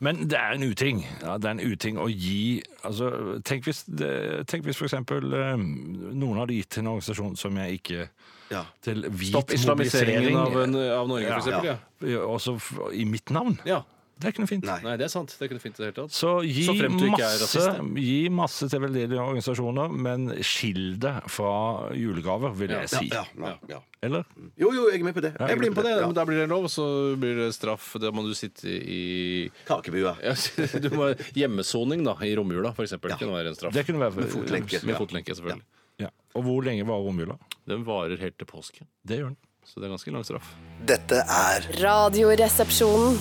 Speaker 5: Men det er en uting. Ja, det er en uting å gi altså, Tenk hvis, det- tenk hvis f.eks. noen hadde gitt til en organisasjon som jeg ikke
Speaker 4: Ja.
Speaker 5: Til hvit
Speaker 6: Stopp islamiseringen
Speaker 5: mobilisering. eh,
Speaker 6: av, en, eh, av Norge,
Speaker 5: Ja,
Speaker 6: for eksempel. Ja.
Speaker 5: også f- i mitt navn.
Speaker 6: Ja.
Speaker 5: Det er ikke noe fint.
Speaker 4: Nei.
Speaker 6: Nei, det er sant. Det kunne fint i det hele tatt.
Speaker 5: Så gi,
Speaker 6: Så fremt du ikke er
Speaker 5: masse,
Speaker 6: rasist, da.
Speaker 5: gi masse til veldedige organisasjoner, men skill det fra julegaver, vil jeg si.
Speaker 4: Ja, ja, ja.
Speaker 5: Eller?
Speaker 4: Jo, jo, jeg er med på det.
Speaker 6: Jeg blir med på det,
Speaker 4: Ja.
Speaker 6: men da blir det lov, så blir det straff. Da må du sitte i
Speaker 4: Kakebua.
Speaker 6: Ja, <laughs> du må Hjemmesoning da, i romjula, for eksempel.
Speaker 4: Ja.
Speaker 6: Kunne være en straff.
Speaker 5: Det kunne være
Speaker 4: Med fotlenke.
Speaker 6: Med
Speaker 4: Ja.
Speaker 6: fotlenke, selvfølgelig.
Speaker 5: Ja. Og hvor lenge varer romjula?
Speaker 6: Den varer helt til påske.
Speaker 5: Det gjør den.
Speaker 6: Så det er ganske lang straff.
Speaker 7: Dette er
Speaker 1: Radioresepsjonen.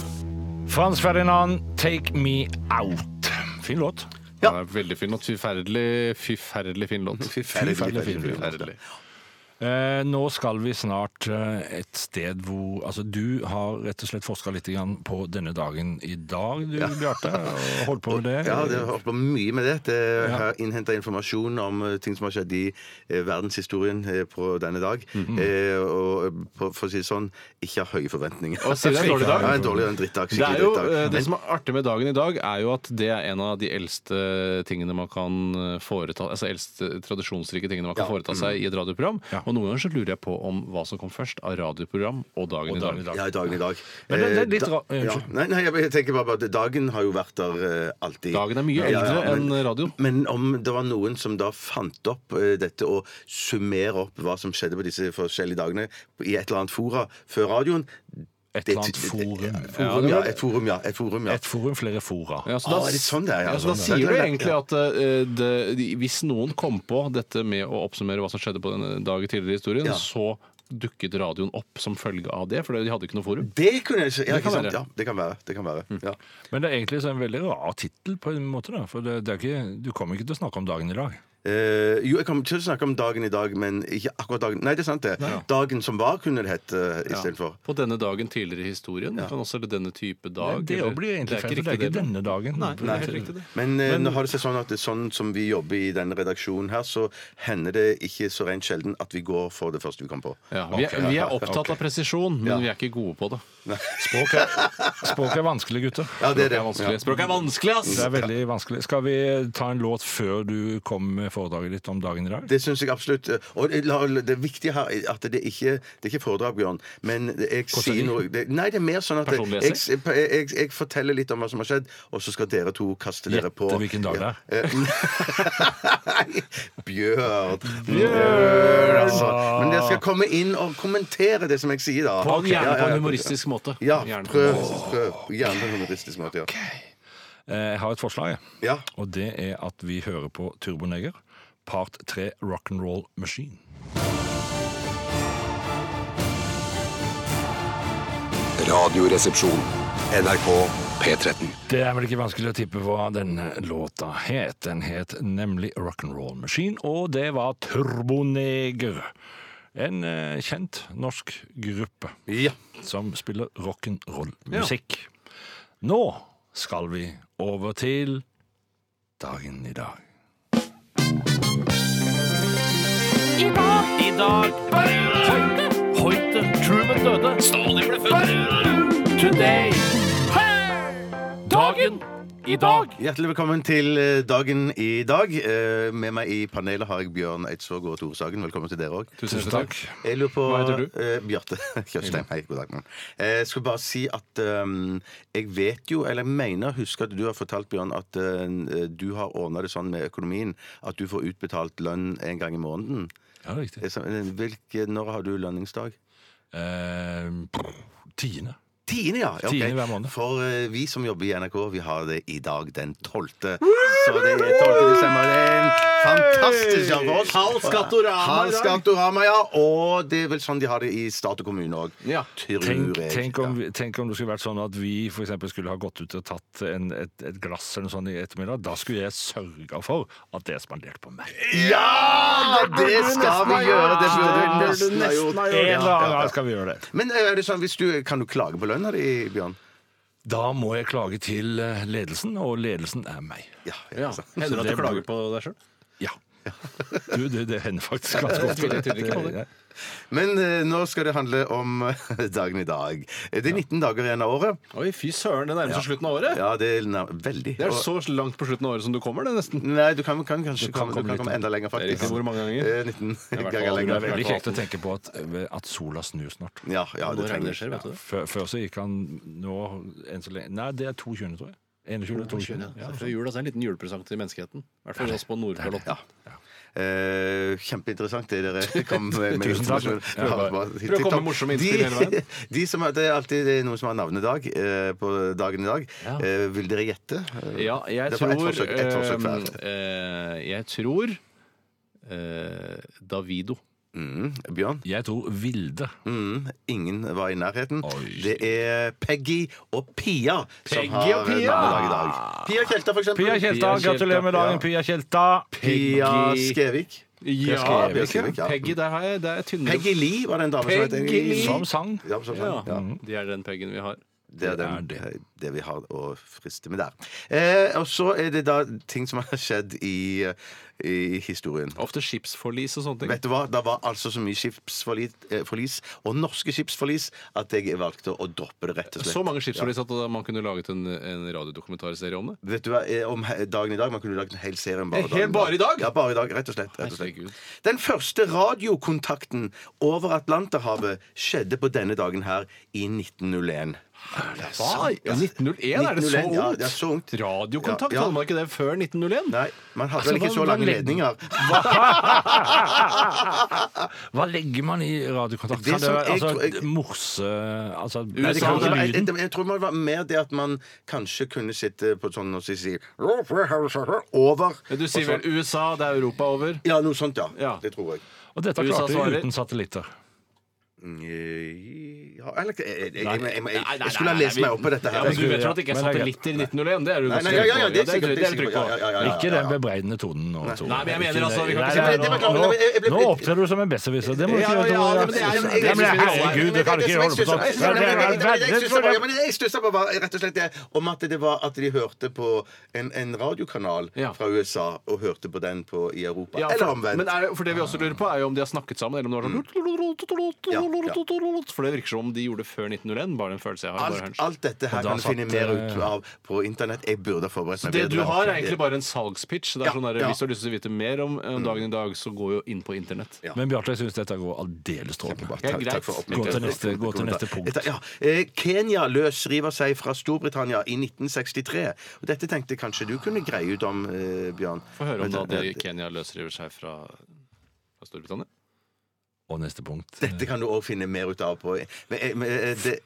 Speaker 5: Frans Ferdinand, 'Take Me Out'. Fin låt.
Speaker 4: Ja.
Speaker 6: Det er veldig fin låt. Forferdelig, forferdelig fin låt.
Speaker 4: Forferdelig, forferdelig,
Speaker 6: Forferdelig.
Speaker 5: Eh, nå skal vi snart eh, et sted hvor Altså, du har rett og slett forska litt grann på denne dagen i dag, du, Bjarte. og Holdt på med det.
Speaker 4: Ja, det har holdt på mye med det. Jeg har innhenta informasjon om eh, ting som har skjedd i eh, verdenshistorien eh, på denne dag.
Speaker 6: Mhm.
Speaker 4: Eh, Og eh, på- for å si det sånn, ikke ha høye forventninger.
Speaker 6: Og sier det er en dårlig dag?
Speaker 4: Ja, en dårlig og en drittdag.
Speaker 6: Det,
Speaker 4: skikkelig
Speaker 6: er jo,
Speaker 4: drittdag.
Speaker 6: eh, det
Speaker 4: Men-
Speaker 6: som er artig med dagen i dag, er jo at det er en av de eldste tingene man kan foreta Altså eldste tradisjonsrike tingene man kan foreta seg i et radioprogram.
Speaker 5: Ja.
Speaker 6: Og noen ganger så lurer jeg på om hva som kom først av radioprogram og dagen,
Speaker 5: Og dagen
Speaker 6: i
Speaker 5: i
Speaker 6: dag.
Speaker 5: dag.
Speaker 4: ja, dagen i dag.
Speaker 5: Men det- det er
Speaker 4: Eh,
Speaker 5: litt
Speaker 4: da-
Speaker 5: ra- eh,
Speaker 4: ja.
Speaker 5: unnskyld.
Speaker 4: Nei, nei, jeg jeg tenker bare på at dagen har jo vært der eh, alltid.
Speaker 6: Dagen er mye eldre enn radio.
Speaker 4: Men om det var noen som da fant opp eh, dette og summerer opp hva som skjedde på disse forskjellige dagene i et eller annet fora før radioen
Speaker 5: Et
Speaker 4: det-
Speaker 5: eller annet forum.
Speaker 4: forum ja, et forum, ja. Et forum, ja.
Speaker 5: Et forum, flere fora.
Speaker 6: Ja, så
Speaker 4: Å, er det sånn det er, ja,
Speaker 6: ja, så da
Speaker 4: sånn det er.
Speaker 6: sier du
Speaker 4: Det er-
Speaker 6: egentlig
Speaker 4: ja.
Speaker 6: at eh, det, de- hvis noen kom på dette med å oppsummere hva som skjedde på denne dag i tidligere i historien,
Speaker 4: Ja.
Speaker 6: så dukket radioen opp som følge av det, for de hadde ikke noe forum.
Speaker 4: Det kunne jeg si. Ja,
Speaker 6: Det kan
Speaker 4: ikke sant?
Speaker 6: være. Mm.
Speaker 4: Ja, det kan være. Det kan være. Ja.
Speaker 5: Men det er egentlig så en veldig rar tittel, på en måte. da, For det, det er ikke, du kommer ikke til å snakke om dagen i dag.
Speaker 4: Eh, jo, jeg kommer til å snakke om dagen i dag, men ikke akkurat dagen. Nei, det er sant, det. Dagen som var, kunne det hett uh, istedenfor.
Speaker 6: På denne dagen tidligere i historien, kan også eller denne type dag.
Speaker 5: det
Speaker 6: eller-
Speaker 5: blir egentlig
Speaker 6: Det er
Speaker 5: feil, for det er ikke
Speaker 6: riktig
Speaker 5: denne dagen.
Speaker 6: Nei, det er helt riktig det.
Speaker 4: Men, eh, nå har det seg sånn at det er sånn som vi jobber i denne redaksjonen her, så hender det ikke så rent sjelden at vi går for det første vi kom på.
Speaker 6: Ja, vi, er, vi er opptatt av presisjon,
Speaker 4: Ja.
Speaker 6: men vi er ikke gode på det.
Speaker 5: Språk er, språk er vanskelig, gutter.
Speaker 4: Ja, det er
Speaker 6: Det
Speaker 4: det.
Speaker 6: er vanskelig. Språk er vanskelig, ass!
Speaker 5: Det er veldig vanskelig. Skal vi ta en låt før du kom med foredraget ditt om dagen i dag?
Speaker 4: Det syns jeg absolutt. Og det- la- det viktige her er at det ikke det er ikke foredrag, Bjørn. Men jeg sier noe det, Nei, det er mer sånn at jeg,
Speaker 6: Personlig
Speaker 4: jeg, jeg, jeg, jeg forteller litt om hva som har skjedd, og så skal dere to kaste dere
Speaker 5: Gjette
Speaker 4: på
Speaker 5: hvilken dag det er.
Speaker 4: Ja, <laughs> eh, Bjørn! Bjørn, altså. Men dere skal komme inn og kommentere det som jeg sier, da.
Speaker 6: Og
Speaker 4: Ja,
Speaker 6: Gjerne
Speaker 4: ja,
Speaker 6: på en
Speaker 4: ja.
Speaker 6: humoristisk måte.
Speaker 4: Ja,
Speaker 6: Gjerne.
Speaker 4: prøv. prøv. Gjerne på en humoristisk måte. Ja.
Speaker 5: Eh, Jeg har et forslag, jeg.
Speaker 4: ja.
Speaker 5: og det er at vi hører på Turboneger, part 3 Rock'n'Roll Machine.
Speaker 2: Radioresepsjon. NRK P13.
Speaker 5: Det er vel ikke vanskelig å tippe hva denne låta het. Den het nemlig Rock'n'Roll Machine, og det var Turboneger. En eh, kjent norsk gruppe
Speaker 4: ja.
Speaker 5: som spiller rock'n'roll-musikk. Nå skal vi over til dagen i dag.
Speaker 8: I dag. I dag. Truman døde. Stalin ble født. Today. Dagen i dag.
Speaker 4: Hjertelig velkommen til eh, dagen i dag. Eh, Med meg i panelet har jeg Bjørn Eidsvåg og Tore Sagen. Velkommen til dere òg.
Speaker 6: Tusen takk.
Speaker 4: Jeg lurer på
Speaker 6: Hva heter du?
Speaker 4: Eh, Bjarte <laughs> Tjøstheim. Hei, god dag. mann. Eh, Jeg skulle bare si at ehm, jeg vet jo, eller jeg mener å huske at du har fortalt, Bjørn, at eh, du har ordna det sånn med økonomien at du får utbetalt lønn en gang i måneden.
Speaker 5: Ja,
Speaker 4: Eh,
Speaker 5: riktig.
Speaker 4: så- eh, Hvilke, når har du lønningsdag?
Speaker 5: Eh, tiende.
Speaker 4: Tiende, ja. ja ok.
Speaker 5: Tiende hver måned.
Speaker 4: For eh, vi som jobber i NRK, vi har det i dag den tolvte. Så det er 12. desember. Det er en fantastisk dag for oss.
Speaker 6: Halv skattorama i dag.
Speaker 4: Halv skattorama, ja. Og det er vel sånn de har det i stat og kommune òg.
Speaker 6: Ja.
Speaker 5: Tenk, tenk, om, vi- tenk om det skulle vært sånn at vi for eksempel skulle ha gått ut og tatt en, et, et glass eller noe sånt i ettermiddag. Da skulle jeg sørga for at det er spandert på meg.
Speaker 4: Ja! Det skal vi gjøre. Det burde vi nesten ha gjort.
Speaker 5: En eller annen
Speaker 4: Ja, ja.
Speaker 5: gang skal vi gjøre det.
Speaker 4: Men er det sånn, hvis du, kan du klage på lønna di, Bjørn?
Speaker 5: Da må jeg klage til eh, ledelsen, og ledelsen er meg.
Speaker 4: Ja, altså.
Speaker 6: Ja.
Speaker 4: sant.
Speaker 6: Hender det at
Speaker 5: det
Speaker 6: du klager
Speaker 5: blir-
Speaker 6: på deg sjøl?
Speaker 5: Ja. Du, det, <laughs> det hender faktisk ganske ofte.
Speaker 6: tviler- jeg tviler ikke på det.
Speaker 5: Ja.
Speaker 4: Men eh, nå skal det handle om eh, <laughs> dagen i dag. Det er 19 dager igjen av året.
Speaker 6: Oi, fy søren, det nærmer seg slutten av året.
Speaker 4: Ja, det er na- veldig.
Speaker 6: Det er
Speaker 4: Og-
Speaker 6: så langt på slutten av året som du kommer, det nesten.
Speaker 4: Nei, du kan, kan kanskje
Speaker 5: kan
Speaker 4: komme,
Speaker 5: komme litt
Speaker 4: du kan komme
Speaker 5: lenger.
Speaker 4: enda lenger,
Speaker 6: Det er
Speaker 4: faktisk.
Speaker 6: riktig. Hvor mange ganger?
Speaker 4: Eh, 19
Speaker 6: hvert fall
Speaker 4: ganger
Speaker 6: aldri
Speaker 5: Det
Speaker 4: lenger.
Speaker 5: er veldig kjekt å tenke på at, eh, at sola snur snart.
Speaker 4: Ja, ja,
Speaker 6: Nå
Speaker 4: det
Speaker 6: regner det
Speaker 4: trenger
Speaker 6: skjer, vet du.
Speaker 5: Før, før så gikk han nå enn så lenge Nei, det er 22, tror jeg. 21, 22.
Speaker 6: Ja,
Speaker 5: Ja.
Speaker 6: Før jul altså, en liten julepresang til menneskeheten. I hvert fall oss på Nordkalotten.
Speaker 4: Eh, kjempeinteressant det
Speaker 6: <laughs>
Speaker 4: dere kom med. med
Speaker 5: Tusen takk.
Speaker 4: informasjon.
Speaker 5: Ja,
Speaker 4: Ja,
Speaker 5: bare-
Speaker 4: bare-
Speaker 6: Prøv å komme med morsomme innspill
Speaker 4: de,
Speaker 6: hele veien.
Speaker 4: <laughs> De som, det er alltid det er noen som har navnedag eh, på dagen i dag. Eh, vil dere gjette? Eh,
Speaker 6: Ja, jeg
Speaker 4: Det var
Speaker 6: tror
Speaker 4: ett forsøk, ett forsøk altså. hver.
Speaker 6: eh, eh, Jeg tror eh, Davido.
Speaker 4: Mm, Bjørn?
Speaker 5: Jeg tror Vilde.
Speaker 4: Mm, ingen var i nærheten.
Speaker 5: Oi.
Speaker 4: Det er Peggy og Pia som
Speaker 6: Peggy
Speaker 4: har
Speaker 6: og Pia!
Speaker 4: navnedag i dag. Pia Tjelta, for eksempel.
Speaker 5: Pia Tjelta,
Speaker 6: Tjelta.
Speaker 5: gratulerer med dagen,
Speaker 4: Ja.
Speaker 5: Pia Tjelta!
Speaker 4: Pia
Speaker 6: Peggy.
Speaker 4: Skevik.
Speaker 6: Ja,
Speaker 4: Bjørn Skjevik, ja.
Speaker 6: Peggy, der har jeg, der er jeg tynnere.
Speaker 4: Peggy Lee var den damen som het
Speaker 6: Peggy Lee.
Speaker 5: Som sang.
Speaker 4: Ja, som
Speaker 6: Ja. Mm.
Speaker 4: sagt. Ja.
Speaker 6: De er den Peggen vi har.
Speaker 4: Det er,
Speaker 5: Det
Speaker 4: den, eh,
Speaker 5: er
Speaker 4: det. vi har å friste med der. Eh, og så er det da ting som har skjedd i, eh, i historien.
Speaker 6: Ofte skipsforlis og sånne ting.
Speaker 4: Vet du hva? Det var altså så mye skipsforlis, eh, forlis, og norske skipsforlis, at jeg valgte å droppe det, rett og slett.
Speaker 6: Så mange skipsforlis at da man kunne laget en, en radiodokumentarserie om det.
Speaker 4: Vet du hva, eh, om he- dagen i dag, Man kunne lagd en hel serie om bare
Speaker 6: Eh,
Speaker 4: dagen.
Speaker 6: helt bare i dag?
Speaker 4: Ja, bare i dag, rett og slett. Rett og
Speaker 6: Herregud.
Speaker 4: slett. Den første radiokontakten over Atlanterhavet skjedde på denne dagen her i 1901.
Speaker 6: Hva? Ja, 1901, er det så
Speaker 4: 1901, ja,
Speaker 6: ungt?
Speaker 4: det er så ungt. Ja,
Speaker 6: Radiokontakt,
Speaker 4: ja.
Speaker 6: hadde man ikke det før 1901?
Speaker 4: Nei, man hadde vel
Speaker 5: Altså,
Speaker 4: ikke
Speaker 5: hva-
Speaker 4: så
Speaker 5: hva
Speaker 4: lange
Speaker 5: legger-
Speaker 4: ledninger.
Speaker 5: Hva legger man i radiokontakt?
Speaker 4: Det
Speaker 5: Kan det
Speaker 4: som
Speaker 5: være
Speaker 4: jeg
Speaker 5: altså,
Speaker 4: tror- jeg-
Speaker 5: morse Altså
Speaker 4: Nei, det
Speaker 5: kan
Speaker 4: kan
Speaker 5: ikke
Speaker 4: ikke være-
Speaker 5: lyden.
Speaker 4: jeg, jeg tror det var mer det at man kanskje kunne sitte på et sånn og si si over.
Speaker 6: Du sier vel USA, det er Europa over.
Speaker 4: Ja, noe sånt, ja.
Speaker 6: Ja.
Speaker 4: Det tror jeg.
Speaker 5: Og dette
Speaker 6: USA
Speaker 5: klarte
Speaker 6: svarer.
Speaker 5: vi uten satellitter.
Speaker 4: Ja, eller jeg, jeg, jeg, jeg, jeg, jeg,
Speaker 6: Nei, nei,
Speaker 4: jeg skulle ha
Speaker 6: nei,
Speaker 4: lest
Speaker 6: nei,
Speaker 4: meg
Speaker 6: vi-
Speaker 4: opp på dette
Speaker 6: Ja,
Speaker 4: her.
Speaker 6: men du vet jo at det ikke er
Speaker 5: Men det er
Speaker 6: satellitter i 1901? Det er du
Speaker 4: Nei, nei, ja, ja,
Speaker 6: ganske sikker
Speaker 4: ja,
Speaker 6: på.
Speaker 4: det er sikkert
Speaker 6: det er du trygg
Speaker 4: Ja,
Speaker 6: på.
Speaker 4: ja, ja, ja,
Speaker 5: Ikke
Speaker 4: ja,
Speaker 5: den
Speaker 4: ja.
Speaker 5: bebreidende tonen nå. Tore.
Speaker 6: Nei, men jeg mener
Speaker 5: Ikke-
Speaker 6: altså, vi
Speaker 5: Nei,
Speaker 6: kan ikke-
Speaker 5: nei,
Speaker 4: Jeg ble- jeg
Speaker 5: nå-
Speaker 4: beklager, jeg- jeg ble-
Speaker 5: Nå opptrer du som en besserwisser. Det må du ikke
Speaker 6: Ja,
Speaker 5: gjøre.
Speaker 6: ja,
Speaker 5: Tore.
Speaker 6: men det er-
Speaker 5: Ja, men
Speaker 6: jeg- jeg-
Speaker 5: Herregud, du kan ikke holde på sånn. Ja, men det er-
Speaker 4: Ja, men Jeg stussa på hva- rett og slett det om at det var at de hørte på en, en radiokanal
Speaker 6: Ja.
Speaker 4: fra USA og hørte på den på, i Europa.
Speaker 6: Ja,
Speaker 4: Eller
Speaker 6: for, men
Speaker 4: omvendt. Mm.
Speaker 6: er, det- for det vi også lurer på, er jo om de har snakket sammen, eller om det
Speaker 4: Ja, ja.
Speaker 6: var sånn For det virker som om de gjorde det før 1901. Bare en følelse jeg har. Bare en
Speaker 4: Alt,
Speaker 6: hunch.
Speaker 4: alt dette her
Speaker 5: da
Speaker 4: kan du
Speaker 5: satt,
Speaker 4: finne mer
Speaker 5: eh,
Speaker 4: ut av på internett. Jeg burde ha forberedt meg
Speaker 6: Det du
Speaker 4: bedre.
Speaker 6: har, er egentlig bare en salgspitch. Det er
Speaker 4: Ja,
Speaker 6: sånn der,
Speaker 4: ja.
Speaker 6: Hvis du har lyst til å vite mer om, om dagen i dag, så gå jo inn på internett.
Speaker 4: Ja.
Speaker 5: Men Bjarte, jeg syns dette går aldeles strålende.
Speaker 4: Takk-
Speaker 6: greit.
Speaker 4: takk for
Speaker 5: Gå til
Speaker 4: oppmuntringen.
Speaker 5: neste- gå til neste punkt.
Speaker 4: Ja, eh, Kenya løsriver seg fra Storbritannia i 1963. Og dette tenkte jeg kanskje du kunne greie ut om, eh, Bjørn.
Speaker 6: Få høre om
Speaker 4: Men
Speaker 6: da
Speaker 4: det-
Speaker 6: de Kenya løsriver seg fra, fra Storbritannia.
Speaker 5: Og neste punkt.
Speaker 4: Dette kan du òg finne mer ut av på men, eh, men, eh, det,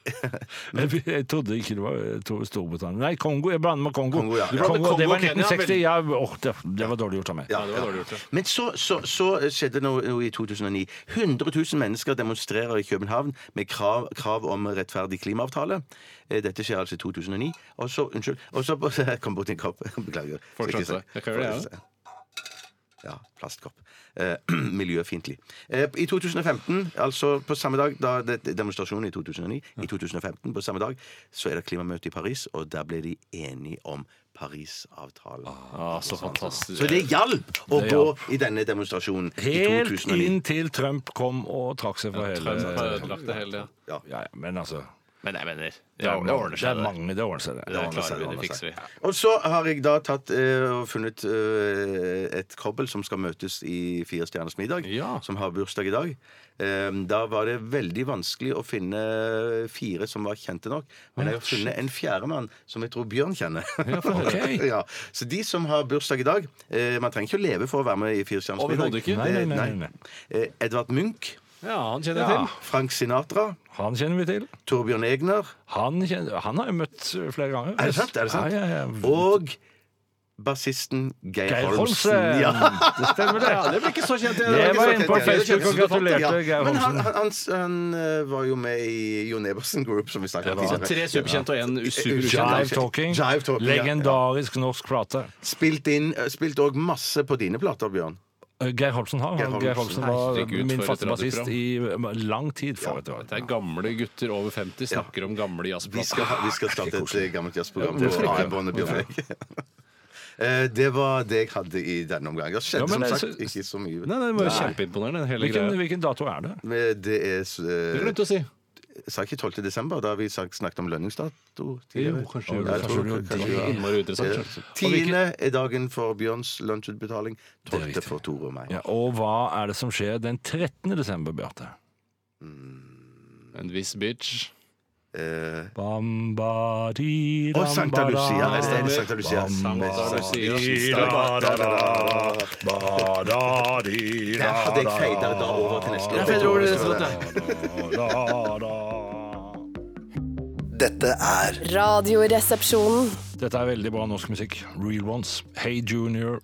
Speaker 4: <laughs>
Speaker 5: Jeg, jeg trodde ikke det var eh, Tor- Storbritannia Nei, Kongo. Jeg blander med Kongo.
Speaker 4: Kongo, ja. Du
Speaker 5: Kongo,
Speaker 6: blander
Speaker 5: det var
Speaker 6: Kongo og Kenya,
Speaker 5: 1960. Ja, åh, det, det var dårlig gjort av meg.
Speaker 4: ja,
Speaker 6: Ja, det var dårlig gjort, ja.
Speaker 4: Men så, så, så skjedde noe, noe i 2009. 100 000 mennesker demonstrerer i København med krav, krav om rettferdig klimaavtale. Eh, Dette skjer altså i 2009. Og så Unnskyld. Og så <laughs> Jeg kom borti en kopp. Beklager.
Speaker 6: Fortsett det. Jeg kan gjøre det,
Speaker 4: ja. Ja, plastkopp. Eh, <clears throat> miljøfiendtlig. Eh, I 2015, altså på samme dag da det, demonstrasjonen i 2009, i 2015 på samme dag, så er det klimamøte i Paris, og der ble de enige om Parisavtalen.
Speaker 6: Ah, så fantastisk.
Speaker 4: Så det hjalp å
Speaker 5: Det
Speaker 4: gå
Speaker 5: hjalp.
Speaker 4: i denne demonstrasjonen i
Speaker 5: Helt
Speaker 4: 2009.
Speaker 5: inn til Trump kom og trakk seg fra hele
Speaker 6: Trump eh, har ødelagt det hele. ja.
Speaker 5: Ja, ja, men altså
Speaker 6: Men jeg mener,
Speaker 5: det, er,
Speaker 6: det ordner seg.
Speaker 5: det er
Speaker 6: Det,
Speaker 5: mange, det ordner seg.
Speaker 6: det
Speaker 5: Det.
Speaker 6: klarer vi, det fikser vi.
Speaker 4: Og så har jeg da tatt eh, og funnet eh, et kobbel som skal møtes i Fire stjerners middag,
Speaker 6: Ja.
Speaker 4: som har bursdag i dag. Eh, da var det veldig vanskelig å finne fire som var kjente nok. Men jeg har funnet en fjerdemann som jeg tror Bjørn kjenner. <laughs>
Speaker 5: Ok.
Speaker 4: ja. Så de som har bursdag i dag eh, Man trenger ikke å leve for å være med i Fire stjerners middag.
Speaker 6: Overhodet ikke.
Speaker 5: Nei, nei, nei,
Speaker 4: Eh,
Speaker 5: nei,
Speaker 4: Eh, Edvard Munch.
Speaker 6: Ja, han kjenner jeg
Speaker 5: Ja.
Speaker 6: til.
Speaker 4: Frank Sinatra.
Speaker 5: Han kjenner vi til.
Speaker 4: Torbjørn Egner.
Speaker 5: Han, kjenner, han har jeg møtt flere ganger.
Speaker 4: Er det sant? Er det sant?
Speaker 5: Ja, ja, ja.
Speaker 4: Og bassisten Geir,
Speaker 5: Geir
Speaker 4: Holmsen.
Speaker 5: Holmsen!
Speaker 4: <laughs> Ja.
Speaker 5: Det stemmer, det.
Speaker 6: det blir ikke så kjent.
Speaker 5: Jeg
Speaker 4: ikke
Speaker 5: var
Speaker 4: så
Speaker 5: inne
Speaker 4: kjent,
Speaker 5: på
Speaker 4: ja.
Speaker 5: Facebook og gratulerte
Speaker 4: Ja,
Speaker 5: Geir
Speaker 4: Men han,
Speaker 5: Holmsen.
Speaker 4: han, han, han eh, var jo med i Jon Ebersen Group, som vi snakket om
Speaker 6: Så tre superkjente og én
Speaker 5: Jive
Speaker 6: superukjent.
Speaker 5: Talking.
Speaker 4: Jive Talking, ja, ja.
Speaker 5: Legendarisk norsk plate.
Speaker 4: Spilt inn, eh, spilt òg masse på dine plater, Bjørn.
Speaker 5: Eh, Geir Holmsen har.
Speaker 4: Geir
Speaker 5: han. Geir Holmsen
Speaker 4: Holmsen.
Speaker 5: var
Speaker 6: Herregud, for
Speaker 5: min
Speaker 6: et
Speaker 5: faste bassist i eh,
Speaker 6: radioprogram.
Speaker 5: lang tid for et år.
Speaker 6: Det er gamle gutter over 50 snakker om gamle
Speaker 4: Vi skal,
Speaker 6: jazzplater.
Speaker 4: ha- vi skal starte et eh, gammelt jazzprogram
Speaker 5: Ja, hvorfor
Speaker 4: på
Speaker 5: ikke?
Speaker 4: AM-båndet, Bjørn Eik. <laughs> Eh, Det var det jeg hadde i denne omgang. Det
Speaker 5: Ja, men
Speaker 4: skjedde som
Speaker 5: det-
Speaker 4: sagt ikke så mye.
Speaker 6: Nei, nei, det var jo kjempeimponerende, hele
Speaker 5: Hvilken,
Speaker 6: greia.
Speaker 5: hvilken dato er det?
Speaker 4: Men det er
Speaker 6: Det
Speaker 4: eh,
Speaker 6: glemte å si.
Speaker 4: Sa jeg ikke 12. desember, da vi sak- snakket om lønningsdato? tidligere?
Speaker 6: Jo, kanskje
Speaker 4: Ja,
Speaker 6: det.
Speaker 4: jeg
Speaker 6: Kanskje
Speaker 4: tror
Speaker 6: det var
Speaker 4: kanskje
Speaker 6: det.
Speaker 4: det var-
Speaker 6: Innmari interessant, kanskje. Og hvilken-
Speaker 4: Tiende er dagen for Bjørns lunsjutbetaling.
Speaker 5: Det er
Speaker 4: Tolvte
Speaker 5: riktig.
Speaker 4: for Tore og meg.
Speaker 5: Ja, og hva er det som skjer den 13. desember, Bjarte?
Speaker 6: En viss bitch.
Speaker 4: Eh,
Speaker 5: Bambadidam,
Speaker 4: Og Sankta
Speaker 5: bada.
Speaker 4: Lucia. Er det, er det Sankta Lucia?
Speaker 6: Sankta Lucia.
Speaker 4: Der hadde jeg feida da over til neste
Speaker 6: Jeg tror det er sånn at
Speaker 7: Dette er
Speaker 1: Radioresepsjonen.
Speaker 5: Dette er veldig bra norsk musikk. Real Ones. Hey Junior.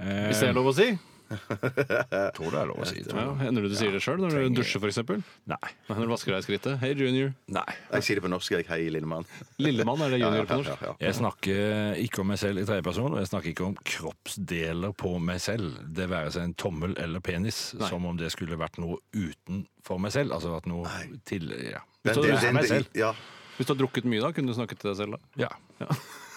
Speaker 5: Eh,
Speaker 6: Hvis det er lov å si?
Speaker 5: tror det er lov å si.
Speaker 6: Ja,
Speaker 5: tror jeg.
Speaker 6: Hender det du sier det sjøl når du dusjer, f.eks.?
Speaker 5: Nei.
Speaker 6: Når du vasker deg i skrittet? Hei, junior.
Speaker 5: Nei.
Speaker 4: Jeg sier det på norsk. Jeg, hei, lille mann.
Speaker 6: Lillemann er det junior på norsk.
Speaker 5: Jeg snakker ikke om meg selv i tredjeperson, og jeg snakker ikke om kroppsdeler på meg selv. Det være seg en tommel eller penis, som om det skulle vært noe utenfor meg selv. Altså at noe til Ja.
Speaker 4: Den-
Speaker 5: Så
Speaker 4: den-
Speaker 5: det er
Speaker 4: den-
Speaker 5: meg selv.
Speaker 4: ja.
Speaker 6: Hvis du har drukket mye, da, kunne du snakket til deg selv da?
Speaker 5: Ja.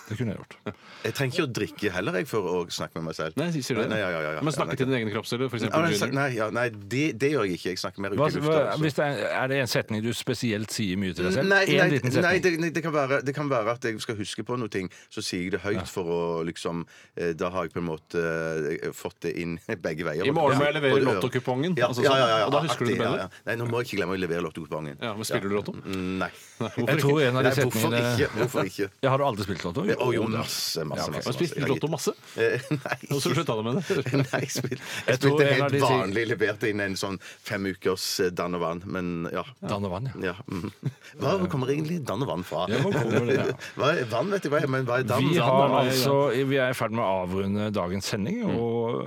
Speaker 5: Det kunne jeg gjort.
Speaker 4: Jeg trenger ikke å drikke heller jeg, for å snakke med meg selv.
Speaker 6: Nei, sier du det?
Speaker 4: Nei, ja, ja, ja, ja.
Speaker 6: Men snakke
Speaker 4: Ja,
Speaker 6: til din egen kroppsdeler, f.eks.
Speaker 4: nei, nei,
Speaker 6: junior?
Speaker 4: nei, ja, nei det, det gjør jeg ikke. Jeg snakker mer ute i
Speaker 5: Hva,
Speaker 4: lufta.
Speaker 5: hva,
Speaker 4: altså.
Speaker 5: hvis det er, er det en setning du spesielt sier mye til deg selv?
Speaker 4: Nei,
Speaker 5: en
Speaker 4: nei,
Speaker 5: liten
Speaker 4: nei
Speaker 5: setning.
Speaker 4: det, nei, det, kan være, det kan være at jeg skal huske på noe, ting, så sier jeg det høyt for å liksom eh, Da har jeg på en måte eh, fått det inn <laughs> begge veier.
Speaker 6: I morgen må jeg levere
Speaker 4: Og- og-
Speaker 6: lottokupongen,
Speaker 4: Ja,
Speaker 6: altså
Speaker 4: ja,
Speaker 6: sånn.
Speaker 4: ja, ja,
Speaker 6: Og da husker du det
Speaker 4: aktig, ja, ja.
Speaker 6: bedre?
Speaker 4: Nei, nå må jeg ikke glemme å levere lottokupongen.
Speaker 6: Ja, men spiller du lotto?
Speaker 4: Mm, Nei.
Speaker 5: Jeg tror en av de
Speaker 4: Nei, hvorfor
Speaker 5: setningene
Speaker 4: ikke? Hvorfor ikke?
Speaker 5: Jeg har du aldri spilt lotto?
Speaker 4: Å jo, masse,
Speaker 5: Ja,
Speaker 4: masse,
Speaker 5: ok.
Speaker 4: masse.
Speaker 6: Har du spist
Speaker 4: masse.
Speaker 6: lotto masse?
Speaker 4: Eh, <laughs> Nei.
Speaker 6: Og så slutta du med det?
Speaker 4: Nei, jeg spilte, jeg
Speaker 5: Jeg tror
Speaker 4: spilte
Speaker 5: en av
Speaker 4: helt
Speaker 5: de sier-
Speaker 4: vanlig, leverte inn en sånn fem ukers eh, dann og vann, men ja.
Speaker 5: Dann og vann, ja.
Speaker 4: ja. Mm. <laughs> Hva kommer egentlig dann og vann fra?
Speaker 5: Ja, hvor kommer det, ja.
Speaker 4: <laughs> Hva er vann, vet jeg hva er, men hva er dann?
Speaker 5: Vi,
Speaker 4: Dann
Speaker 5: har
Speaker 4: og vann.
Speaker 5: altså, vi er i ferd med å avrunde dagens sending,
Speaker 4: Mm.
Speaker 5: og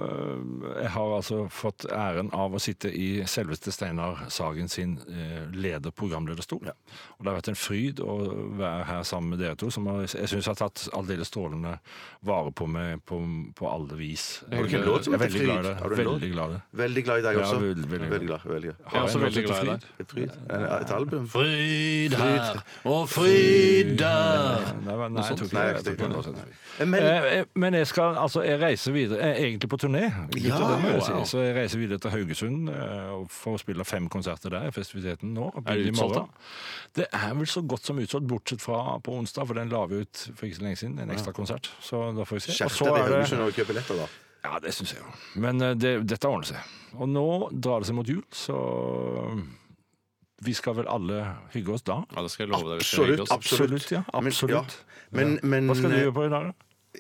Speaker 5: øh, jeg har altså fått æren av å sitte i selveste Steinar Sagen sin eh, leder programlederstol. Og det har vært en fryd å være her sammen med dere to, som har, jeg syns har tatt aldeles strålende vare på meg på, på alle vis.
Speaker 4: Har du ikke en låt som
Speaker 5: Jeg er
Speaker 4: heter
Speaker 5: veldig glad i
Speaker 4: Fryd?
Speaker 5: det.
Speaker 4: Har du en låt?
Speaker 5: Veldig glad i det.
Speaker 4: Veldig glad i deg
Speaker 5: Ja,
Speaker 4: også.
Speaker 5: veldig, veldig glad.
Speaker 4: glad. veldig glad.
Speaker 5: Har
Speaker 6: Jeg er også
Speaker 5: en låt som heter
Speaker 6: veldig glad i deg.
Speaker 4: Et fryd. Eh, Et album.
Speaker 6: Fryd her og fryd der.
Speaker 5: Nei, nei, jeg tok
Speaker 4: Nei,
Speaker 5: ikke det.
Speaker 4: jeg
Speaker 5: Jeg tok
Speaker 4: tenkte-
Speaker 5: en låt som heter Fryd.
Speaker 4: Men
Speaker 5: Eh, eh, Men jeg skal, altså, jeg reiser videre. Jeg er egentlig på turné, gutter, det må jeg si. så jeg reiser videre til Haugesund eh, og får spille fem konserter der. Festiviteten nå. begynner i
Speaker 6: utsolgt,
Speaker 5: morgen. Det er vel så godt som utsolgt, bortsett fra på onsdag, for den la vi ut for ikke så lenge siden. En ekstra konsert. Så da får vi se. Og
Speaker 4: skjerp
Speaker 5: så
Speaker 4: deg i
Speaker 5: er det
Speaker 4: Haugesund og kjøp billetter, da.
Speaker 5: Ja, det syns jeg jo. Men eh, det, dette ordner seg. Og nå drar det seg mot jul, så vi skal vel alle hygge oss da.
Speaker 6: Ja, det skal jeg love deg. vi skal
Speaker 4: Absolutt,
Speaker 6: hygge oss.
Speaker 4: absolutt.
Speaker 5: ja.
Speaker 4: Men-
Speaker 5: Absolutt.
Speaker 4: ja. Men, men
Speaker 5: Hva skal du
Speaker 4: eh,
Speaker 5: gjøre på i dag, da?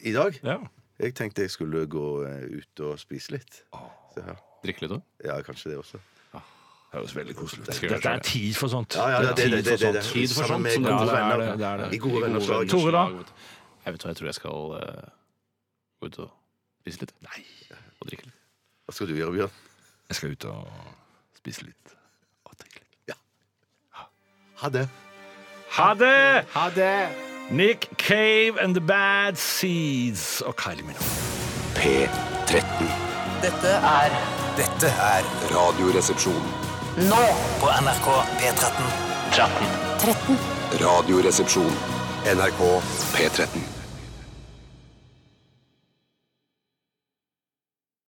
Speaker 4: i dag?
Speaker 5: Ja.
Speaker 4: Jeg tenkte jeg skulle gå eh, ut og spise litt. Så, ja.
Speaker 6: Drikke litt òg.
Speaker 4: ja, kanskje det også.
Speaker 5: Høres veldig koselig
Speaker 6: Det
Speaker 5: ut.
Speaker 6: skal jeg
Speaker 5: Dette
Speaker 6: gjøre.
Speaker 5: er tid for sånt.
Speaker 4: Ja, ja, det, det,
Speaker 5: Tid
Speaker 4: det, det,
Speaker 5: for
Speaker 4: det,
Speaker 5: sånt.
Speaker 4: det.
Speaker 6: Tid for
Speaker 4: Sammen
Speaker 6: sånt,
Speaker 4: med
Speaker 6: som
Speaker 5: det
Speaker 4: gode
Speaker 5: er. Ja, det er
Speaker 4: venner.
Speaker 5: det, det er det.
Speaker 4: I gode venners lag.
Speaker 5: Tore, da?
Speaker 6: Jeg vet hva, jeg tror jeg skal eh, gå ut og spise litt. Nei. Og drikke litt.
Speaker 4: Hva skal du gjøre, Bjørn?
Speaker 5: Jeg skal ut og spise litt. Og drikke litt.
Speaker 4: Ha det.
Speaker 5: Ha det! Ha det! Nick Cave and the Bad Seeds og Kylie Minogue.
Speaker 2: P13.
Speaker 3: Dette er Dette er
Speaker 2: Radioresepsjon.
Speaker 3: nå på NRK P13.
Speaker 2: 13. Radioresepsjon. NRK P13.